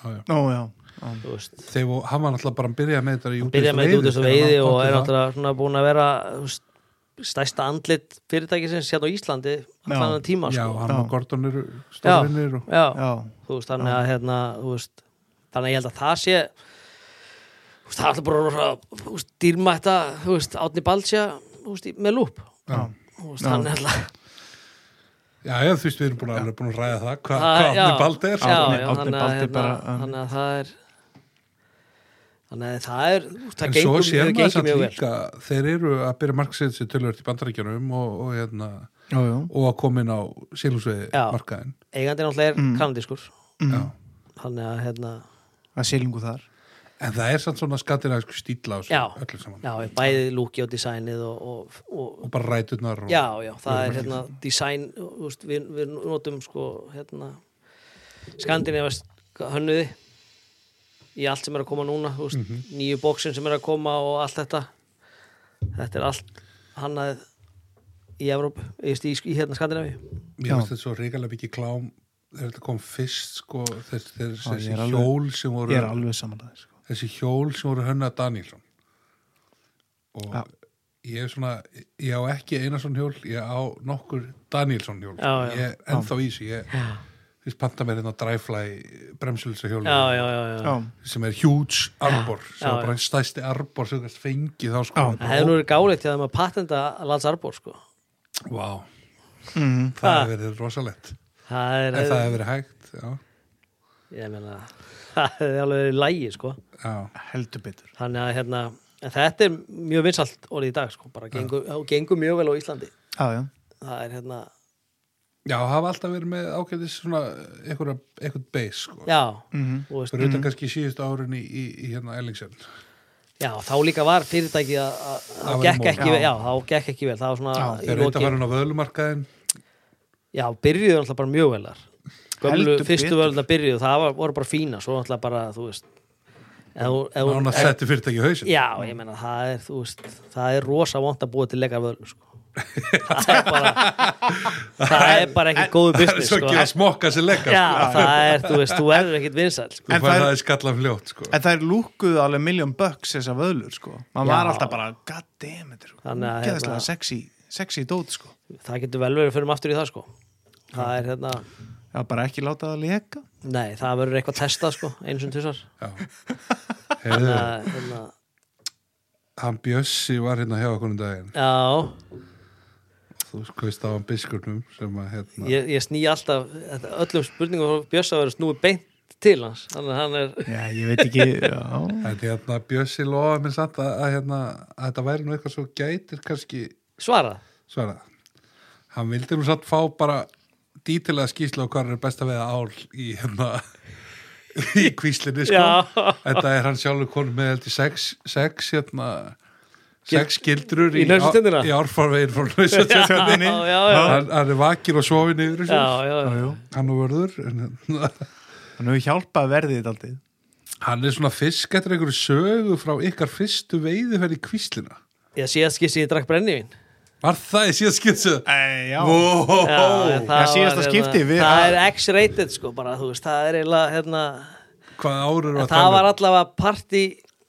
Speaker 2: Ó, já, já.
Speaker 4: þú veist
Speaker 3: Þegar hann var náttúrulega bara að byrja með þetta í
Speaker 4: byrja með þetta út þessu
Speaker 3: þegar hann
Speaker 4: veiði og
Speaker 3: átti
Speaker 4: er
Speaker 3: það.
Speaker 4: náttúrulega svona búin að vera þú veist, stærsta andlit fyrirtækisins hérna á Íslandi allan
Speaker 2: Já.
Speaker 4: að tíma
Speaker 3: já,
Speaker 4: sko.
Speaker 3: hann
Speaker 2: Já.
Speaker 3: og Gordon eru stórinir og
Speaker 4: já,
Speaker 2: já,
Speaker 4: þú veist, þannig að hérna, þú veist, þannig að ég held að það sé þú veist, það er alltaf bara rosa, þú veist, dýrmætta þú veist, Átni Baldsja, þú veist, í- með lúp
Speaker 2: já,
Speaker 4: þú veist,
Speaker 2: Já.
Speaker 4: hann er alltaf
Speaker 3: já, já, þú veist, við erum búin að, alveg búin að ræða það hvað
Speaker 4: Það-
Speaker 3: hva
Speaker 4: já.
Speaker 3: Átni Bald er
Speaker 4: já,
Speaker 2: Árni-
Speaker 4: já,
Speaker 2: Árni
Speaker 4: þannig að,
Speaker 2: Baldi
Speaker 4: hérna,
Speaker 2: bara, um.
Speaker 4: þannig að það er þannig að það er þú veist,
Speaker 3: en
Speaker 4: það
Speaker 3: svo
Speaker 4: gengur,
Speaker 3: sér
Speaker 4: það
Speaker 3: maður
Speaker 4: gengur
Speaker 3: samt
Speaker 4: mjög vel
Speaker 3: líka þeir eru að byrja markasett sér tölvöld í bandarækjanum og, og, hérna,
Speaker 2: já, já.
Speaker 3: og að koma inn á sílhúsveiði
Speaker 4: Já.
Speaker 3: markaðin
Speaker 4: eigandi náttúrulega er
Speaker 2: Mm.
Speaker 4: kanadískur
Speaker 2: Mm,
Speaker 3: Já.
Speaker 4: þannig að hérna,
Speaker 2: að sílingu þar
Speaker 3: en það er samt svona skattinæsku stíla á
Speaker 4: Já.
Speaker 3: sig öllu saman
Speaker 4: já, bæði lúki og designið og, og, og
Speaker 3: og bara ræturnar og,
Speaker 4: Já, já, það er hérna design, þú veist, við, við notum sko hérna skandinavast hönnuði í allt sem er að koma núna þú veist, nýju bóksin sem er að koma og allt þetta þetta er allt hannaðið í Evrópu, í, í, í hérna Skandinavi
Speaker 3: Mér
Speaker 2: Já.
Speaker 3: finnst þetta svo ríkalega mikið klám þegar þetta kom fyrst sko þeir, þeir,
Speaker 2: Já, ég
Speaker 3: þessi
Speaker 2: er alveg-
Speaker 3: hjól sem
Speaker 2: ég
Speaker 3: voru
Speaker 2: er alveg samanlega sko.
Speaker 3: þessi hjól sem voru hönna Danielsson og
Speaker 2: Já.
Speaker 3: ég er svona ég á ekki Einarsson hjól, ég á nokkur Danielsson hjól, sko.
Speaker 4: Já, já.
Speaker 3: ég er ennþá í þessu ég finnst panta mér hérna dræflæ bremsulsa hjól
Speaker 4: Já, já, já, já,
Speaker 2: já,
Speaker 3: sem er huge arbor sem
Speaker 4: Já,
Speaker 3: er bara einn stæsti arbor sem þú gæst fengið þá sko
Speaker 2: Já.
Speaker 4: Það hefði nú verið gálegt þegar maður patenda landsarbor sko
Speaker 3: wow.
Speaker 2: mm,
Speaker 3: það hefur verið rosalegt
Speaker 4: Það er,
Speaker 3: en það hefur verið hægt já,
Speaker 4: ég meina það hefði alveg verið lægi sko
Speaker 3: já.
Speaker 2: heldur betur
Speaker 4: þannig að hérna en þetta er mjög vinsalt orðið í dag sko, bara gengur, og gengur mjög vel á Íslandi
Speaker 2: já, já,
Speaker 4: það er hérna,
Speaker 3: Já, hafa alltaf verið með ágætis svona einhverja, einhvern beis sko.
Speaker 4: já mm.
Speaker 2: Mhm.
Speaker 4: þú veist,
Speaker 3: Fyrir auðvitað kannski síðust árin í, í, í hérna Ellingsen.
Speaker 4: já, þá líka var fyrirtækið að-
Speaker 3: var
Speaker 4: að þá gekk
Speaker 3: í
Speaker 4: ekki
Speaker 2: mók.
Speaker 4: vel, já, þá gekk ekki vel það var svona,
Speaker 2: Já,
Speaker 4: í
Speaker 3: Þeir reynda
Speaker 4: lokin-
Speaker 3: að fara hann á vöðlumarkaðin.
Speaker 4: já, byrjuðu alltaf bara mjög velar gömlu
Speaker 2: Heldur
Speaker 4: fyrstu
Speaker 2: betur.
Speaker 4: völdna byrjuðu, það var, voru bara fína svo alltaf bara, þú veist eð, eð,
Speaker 3: Nána setti fyrirtæki í hausin.
Speaker 4: já, ég meina, það er, þú veist það er rosa vont að búa til leikar völd sko. það er bara það er bara ekki góðu
Speaker 3: Það er
Speaker 4: business
Speaker 3: svo
Speaker 4: sko.
Speaker 3: ekki að smokka sér leggast.
Speaker 4: Já, það er, þú veist, þú erður ekkit vinsæl sko.
Speaker 3: Þú
Speaker 2: En
Speaker 3: fær
Speaker 2: það er-
Speaker 3: það í skallan fljótt sko.
Speaker 2: en það er lúkuð alveg miljón bucks þessar vöðlur sko, maður
Speaker 4: Já.
Speaker 2: var alltaf bara god damn, þetta er
Speaker 4: Þannig að,
Speaker 2: úgeðslega
Speaker 4: hérna-
Speaker 2: sexy, sexy dót sko
Speaker 4: Það getur vel verið að fyrir aftur í það sko. Það er hérna
Speaker 2: já, bara ekki láta það leka
Speaker 4: Nei, það verður eitthvað testað sko, eins og tvisar
Speaker 3: Já. Heyrðu,
Speaker 4: Það, hérna,
Speaker 3: hann Bjössi var hérna hjá okkur um daginn.
Speaker 4: Já,
Speaker 3: Þú veist á hann biskurnum sem að hérna.
Speaker 4: ég, ég sný alltaf þetta- öllum spurningum frá Bjössa verður snúið beint til hans Þannig að hann er
Speaker 2: já, ég veit ekki, já
Speaker 3: En hérna Bjössi lofaði mér samt að, að, hérna, að þetta væri nú eitthvað svo gætir kannski
Speaker 4: svarað
Speaker 3: Svara, hann vildi nú satt fá bara dítilega skýsla á hvað er best að veða ál í hérna í kvíslinni sko.
Speaker 4: Já.
Speaker 3: Þetta er hann sjálfur konum með held í sex, sex hérna sex gildrur
Speaker 4: í nausastundina?
Speaker 3: í árfarvegin frá nöðsutjöndinni
Speaker 4: Já, já, já.
Speaker 3: hann, hann er vakir og sofin yfir
Speaker 4: Já,
Speaker 3: þessu
Speaker 4: já, já,
Speaker 3: hann og vörður en, hérna,
Speaker 2: hann hefur hjálpað verðið þetta aldrei
Speaker 3: hann er svona fisk eftir einhverju sögu frá ykkar fyrstu veiði fyrir kvíslina
Speaker 4: Ég sé að skissi ég drakk brennivín
Speaker 3: var það í síðan skýrtsu?
Speaker 2: Æ, já,
Speaker 3: Wow.
Speaker 4: Já, það
Speaker 2: Já, síðasta
Speaker 4: var, hérna,
Speaker 2: skipti, við-
Speaker 4: Það er X-rated sko, bara, þú veist, það er eiginlega hérna,
Speaker 3: hvað ára eru
Speaker 4: En
Speaker 3: að
Speaker 4: það var
Speaker 3: um?
Speaker 4: allavega party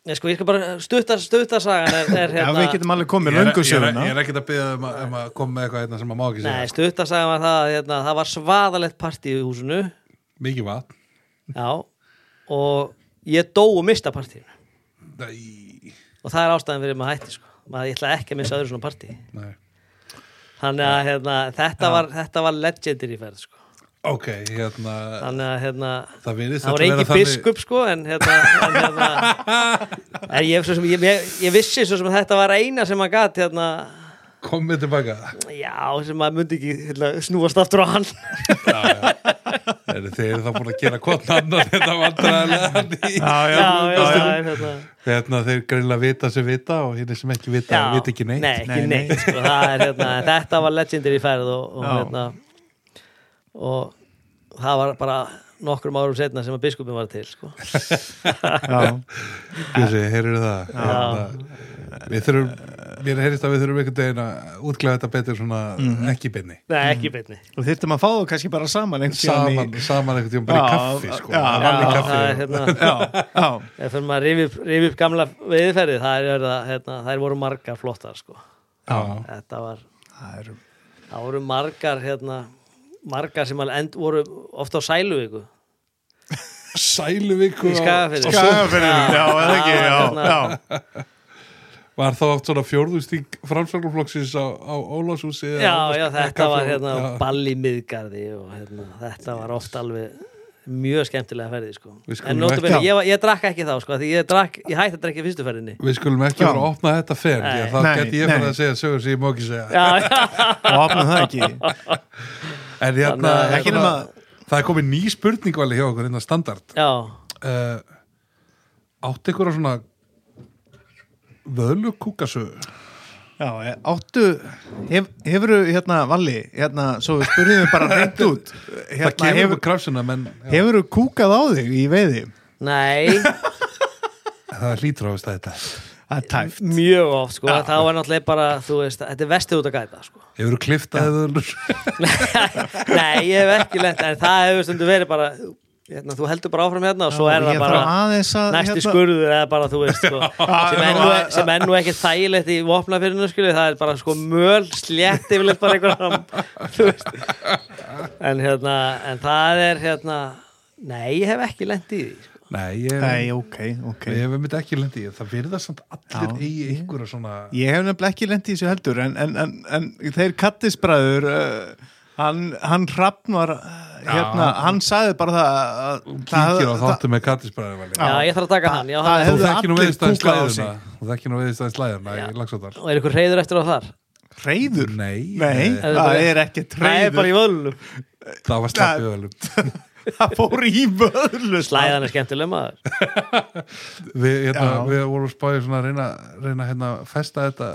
Speaker 4: Nei, sko, ég skal bara stutta, stutta sagan er, er
Speaker 2: já,
Speaker 4: hérna,
Speaker 2: við getum alveg komið
Speaker 3: Ég er-
Speaker 2: löngu
Speaker 3: ég er-
Speaker 2: söguna
Speaker 3: Ég er ekkert að byggja um, að- um að koma með eitthvað einna sem að má ekki
Speaker 4: Nei, sko.
Speaker 3: segja. sko.
Speaker 4: stutta sagan var það að, hérna, það var svaðalegt partí í húsinu
Speaker 3: Mikið vatn.
Speaker 4: Já Og ég dó og mista partíinu
Speaker 3: Nei.
Speaker 4: Og það er ástæðan fyrir maður hætti sko maður, Ég ætla ekki að missa öðru svona partí
Speaker 3: Nei.
Speaker 4: Þannig að hérna, þetta, var, þetta var legendary ferð sko
Speaker 3: Ok, hérna,
Speaker 4: Þannig að hérna
Speaker 3: það virðist
Speaker 4: Það var
Speaker 3: þetta vera
Speaker 4: engin
Speaker 3: þannig-
Speaker 4: biskup sko en hérna, en, hérna en ég, svo sem, ég, ég, ég vissi svo sem að þetta var eina sem maður gat hérna,
Speaker 3: Komið tilbaka.
Speaker 4: Já, sem maður myndi ekki hérna, snúast aftur á hann
Speaker 3: Eru Þeir eru þá búin að gera hvort annan þetta vandræðilega.
Speaker 2: já,
Speaker 4: Já, já, já, já, hérna.
Speaker 3: Hérna, þeir greinlega vita sem vita og hinn sem ekki vita,
Speaker 4: já
Speaker 3: vita ekki neitt.
Speaker 4: Nei, ekki
Speaker 2: Nei, nei.
Speaker 4: neitt, Sko, það er, hérna, Þetta var legendary ferð og, og,
Speaker 2: Já.
Speaker 4: hérna, og það var bara nokkrum árum setna sem að biskupin var til sko.
Speaker 2: já.
Speaker 3: Þessi, heyrðu það. Hérna, við þurfum, mér heyrist að við þurfum einhvern veginn að útklæða þetta betur svona
Speaker 2: Mhm.
Speaker 3: ekki binni.
Speaker 4: Nei, ekki beinni
Speaker 2: og þyrftum að fá þú kannski bara saman einhvern tímann
Speaker 3: Saman, saman einhvern tíma bara í
Speaker 2: Já,
Speaker 3: kaffi, sko.
Speaker 2: já.
Speaker 3: Það var í kaffi.
Speaker 4: það er hérna
Speaker 2: í, já, já,
Speaker 4: Ef fyrir maður rifi upp, rifi upp gamla veiðferði það, er, hérna, hérna, það voru margar flottar sko.
Speaker 3: Já.
Speaker 4: þetta var
Speaker 2: það eru
Speaker 4: það voru margar hérna, margar sem alveg end voru ofta á sæluvíku
Speaker 3: Sæluvíku
Speaker 4: í
Speaker 3: á-
Speaker 4: Skagafyrði
Speaker 2: Skagafirðinum, já, eða ekki, já,
Speaker 4: Hérna-
Speaker 2: já.
Speaker 3: Var þá oft svona fjórðustík framsvörnumflokksins á, á Ólásúsi
Speaker 4: já, já, þetta var hérna ball í miðgarði og hérna, þetta var oft alveg mjög skemmtilega ferði sko.
Speaker 3: Við skulum
Speaker 4: en nóttu verið,
Speaker 2: ekki-
Speaker 4: ég, var- ég drakk ekki þá sko, því ég, drakk, ég hætti að drakka í fyrstu ferðinni
Speaker 3: Við skulum ekki
Speaker 2: Já.
Speaker 3: vera að opna þetta fyrr
Speaker 4: Nei.
Speaker 3: þá
Speaker 2: Nei,
Speaker 3: geti ég fyrir
Speaker 2: nei.
Speaker 3: að segja sögur sem ég má ekki segja
Speaker 4: já, já,
Speaker 2: og opnum það ekki
Speaker 3: En hérna,
Speaker 4: Þannig að-
Speaker 2: Ekki nema-
Speaker 3: það er komið ný spurningvali hjá okkur innan standard
Speaker 4: já.
Speaker 3: uh, Átti ykkur á svona völu kúkasögu
Speaker 2: Já, eh, áttu, hef, hefuru hérna Valli, hérna, svo við spurðum við bara reynd út,
Speaker 3: Það
Speaker 2: hérna,
Speaker 3: kemur
Speaker 2: hefur,
Speaker 3: upp krafsina menn já,
Speaker 2: hefuru kúkað á þig í veiði?
Speaker 4: nei
Speaker 3: það hlýtur á þess að þetta
Speaker 2: Það er tæft.
Speaker 4: mjög oft sko, þá er náttúrulega bara þú veist, þetta er vestið út að gæta sko.
Speaker 3: Hefur þú kliftað völur
Speaker 4: Nei, ég hef ekki lent en það hefur stundum verið bara hérna, þú heldur bara áfram hérna og svo er það
Speaker 2: Ég þarf
Speaker 4: bara
Speaker 2: aðeins að, hérna-
Speaker 4: næsti skurður eða bara þú veist sko, sem, enn og, sem enn og ekki þægilegt í vopnafyrinu skilju, það er bara sko möl slétt yfirleitt bara einhverjum þú veist en, hérna, en það er hérna nei, ég hef ekki lent í því sko.
Speaker 3: Nei, ég
Speaker 2: Nei, ok, ok.
Speaker 3: Ég hef einmitt ekki lendi í því. það virða samt allir
Speaker 2: Já.
Speaker 3: eigi ykkur svona
Speaker 2: Ég hef nefnilega ekki lendið í þessu heldur en, en, en, en þeir kattisbræður uh, hann, hann hrafn var uh, hérna,
Speaker 3: hann-
Speaker 2: hann sagði bara það að-
Speaker 3: kíkir á
Speaker 2: það-
Speaker 3: þáttu með kattisbræðin
Speaker 4: Já, ég þarf að taka hann, já,
Speaker 2: það
Speaker 3: Þú
Speaker 4: hann-
Speaker 2: hefðu
Speaker 3: þekkir nú
Speaker 2: allir
Speaker 3: veðistæðin
Speaker 2: kúkað á
Speaker 3: slæðina Þú þekkir nú veðistæðin slæðina í lagsóttar
Speaker 4: og er ykkur reyður eftir á þar
Speaker 2: það reyður
Speaker 3: Nei,
Speaker 2: Nei,
Speaker 3: eh,
Speaker 2: það er ekkert
Speaker 4: það er bara í
Speaker 2: reyður
Speaker 4: vöðlunum
Speaker 3: það var slappið ölum
Speaker 2: það fór í vöðlu
Speaker 4: slæðan er skemmtileg maður
Speaker 3: við, hérna,
Speaker 2: Já.
Speaker 3: við vorum spáðið svona að reyna, reyna hérna, festa þetta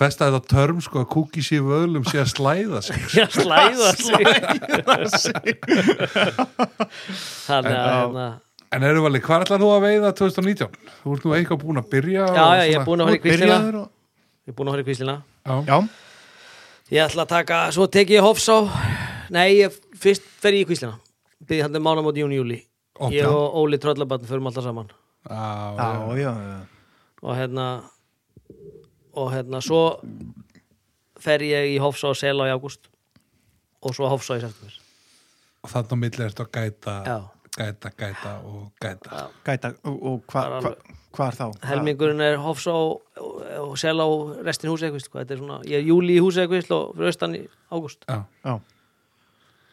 Speaker 3: festa þetta törm sko að kúki sér völum sé að slæða sig
Speaker 4: já, slæða sig þannig að
Speaker 2: En-
Speaker 4: hérna
Speaker 3: en eru valið, hvað ætlar þú að veiða 2019? Þú ert nú eitthvað búin að byrja
Speaker 4: Já, já, ég er búin að fara í kvíslina
Speaker 2: Byrjaður og-
Speaker 4: Ég er búin að fara í kvíslina
Speaker 3: að
Speaker 2: Já,
Speaker 4: Ég ætla að taka, svo tek ég hofs á Nei, ég, fyrst fer ég í kvíslina Byrði hann til mánamót júni júli
Speaker 3: Ó,
Speaker 4: Ég
Speaker 3: já.
Speaker 4: og Óli Tröllabatn förum alltaf saman
Speaker 2: já,
Speaker 3: já,
Speaker 2: já,
Speaker 4: Og hérna Og hérna, svo fer ég í hofs á Sela í ágúst Og svo hofs á í september
Speaker 3: þannig á milli ertu að gæta
Speaker 4: Já.
Speaker 3: gæta, gæta og gæta
Speaker 4: Já.
Speaker 2: gæta og, og hvað hva, hva er þá?
Speaker 4: Helmingurinn er hofs á og Sela og restin húsækvist Þetta er svona, ég er júli í húsækvist og fyrir austan í ágúst
Speaker 3: Já.
Speaker 2: Já,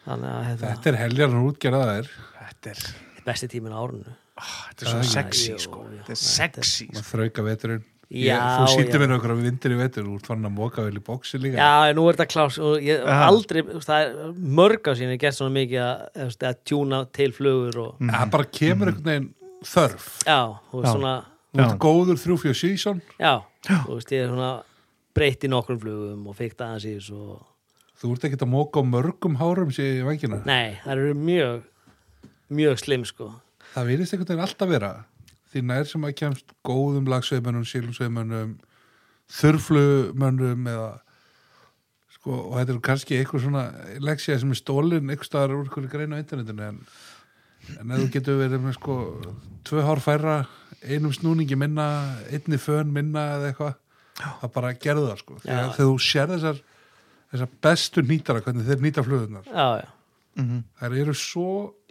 Speaker 4: Þannig að hérna,
Speaker 3: þetta er heljarnar útgerða það er
Speaker 2: þetta er, ah,
Speaker 4: besti tíminn á árunnu
Speaker 2: þetta er svo sexy
Speaker 4: já,
Speaker 2: sko
Speaker 4: já.
Speaker 2: Þetta er sexy sko.
Speaker 3: maður þrauka veturinn
Speaker 4: Já,
Speaker 3: ég, þú
Speaker 4: já.
Speaker 3: sýttir mér okkur að vindir í vetur þú ert fann að móka vel í bóksi líka
Speaker 4: Já, en nú er þetta klás og ég
Speaker 2: Já.
Speaker 4: aldrei, þú veist, það er mörg á síðan ég hef gert svona mikið að, þú veist, að tjúna til flugur og
Speaker 3: það bara kemur einhvern veginn þörf
Speaker 4: Mm. já, þú veist
Speaker 2: Já.
Speaker 4: svona
Speaker 3: þú ert góður 3-4 season
Speaker 4: já, þú veist, ég er svona breytt í nokkrum flugum og feikt aðeins í þessu og
Speaker 3: þú ert ekkert að móka á mörgum hárum sé í vangina
Speaker 4: nei, það eru mjög mjög slim sko
Speaker 3: það virðist einhvern veginn alltaf vera því nær sem að kemst góðum lagsveimönnum sílumsveimönnum þurflumönnum eða sko, og þetta er kannski einhver svona leksja sem er stólin einhver staðar úr einhverju grein á internetinu en, en ef þú getur verið með sko tvö hár færra, einum snúningi minna einni fön minna eða eitthvað það bara gerðu það sko
Speaker 4: Já.
Speaker 3: þegar, þegar þú sér þessar, þessar bestu nýtara hvernig þeir nýta flugunar
Speaker 4: já, já,
Speaker 3: þær eru svo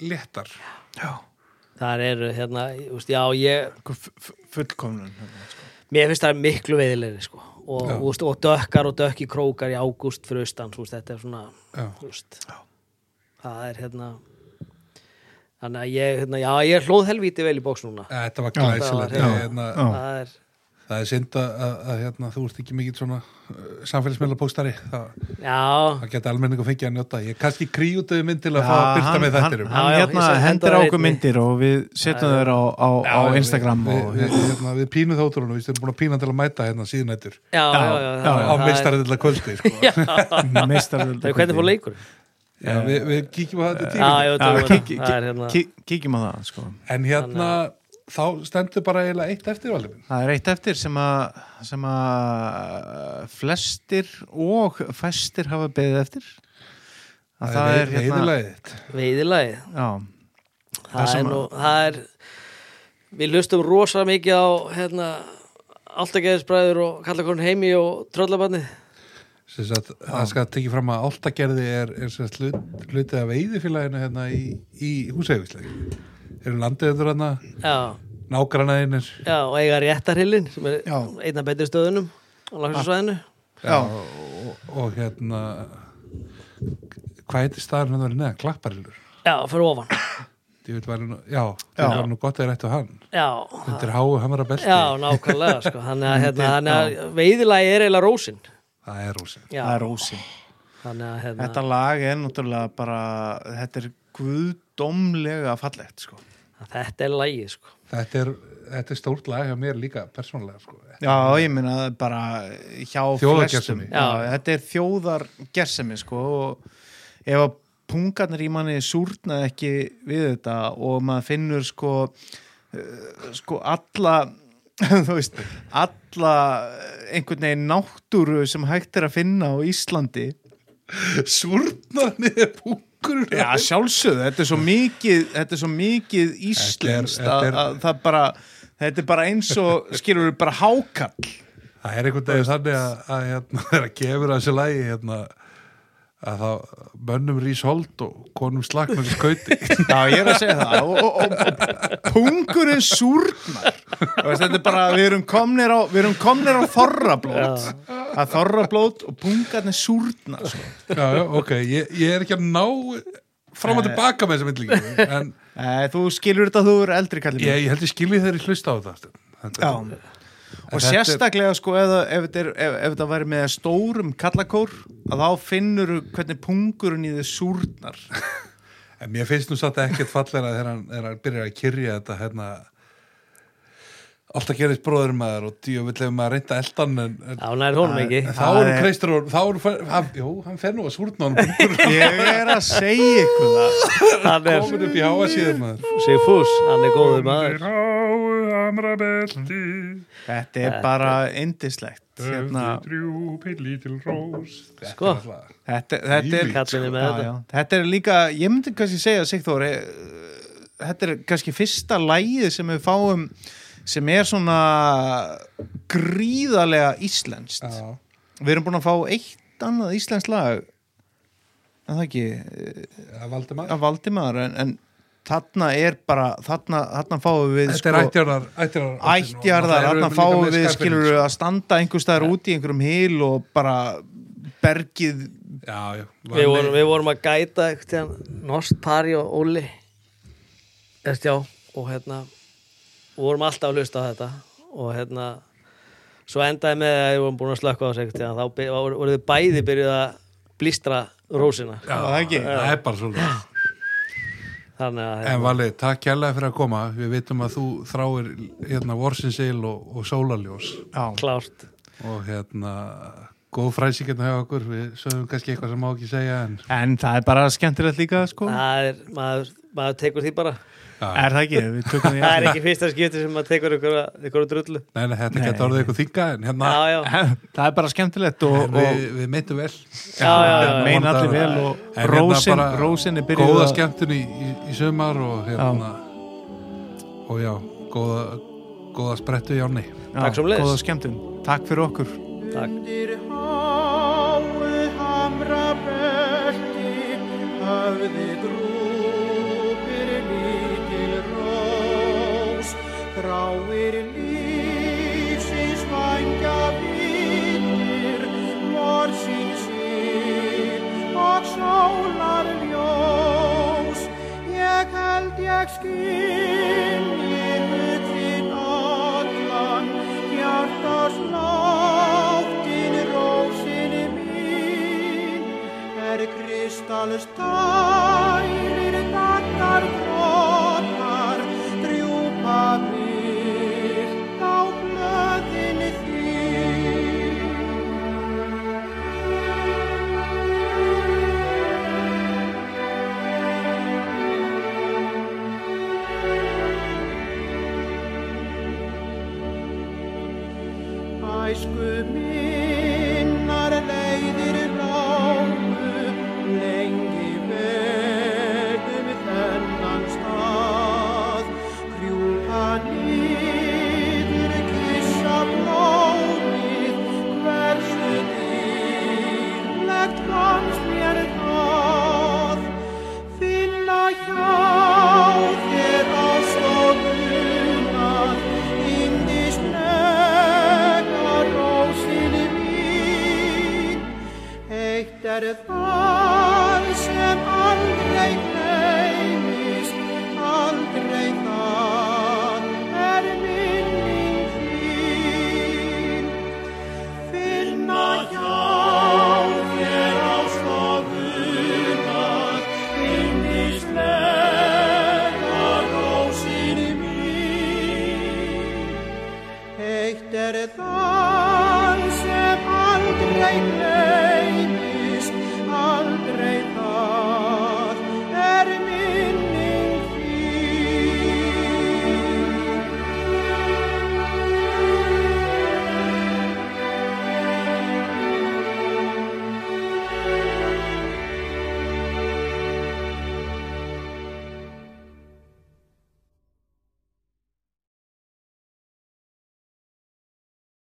Speaker 3: léttar
Speaker 2: Mhm. Já,
Speaker 4: það eru hérna, þú veist, já, ég
Speaker 2: einhver fu- fu- fullkomnun sko.
Speaker 4: mér finnst það miklu veiðilegri sko og,
Speaker 3: Já.
Speaker 4: þú veist, og dökkar og dökki krókar í ágúst fyrir austan, þú veist, þetta er svona
Speaker 3: Já.
Speaker 4: þú veist það er hérna þannig að ég, hérna, já, ég er hlóð helvíti vel í bóks núna
Speaker 3: Ja, Þetta var
Speaker 4: það var
Speaker 3: glæsilegt.
Speaker 4: hérna-
Speaker 3: Ég, hérna,
Speaker 4: það er,
Speaker 3: það er synd að, að, að hérna, þú ert ekki mikill svona uh, samfélagsmiðla póstari. Það,
Speaker 4: já,
Speaker 3: það geta almenningu fengið að njóta. Ég kannski kríutuði mynd til að fá að
Speaker 2: Já,
Speaker 3: byrta með
Speaker 2: hann,
Speaker 3: þættirum.
Speaker 2: hann
Speaker 4: Já, já,
Speaker 2: hérna
Speaker 4: ég
Speaker 2: hendur
Speaker 4: segi
Speaker 2: á
Speaker 4: hendur á
Speaker 2: okkur
Speaker 4: einni.
Speaker 2: myndir og við setjum þeir á, á, á Instagram
Speaker 3: Við,
Speaker 2: og,
Speaker 3: við, hérna, við pínum það útrúinu, við erum búin að pína til að mæta hérna síðan eittur.
Speaker 4: já, já, já, já,
Speaker 2: já,
Speaker 3: Á
Speaker 4: það er-
Speaker 3: meistarið til að kvöldi, sko. já,
Speaker 2: meistarvöld
Speaker 4: Það er hvernig fór leikur
Speaker 3: við, við kíkjum á þetta
Speaker 4: Já,
Speaker 3: tíma.
Speaker 4: já,
Speaker 2: Já,
Speaker 4: það
Speaker 2: kík-
Speaker 4: er hérna
Speaker 2: kík- kíkjum á það sko.
Speaker 3: En hérna, þá stendur bara eiginlega eitt eftir valið.
Speaker 2: það er eitt eftir sem að sem að eh, flestir og fæstir hafa beðið eftir að það er hérna
Speaker 3: heiðilegið.
Speaker 4: veiðilagið
Speaker 2: já,
Speaker 4: Það er nú, það er Við hlustum rosa mikið á hérna alltaf geðisbræður og kalla konur heimi og tröllabarni
Speaker 3: Sem sagt, það skal tekið fram að áltagerði er, er sem sagt, hlut, hluti af veiðifélaginu hérna í, í húsæfislega. Eru landeður hana,
Speaker 4: já,
Speaker 3: nágrannaðinir,
Speaker 4: já, og eiga réttarhillin sem er
Speaker 2: Já.
Speaker 4: einna betri stöðunum á lagsvæðinu
Speaker 2: Já.
Speaker 3: og, og hérna, hvað heitir staðan hann verið neða? Klapparilur.
Speaker 4: já, fyrir ofan
Speaker 3: Ég vil vera nú, já, það var nú gott að rættu hann.
Speaker 4: já,
Speaker 3: Undir háu hamra belti.
Speaker 4: já, nákvæmlega sko. þannig að, hérna, þannig að veiðilagi er eiginlega rósin
Speaker 3: Það er rúsin.
Speaker 4: já,
Speaker 2: það er ósinn
Speaker 4: þannig að hérna,
Speaker 2: Þetta lag er náttúrulega bara þetta er guðdómlega fallegt sko.
Speaker 4: þetta er lagi sko.
Speaker 3: Þetta er, þetta er stórt lag hjá mér líka persónulega, sko.
Speaker 2: Já, ég meina bara hjá
Speaker 3: Þjóðargersemi.
Speaker 2: flestum Já, Þetta er þjóðar gersemi sko, og ef að pungarnir í manni súrna ekki við þetta og maður finnur sko, eh, sko alla þú veist, alla einhvern veginn náttúru sem hægt er að finna á Íslandi
Speaker 3: Súrnarni er punkur.
Speaker 2: Já, sjálfsögðu, þetta er svo mikið þetta er svo mikið íslenskt
Speaker 3: Þetta
Speaker 2: að,
Speaker 3: er- þetta er-
Speaker 2: að það bara þetta er bara eins og, skilur við, bara hákall
Speaker 3: Það er einhvern veginn þannig að, að hérna, þegar kemur að þessu lagi hérna, að þá mönnum rís hold og konum slaknum í skauti.
Speaker 2: Já, ég er að segja það og, og, og, og pungurinn súrnar Þú veist, þetta er bara, við erum komnir á við erum komnir á þorrablót að þorrablót og pungarnir súrnar sko.
Speaker 3: já, já, ok, ég, ég er ekki að ná fram og tilbaka með þessa myndlingu, en
Speaker 2: Eh, Þú skilur þetta að þú eru eldri kallið
Speaker 3: ég, ég held ég skilji þeirri hlusta á þetta. þetta
Speaker 2: Já. Og
Speaker 3: þetta er-
Speaker 2: sérstaklega sko ef, það- ef, þetta er, ef, ef þetta væri með stórum kallakór að þá finnur hvernig pungurinn í þið súrnar
Speaker 3: En mér finnst nú satt ekkert fallera þegar hann, þegar hann byrjar að kyrja þetta hérna alltaf gerist bróður maður og djöfull hefur maður reynda eldan en, en
Speaker 4: já, nær honum ekki
Speaker 3: þá
Speaker 2: það
Speaker 3: eru
Speaker 2: er-
Speaker 3: kreistur og þá eru fer- hann- jú, hann fer nú að súrna hann
Speaker 2: Ég er að segja ykkur það
Speaker 4: hann er
Speaker 3: komin upp í háa síðan maður
Speaker 4: Sigfús, hann er góður maður
Speaker 1: Háu hamra belti,
Speaker 2: Þetta er bara indislegt hérna,
Speaker 1: drjúpi lítil rós.
Speaker 4: Sko.
Speaker 3: Þetta er alltaf-
Speaker 2: þetta, þetta, er,
Speaker 3: Þvílíkt, sko.
Speaker 4: Kallinn er með
Speaker 2: já,
Speaker 4: þetta.
Speaker 2: já, þetta er líka ég myndi kannski segja Sigþór eh, þetta er kannski fyrsta lægið sem við fáum sem er svona gríðarlega íslenskt
Speaker 3: Já.
Speaker 2: Við erum búin að fá eitt annað íslensk lag en það ekki eh,
Speaker 3: Það er Valdimar
Speaker 2: af Valdimar en, en þarna er bara þarna, þarna fáum við
Speaker 3: Þetta er ættjarðar ættjarðar-
Speaker 2: sko, ættjarðar
Speaker 3: Og það eru
Speaker 2: þarna
Speaker 3: líka
Speaker 2: fáum
Speaker 3: með
Speaker 2: við
Speaker 3: skarpir-
Speaker 2: skilur við að standa einhver staðar úti í einhverjum hil og bara bergið
Speaker 3: Já, já
Speaker 4: Við vorum, við vorum að gæta eitthvað, Nost, Pari og Óli Eftir já og hérna og vorum alltaf að hlusta á þetta og hérna svo endaði með að við vorum búin að slökka á þessu eitthvað þá by- voru- voru þið bæði byrjuð að blístra rósina
Speaker 3: Já,
Speaker 2: það er ekki.
Speaker 3: Það er bara svolítið
Speaker 4: þannig að
Speaker 3: En
Speaker 4: hérna,
Speaker 3: Vali, takk kærlega fyrir að koma Við vitum að þú þráir hérna vorsinsil og, og sólarljós
Speaker 2: já,
Speaker 4: hérna, klárt
Speaker 3: og hérna góð fræsingirna hjá okkur við sögum kannski eitthvað sem má ekki segja en
Speaker 2: en það er bara skemmtilegt líka sko
Speaker 4: það er, maður, maður tekur því bara
Speaker 2: er það ekki, við tökum því
Speaker 4: það er
Speaker 2: að
Speaker 4: ekki fyrsta skipti sem maður tekur ykkur, ykkur drullu
Speaker 3: nei, nei, þetta getur orðið eitthvað þinga en hérna
Speaker 4: já, já,
Speaker 2: það er bara skemmtilegt og,
Speaker 3: en
Speaker 2: og
Speaker 3: við, við meitum vel
Speaker 4: já, já, já.
Speaker 2: meina allir vel
Speaker 3: En
Speaker 2: og
Speaker 3: hérna
Speaker 2: rósin,
Speaker 3: bara
Speaker 2: rósin er byrjuð
Speaker 3: góða
Speaker 2: að-
Speaker 3: skemmtun í, í, í sömar og hérna og já, góða, góða sprettu í áni
Speaker 2: Já,
Speaker 4: Takk sömuleiðis.
Speaker 2: Góða skemmtun. Takk fyrir okkur.
Speaker 4: takk
Speaker 5: Undir háu hamra belti höfði drúpir lítil rós, gráir lífsins vanga vittir, vorsinn sín og sólar ljós. Ég held ég skilji hugsin allan, hjartast láttin rósin mín er kristalstærir gattar brotar drjúpa byrkt á blöðin þín Æsku minnar leiðir lágu lengi vegum þennan stað. Krjúpa nýður kissa blóð er það sem aldrei gleymist, aldrei það er minning þín. Finna hjá þér á stofunar, yndislega rósin mín. Eitt er það sem aldrei gleymist er